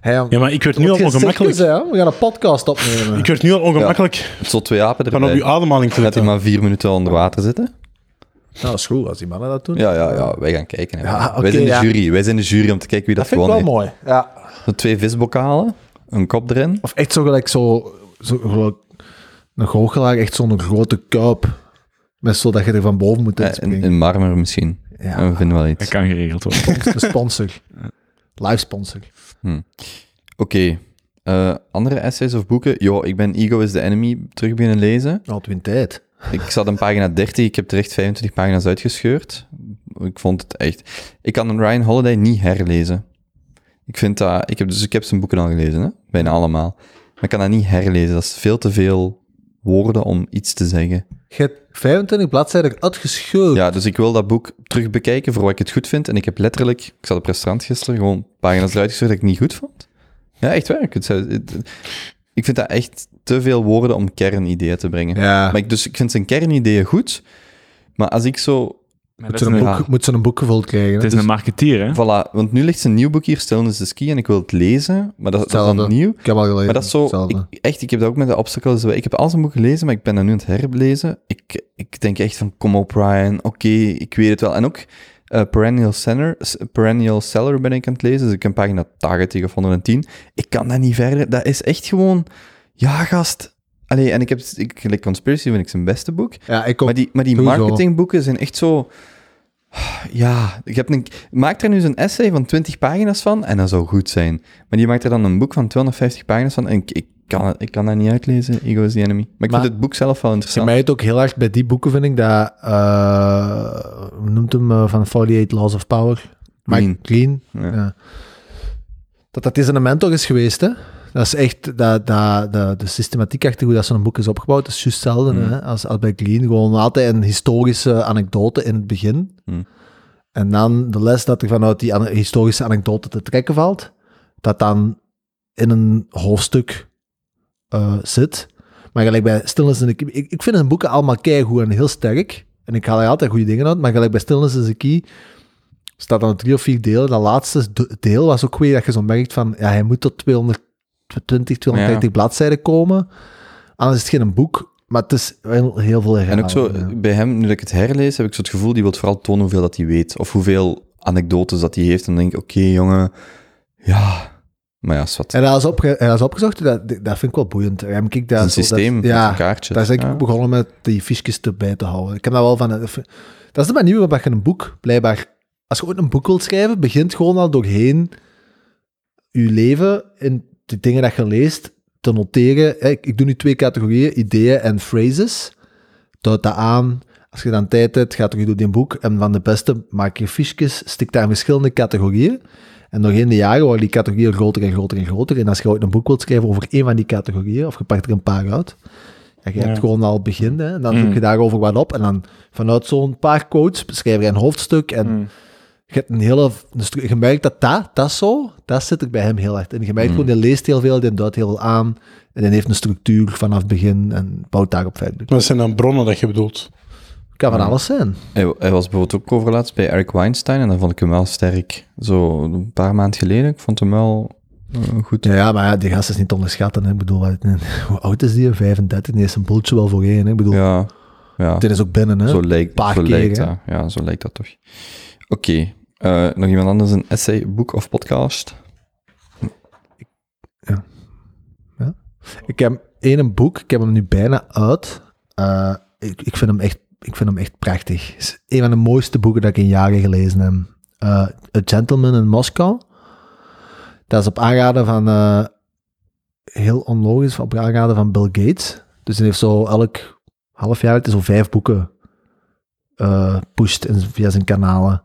Hey, Ja, maar ik werd nu al ongemakkelijk. We gaan een podcast eh, opnemen. Ik werd nu al ongemakkelijk Zo twee apen van op erbij. uw ademhaling te Gaat hij letten. maar vier minuten onder water zitten? Nou, dat is goed als die mannen dat doen. Ja, ja, ja. Wij gaan kijken. hè. Ja, oké, wij zijn de ja. jury. Wij zijn de jury om te kijken wie dat, Dat vind ik wel gewonnen mooi. Ja. heeft. Zo twee visbokalen, een kop erin. Of echt zo gelijk zo... zo gelijk een goochelaar, echt zo'n grote kuip. Met zo dat je er van boven moet eh, in, inspringen. in marmer misschien. Ja. En we vinden wel iets. Dat Oké. kan geregeld worden. De sponsor. Live sponsor. eh, andere essays of boeken? Jo, ik ben Ego is the Enemy terug beginnen lezen. Altijd in tijd. Ik zat aan pagina 30, ik heb terecht 25 pagina's uitgescheurd. Ik vond het echt... Ik kan een Ryan Holiday niet herlezen. Ik vind dat... Ik heb, dus ik heb zijn boeken al gelezen, hè? bijna allemaal. Maar ik kan dat niet herlezen, dat is veel te veel woorden om iets te zeggen. Je hebt 25 bladzijden uitgescheurd. Ja, dus ik wil dat boek terug bekijken voor wat ik het goed vind. En ik heb letterlijk... Ik zat op restaurant gisteren, gewoon pagina's eruit gescheurd dat ik niet goed vond. Ja, echt waar. Ik, het zou- het- ik vind dat echt te veel woorden om kernideeën te brengen. Ja. Maar ik, dus ik vind zijn kernideeën goed, maar als ik zo... Moet ze een, Ja. boek- moet ze een boek gevuld krijgen. Het hè? Dus is een marketeer, hè? Voilà, want nu ligt zijn nieuw boek hier, Stillness is Key, en ik wil het lezen, maar dat, dat is Hetzelfde. dan nieuw. Ik heb al gelezen. Maar dat is zo... Hetzelfde. Ik, echt, ik heb dat ook met de obstacles. Ik heb al zijn boek gelezen, maar ik ben dat nu aan het herbelezen. Ik, ik denk echt van, kom op Ryan, oké, ik weet het wel. En ook eh, Perennial, Center, Perennial Seller ben ik aan het lezen, dus ik heb pagina 80 of 110. Ik kan dat niet verder. Dat is echt gewoon... Ja, gast. Allee, en ik heb... Ik, like Conspiracy vind ik zijn beste boek. Ja, ik ook. Maar die, maar die Sowieso. marketingboeken zijn echt zo... Ja, ik heb een, maak er nu zo'n essay van 20 pagina's van en dat zou goed zijn. Maar die maakt er dan een boek van 250 pagina's van en ik, ik, kan, ik kan dat niet uitlezen, Ego is the Enemy. Maar ik Maar- vind het boek zelf wel Bij interessant. mij het ook heel erg bij die boeken, vind ik, dat... eh, hoe noemt hem? eh, van 48 Laws of Power. Mike Green. Green. Ja. ja. Dat dat deze een mentor is geweest, hè. Dat is echt... Dat, dat, dat, de systematiek achter hoe dat zo'n boek is opgebouwd, dat is juist hetzelfde Mm. hè, als, als bij Green. Gewoon altijd een historische anekdote in het begin. Mm. En dan de les dat er vanuit die ane- historische anekdote te trekken valt, dat dan in een hoofdstuk eh, zit. Maar gelijk bij Stillness in the Key... Ik, ik vind hun boeken allemaal keigoed en heel sterk. En ik haal er altijd goede dingen uit. Maar gelijk bij Stillness in the Key staat dan drie of vier delen. Dat laatste do- deel was ook weer dat je zo merkt van... Ja, hij moet tot 220, 230 bladzijden komen. Anders is het geen boek. Maar het is wel heel veel En herhaling. ook zo, ja. bij hem, nu dat ik het herlees, heb ik zo het gevoel, die wil vooral tonen hoeveel dat hij weet. Of hoeveel anekdotes dat hij heeft. En dan denk ik, oké, jongen, ja. Maar ja, is wat. En dat is, opge en dat is opgezocht, dat, dat vind ik wel boeiend. Ja, maar kijk, dat, Het is een zo, dat- systeem, met ja, een kaartje. daar is ik Ja. begonnen met die fiches erbij te houden. Ik heb dat wel van... eh, Dat is de manier waarop je een boek, blijkbaar... Als je ooit een boek wilt schrijven, begint gewoon al doorheen je leven en de dingen dat je leest te noteren. Hè, Ik, ik doe nu twee categorieën, ideeën en phrases. Duid dat aan. Als je dan tijd hebt, gaat terug door die boek. En van de beste maak je fiches, stik daar verschillende categorieën. En doorheen de jaren worden die categorieën groter en groter en groter. En als je ooit een boek wilt schrijven over één van die categorieën, of je pakt er een paar uit, ja, je hebt gewoon al begin, hè, en dan zoek je daarover wat op. En dan vanuit zo'n paar quotes beschrijf je een hoofdstuk. En je hebt een hele... Een stru- je merkt dat dat, dat zo, dat zit er bij hem heel hard in. Je merkt gewoon, die leest heel veel, die duidt heel veel aan. En die heeft een structuur vanaf het begin en bouwt daarop verder. Dat zijn dan bronnen dat je bedoelt. Kan van alles zijn. Hij, hij was bijvoorbeeld ook overlaatst bij Eric Weinstein en dan vond ik hem wel sterk. Zo een paar maanden geleden, ik vond hem wel eh, goed. Ja, ja, maar ja, die gast is niet te onderschatten. Hè. Ik bedoel, wat- hoe oud is die? 35? Die is een boeltje wel voor één. hè. Ik bedoel, Ja, ja. dit is ook binnen, hè? zo lijkt, paar zo keer, lijkt hè. dat. Ja, zo lijkt dat toch. Oké, eh, nog iemand anders een essay, boek of podcast? Ik heb één boek, ik heb hem nu bijna uit. Eh, ik, ik, vind hem echt, ik vind hem echt prachtig. Het is een van de mooiste boeken dat ik in jaren gelezen heb. Eh, A Gentleman in Moskou. Dat is op aanraden van, eh, heel onlogisch, op aanraden van Bill Gates. Dus hij heeft zo elk half jaar, het is zo vijf boeken eh pusht in- via zijn kanalen.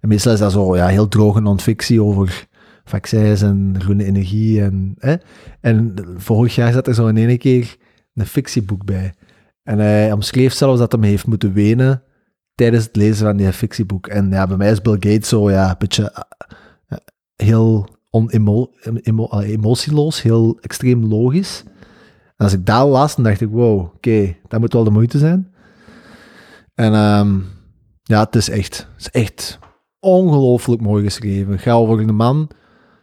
En meestal is dat zo ja, heel droge non-fictie over vaccins en groene energie. En, hè? en vorig jaar zat er zo in één keer een fictieboek bij. En hij omschreef zelfs dat hij heeft moeten wenen tijdens het lezen van die fictieboek. En ja, bij mij is Bill Gates zo ja, een beetje eh, heel onemo- emo- eh, emotieloos, heel extreem logisch. En als ik daar las, dan dacht ik, wow, oké, dat moet wel de moeite zijn. En ehm, ja, het is echt, het is echt ongelooflijk mooi geschreven. Het gaat over een man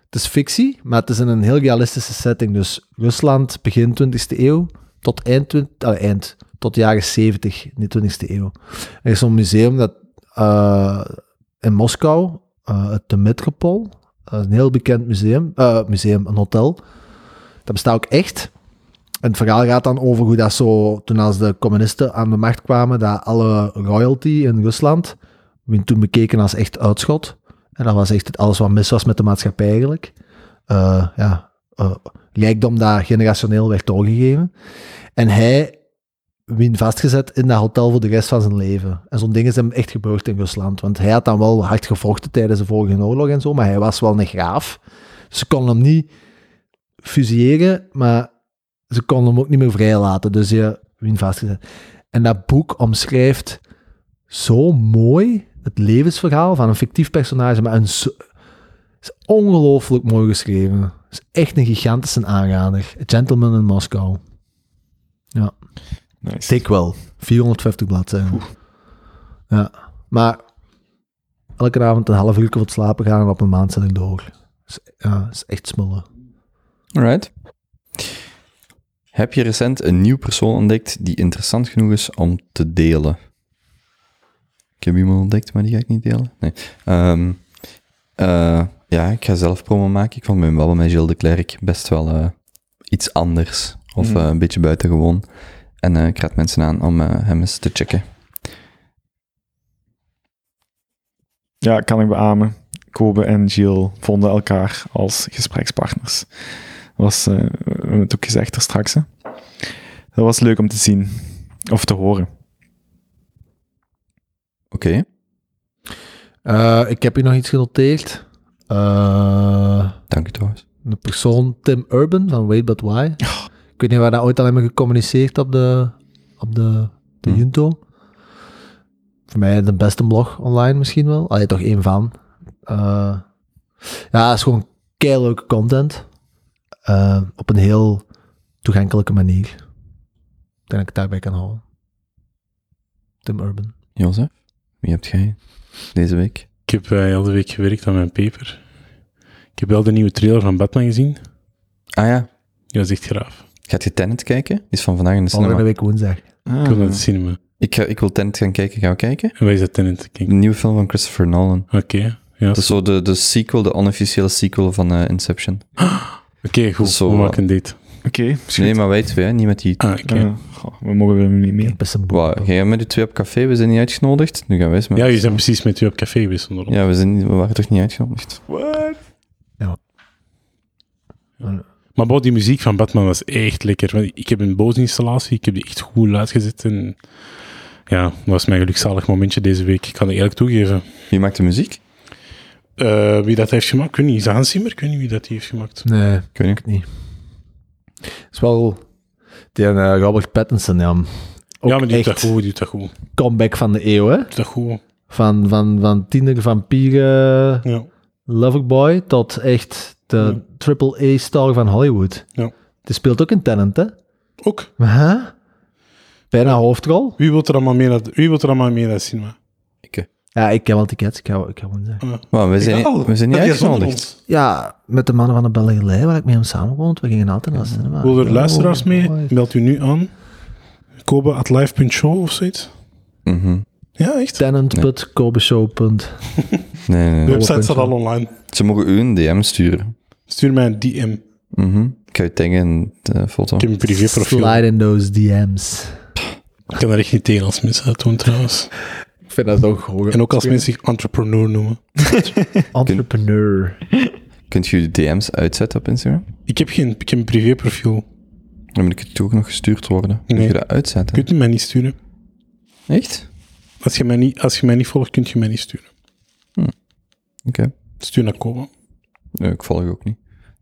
het is fictie, maar het is in een heel realistische setting. Dus Rusland begin 20e eeuw tot eind, 20, eh, eind tot jaren 70, in de 20e eeuw. Er is zo'n museum dat eh, in Moskou, eh, het de Metropool, dat is een heel bekend museum, eh, museum, een hotel. Dat bestaat ook echt. En het verhaal gaat dan over hoe dat zo, toen als de communisten aan de macht kwamen, dat alle royalty in Rusland, werd toen bekeken als echt uitschot. En dat was echt het- alles wat mis was met de maatschappij eigenlijk. Eh, ja, eh, rijkdom dat generationeel werd doorgegeven. En hij wien vastgezet in dat hotel voor de rest van zijn leven. En zo'n ding is hem echt gebeurd in Rusland. Want hij had dan wel hard gevochten tijdens de vorige oorlog en zo, maar hij was wel een graaf. Dus Ze konden hem niet fusilleren, maar ze konden hem ook niet meer vrijlaten. Dus je wien vastgezet. En dat boek omschrijft zo mooi het levensverhaal van een fictief personage, maar een zo- het is ongelooflijk mooi geschreven. Het is echt een gigantische aanrader. A Gentleman in Moskou. Ja. Nice. Dik wel. 450 bladzijden. Ja. Maar elke avond een half uur voor het slapen gaan en op een maand zit ik door. Het is, ja, het is echt smullen. Alright. Heb je recent een nieuw persoon ontdekt die interessant genoeg is om te delen? Ik heb iemand ontdekt, maar die ga ik niet delen. Nee. Ehm, eh, ja, ik ga zelf promo maken. Ik vond mijn babbel met Gilles de Klerk best wel eh, iets anders. Of eh, een beetje buitengewoon. En eh, ik raad mensen aan om eh, hem eens te checken. Ja, kan ik beamen. Kobe en Gilles vonden elkaar als gesprekspartners. Dat was, eh, we hebben het ook gezegd er straks. Hè. Dat was leuk om te zien. Of te horen. Oké. Eh, ik heb hier nog iets genoteerd. Eh, Dank u trouwens. een persoon, Tim Urban van Wait But Why. Ik weet niet waar dat ooit al hebben gecommuniceerd op de, op de, de Hmm. Junto. Voor mij de beste blog online misschien wel. Allee, toch één van. Eh, ja, het is gewoon keileuke content. Eh, op een heel toegankelijke manier. denk dat ik het daarbij kan houden. Tim Urban. Jozef, wie hebt jij deze week? Ik heb eh, heel de week gewerkt aan mijn paper. Ik heb wel de nieuwe trailer van Batman gezien. Ah ja, Ja, dat is echt graaf. gaat je Tenet kijken? Die is van vandaag in de Volgende cinema. week woensdag. Ik Mhm. Ah, wil naar de cinema. Ik, ga, ik wil Tenet gaan kijken, gaan we kijken? En wij is dat Tenet? Kijk. De nieuwe film van Christopher Nolan. Oké, ja. Dat is zo de, de sequel, de onofficiële sequel van eh, Inception. Oké, goed. Zo, we eh, maken dit. Oké, misschien. Nee, maar wij twee, hè, niet met die... Ah, oké. Eh, goh, we mogen weer niet mee. Ik best een boek. Wauw, jij en met die twee op café, we zijn niet uitgenodigd. Nu gaan wij eens met... Ja, je zijn precies met u op café geweest onder ons. Ja, we, zijn, niet- we waren toch niet uitgenodigd? Maar bro, die muziek van Batman was echt lekker. Want Ik heb een Bose installatie, ik heb die echt goed uitgezet. En ja, dat was mijn gelukzalig momentje deze week. Ik kan het eerlijk toegeven. Wie maakt de muziek? Eh, wie dat heeft gemaakt, ik weet niet. Is dat Hans Zimmer? Ik weet niet wie dat die heeft gemaakt. Nee, Ik weet niet. ik niet. Het is wel... Die eh, Robert Pattinson, ja. Ook ja, maar die doet dat echt goed, die doet dat goed. Die comeback van de eeuw, hè. doet dat goed. Van, van, van tiener, vampieren, Ja. loverboy, tot echt de triple A-star van Hollywood. Ja. Die speelt ook in Tenant, hè. Ook, Huh? Bijna hoofdrol. wie wil er allemaal mee naar, wie wil er allemaal mee naar het cinema? Ja, ik heb wel tickets, ik ga, ik ga gewoon zeggen. eh, Wauw, we zijn, Oh, we zijn niet dat is zonder uitgenodigd. ons. Ja, met de mannen van de Belgerlei, waar ik mee hem samenwoont, we gingen altijd naar de cinema. Wil er Ja, luisteraars oh, mee? mooi. Meld u nu aan. kobe.live.show of zoiets. Mhm. Ja, echt. Tenant.kobeshow.nl Nee, nee, De nee. website staat al online. Ze mogen u een DM sturen. Stuur mij een DM. Mhm. Ik ga je taggen in de foto. Ik heb een privéprofiel. Slide in those DM's. Ik kan daar echt niet tegen als mensen dat doen trouwens. Ik vind dat ook hoog. En ook als mensen zich entrepreneur noemen. Entrepreneur. Kunt je je DM's uitzetten op Instagram? Ik heb geen ik heb een privéprofiel. Dan moet ik het toch nog gestuurd worden. Kun Nee. je dat Je uitzetten? kunt je mij niet sturen. Echt? Als je mij niet, als je mij niet volgt, kun je mij niet sturen. Oké. Stuur naar Koba. Nee, ik volg ook niet.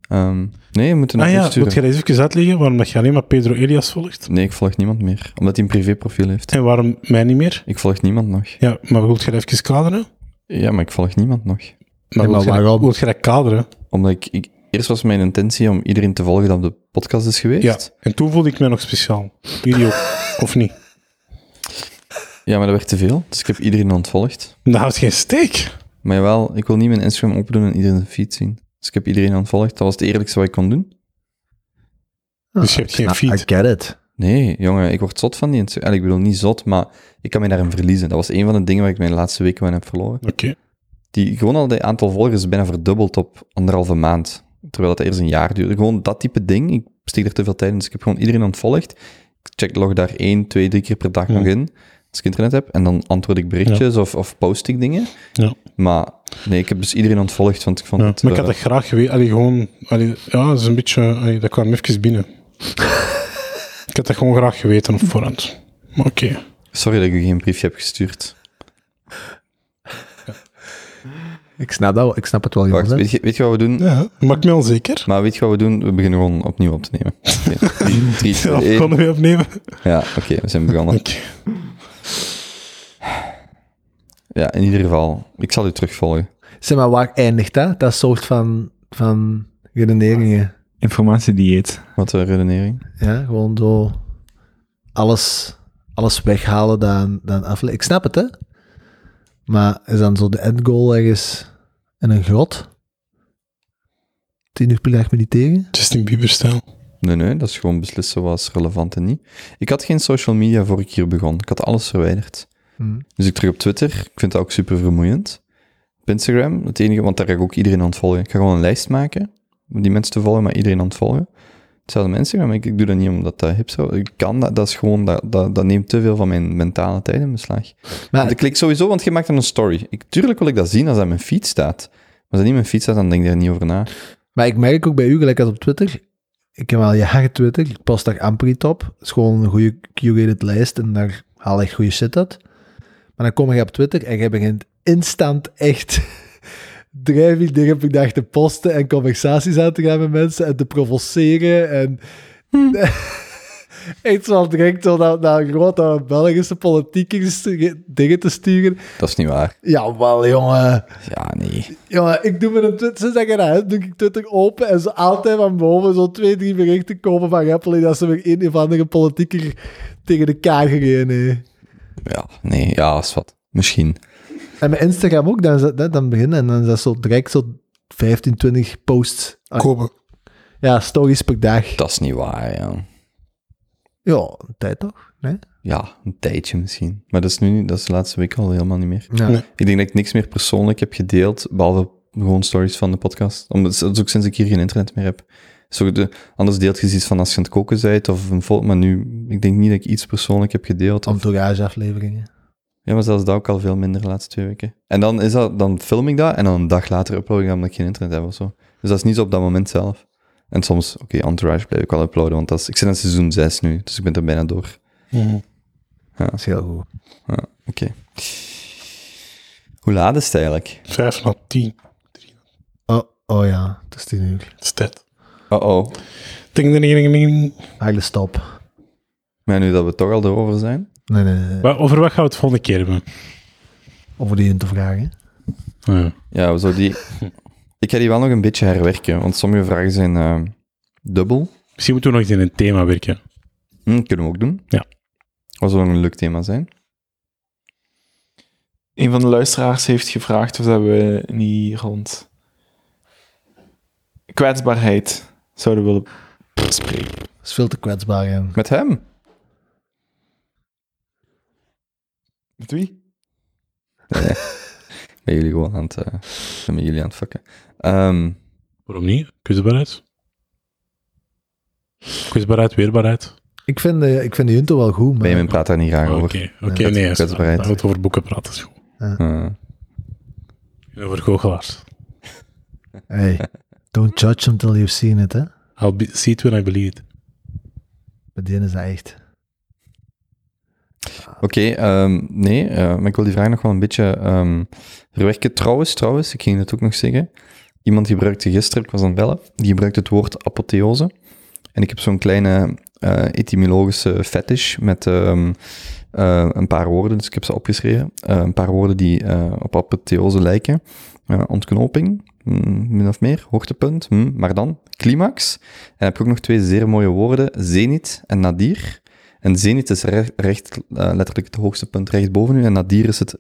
Ehm, nee, je moet er nog Ah iets ja, sturen. moet jij dat eens even uitleggen waarom dat je alleen maar Pedro Elias volgt? Nee, ik volg niemand meer. Omdat hij een privéprofiel heeft. En waarom mij niet meer? Ik volg niemand nog. Ja, maar wilt je dat even kaderen? Ja, maar ik volg niemand nog. Maar, maar wilt, je dat, waarom? wilt je dat kaderen? Omdat ik, ik- Eerst was mijn intentie om iedereen te volgen dat op de podcast is geweest. Ja. En toen voelde ik mij nog speciaal. Jullie ook, of niet? Ja, maar dat werd te veel. Dus ik heb iedereen ontvolgd. Dat houdt geen steek. Maar jawel, ik wil niet mijn Instagram open doen en iedereen zijn feed zien. Dus ik heb iedereen ontvolgd. Dat was het eerlijkste wat ik kon doen. Dus je hebt geen Nou, I feed. get it. Nee, jongen, ik word zot van die Instagram. Ik bedoel, niet zot, maar ik kan mij daarin verliezen. Dat was een van de dingen waar ik mijn laatste weken aan heb verloren. Oké. Die, gewoon al dat aantal volgers is bijna verdubbeld op anderhalve maand. Terwijl dat eerst een jaar duurde. Gewoon dat type ding. Ik steek er te veel tijd in. Dus ik heb gewoon iedereen ontvolgd. Ik check log daar één, twee, drie keer per dag nog in. Als ik internet heb. En dan antwoord ik berichtjes of, of post ik dingen. Ja. Maar nee, ik heb dus iedereen ontvolgd. Want ik vond Ja, het... maar ik had eh, dat graag geweten. Allee, gewoon, allee, ja, dat is een beetje, allee, dat kwam even binnen. ik had dat gewoon graag geweten op voorhand. Maar oké. Sorry dat ik u geen briefje heb gestuurd. Ik snap, dat, wel- ik snap het wel, Wacht, jongens. hè. weet je, weet je wat we doen? Ja, dat maakt me onzeker. Maar weet je wat we doen? We beginnen gewoon opnieuw op te nemen. Oké, drie, drie, twee, Ja, één. we konden weer opnemen. Ja, oké, we zijn begonnen. Oké. Ja, in ieder geval. Ik zal u terugvolgen. Zeg maar, waar eindigt dat? Dat soort van, van redeneringen. Informatiedieet. Wat de redenering? Ja, gewoon zo alles, alles weghalen dan, dan afle- Ik snap het, hè? Maar is dan zo de endgoal ergens in een grot? Tien uur per dag mediteren? Justin Bieber-stijl. Nee, nee, dat is gewoon beslissen wat is relevant en niet. Ik had geen social media voor ik hier begon. Ik had alles verwijderd. Hm. Dus ik terug op Twitter. Ik vind dat ook super vermoeiend. Op Instagram, het enige, want daar ga ik ook iedereen aan het volgen. Ik ga gewoon een lijst maken om die mensen te volgen, maar iedereen aan het volgen. Hetzelfde met Instagram, ik, ik doe dat niet omdat dat hip zou... Ik kan dat, dat is gewoon... Dat, dat, dat neemt te veel van mijn mentale tijd in beslag. Maar Want ik klik sowieso, want je maakt dan een story. Ik, tuurlijk wil ik dat zien als dat op mijn feed staat. Maar als dat niet op mijn feed staat, dan denk ik daar niet over na. Maar ik merk ook bij u, gelijk als op Twitter. Ik heb al jaren Twitter, ik pas daar amper iets op. Het is gewoon een goede curated lijst en daar haal ik goede shit uit. Maar dan kom je op Twitter en je begint instant echt drijfig dingen per dag te posten en conversaties aan te gaan met mensen en te provoceren. En Iets van direct zo naar, naar grote Belgische politiekers te- dingen te sturen. Dat is niet waar. Jawel, jongen. Ja, nee. jongen ik doe met een Twitter, ze zeggen dat, hè, doe ik Twitter open en ze altijd van boven zo twee, drie berichten komen van Apple dat ze weer een of andere politieker tegen de kaart gereden heeft. Ja, nee. Ja, is wat. Misschien. En met Instagram ook, dan, is dat- dan beginnen en dan is dat zo direct zo 15, 20 posts. Ah, Komen. Ja, stories per dag. Dat is niet waar, ja. Ja, een tijd toch? Nee? Ja, een tijdje misschien. Maar dat is nu niet, dat is de laatste week al helemaal niet meer. Ja. Nee. Ik denk dat ik niks meer persoonlijk heb gedeeld, behalve gewoon stories van de podcast. Omdat dat is ook sinds ik hier geen internet meer heb. Zo de, anders deelt je iets van als je aan het koken bent of een foto, maar nu, ik denk niet dat ik iets persoonlijk heb gedeeld. Of, Entourage afleveringen. ja, maar zelfs dat ook al veel minder de laatste twee weken. En dan, is dat, dan film ik dat en dan een dag later upload ik dat omdat ik geen internet heb of zo. Dus dat is niet zo op dat moment zelf. En soms, oké, Entourage blijf ik wel uploaden, want dat is, ik zit aan seizoen 6 nu, dus ik ben er bijna door. Mm. Dat is heel goed. Oké. Hoe laat is het eigenlijk? Vijf na tien. Oh, oh ja, het is tien uur. Dat is tijd. Oh-oh. Ding, ding, ding, ding, ding. Eigenlijk stop. Maar nu dat we toch al erover zijn. Nee, nee, nee. Maar over wat gaan we het volgende keer hebben? Over die in te vragen. Ja, we zouden die... Ik ga die wel nog een beetje herwerken, want sommige vragen zijn eh, dubbel. Misschien moeten we nog eens in een thema werken. Hm, kunnen we ook doen. Ja. Wat zou een leuk thema zijn? Een van de luisteraars heeft gevraagd of dat we niet rond kwetsbaarheid zouden willen spreken. Dat is veel te kwetsbaar, hè. Met hem? Met wie? Ben jullie gewoon aan het... eh, ben met jullie aan het fucken. Ehm, Waarom niet? Kwetsbaarheid. Kwetsbaarheid, weerbaarheid. Ik vind, eh, ik vind die Junto wel goed, maar... Benjamin praat daar niet raar Oké, over. oké, Ja, nee. is- kwetsbaarheid. Laten we het over boeken praten. Is goed. Eh, En Over goochelaars. Hey, don't judge him till you've seen it, hè. I'll be, see it when I believe it. Bij die is dat echt. Oké, ehm, nee, eh, maar ik wil die vraag nog wel een beetje ehm verwerken. Trouwens, trouwens, ik ging het ook nog zeggen. Iemand gebruikte gisteren, ik was aan het bellen, die gebruikte het woord apotheose. En ik heb zo'n kleine eh, etymologische fetish met ehm, eh, een paar woorden, dus ik heb ze opgeschreven. Eh, een paar woorden die eh, op apotheose lijken. Eh, ontknoping, mm, min of meer, hoogtepunt, mm, maar dan climax. En dan heb ik ook nog twee zeer mooie woorden, zenit en nadir. En zenit is re- recht, eh, letterlijk het hoogste punt recht boven u en nadir is het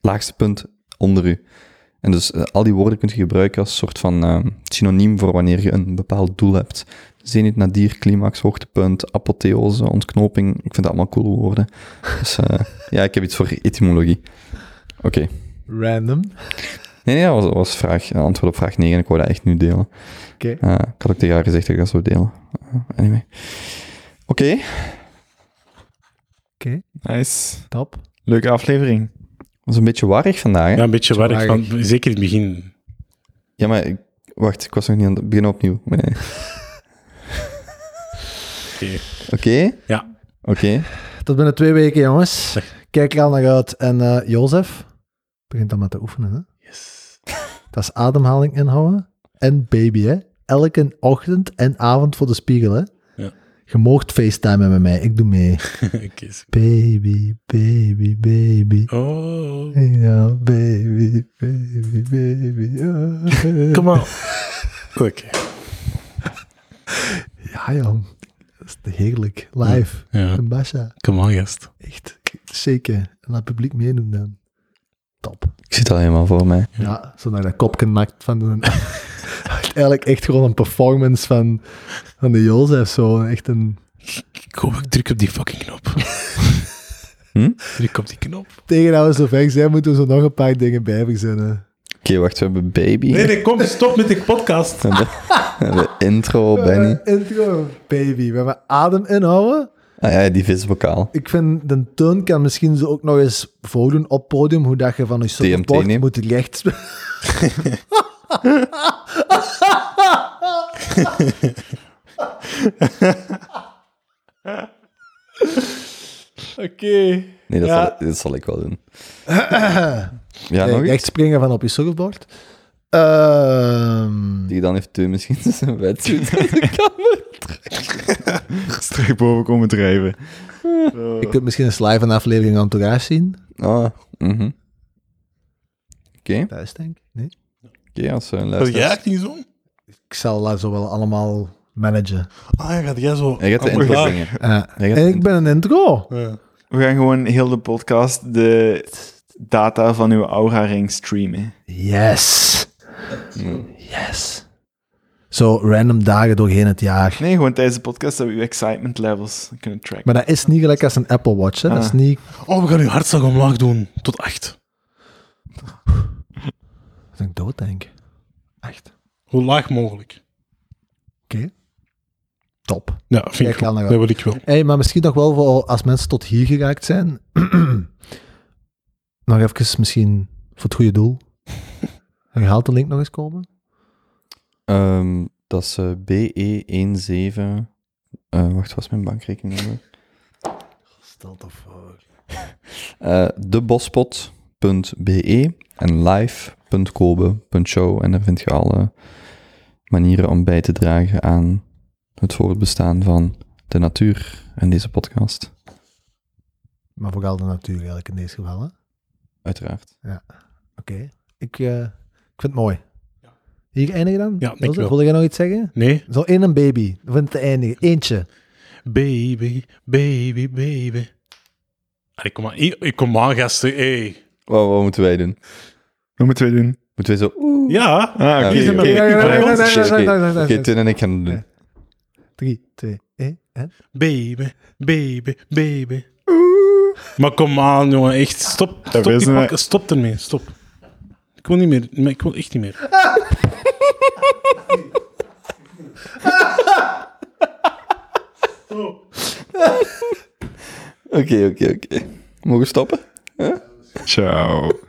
laagste punt onder u. En dus eh, al die woorden kunt je gebruiken als soort van ehm, synoniem voor wanneer je een bepaald doel hebt. Zenit, nadir, climax, hoogtepunt, apotheose, ontknoping. Ik vind dat allemaal coole woorden. Dus eh, ja, ik heb iets voor etymologie. Oké. Random. Nee, nee, dat was, was vraag, eh, antwoord op vraag 9. Ik wou dat echt nu delen. Oké. Eh, ik had ook tegen haar gezegd dat ik dat zou delen. Eh, anyway. Oké. Nice. Top. Leuke aflevering. Dat is een beetje warrig vandaag, hè? Ja, een beetje warrig. warrig. van- Zeker in het begin. Ja, maar ik- wacht, ik was nog niet aan het beginnen opnieuw. Nee. Oké. Oké. Ja. Oké. Tot binnen twee weken, jongens. Zeg. Kijk er al naar uit. En eh Jozef, begint dan maar te oefenen, hè. Yes. Dat is ademhaling inhouden. En baby, hè. Elke ochtend en avond voor de spiegel, hè. Ja. Je moogt facetimen met mij. Ik doe mee. Oké, super. Baby, baby, baby. oh, Ja, baby, baby, baby. ja, baby. kom maar. Oké. Ja, jong. Dat is te heerlijk. Live. Ja, Een Basha. kom maar, gast. Echt. Zeker. En laat het publiek meedoen dan. Top. Ik zit al helemaal voor mij. Ja, zo naar dat kopje nakt van de... Eigenlijk echt gewoon een performance van, van de Jozef. Zo echt een... Ik hoop, ik druk op die fucking knop. Hm? Druk op die knop. Tegen dat we zo ver zijn, moeten we zo nog een paar dingen bij verzinnen. Oké, wacht, we hebben baby. Nee, nee, kom, stop met die podcast. We, hebben, we hebben intro, Benny. Eh, intro, baby. We hebben adem inhouden. Ah ja, die visbokaal. Ik vind, de toon kan misschien zo ook nog eens voordoen op podium, hoe dat je van je support neemt. moet recht... Oké. Nee, dat, Ja. zal, dat zal ik wel doen. ja, Echt nog iets? eh, springen van op je surfboard. Ehm, Die dan heeft Teu misschien zijn wet. is terug boven komen drijven. Je kunt misschien eens live een aflevering Entourage zien. Ah, mhm. Oké, oké, Thuis, denk ik. Nee? als eh, Gaat jij luisteraars- echt niet zo? Ik zal dat zo wel allemaal managen. Ah, ja, gaat jij zo... Hij gaat de Ah, maar intro daar. zingen. Eh, Hij gaat en de ik intro- ben een intro. Ja. We gaan gewoon heel de podcast de data van uw aura-ring streamen. Yes. Mm. Hmm. Yes. Zo random dagen doorheen het jaar. Nee, gewoon tijdens de podcast dat we uw excitement levels kunnen tracken. Maar dat is niet gelijk als een Apple Watch. Hè. Dat is Ah. niet... Oh, we gaan uw hartslag omlaag doen. Tot acht. Dat ik dood denk. Echt. Hoe laag mogelijk. Top. Ja, vind Kijk, ik wel. Lana, Dat wel. wil ik wel. Hey, maar misschien nog wel voor als mensen tot hier geraakt zijn. nog even misschien voor het goede doel. Herhaalt de link nog eens komen? Ehm, dat is eh, BE17. eh wacht, wat is mijn bankrekening? nummer? Stel toch voor. Eh, debospot.be en live.kobe.show. En daar vind je alle manieren om bij te dragen aan het voortbestaan van de natuur en deze podcast. Maar vooral de natuur eigenlijk in deze geval. hè. Oké. Uiteraard. Ik, eh, ik vind het mooi. Hier eindigen dan? Ja, dankjewel. Ilse, Wil jij nog iets zeggen? Nee? Zo één een baby. We het te eindigen. Eentje. Baby, baby, baby. Allee, kom maar, Hier- kom aan, gasten. Hey. Wow, wat moeten wij doen? Wat moeten we doen? Moeten wij zo... Oké, Ja. Ah, oké. Ah, oké, oké. oké. nee, Ik ben- nee, nee, nee, nee, nee, nee. oké, Teun en ik gaan het doen. Ja. Drie, twee, één. En? Baby, baby, baby. Maar kom aan, jongen. Echt, stop. Stop, wees die maar. pakken. stop ermee, stop. Ik wil niet meer. Ik wil echt niet meer. Oké, oké, oké. Mogen we stoppen? Ciao.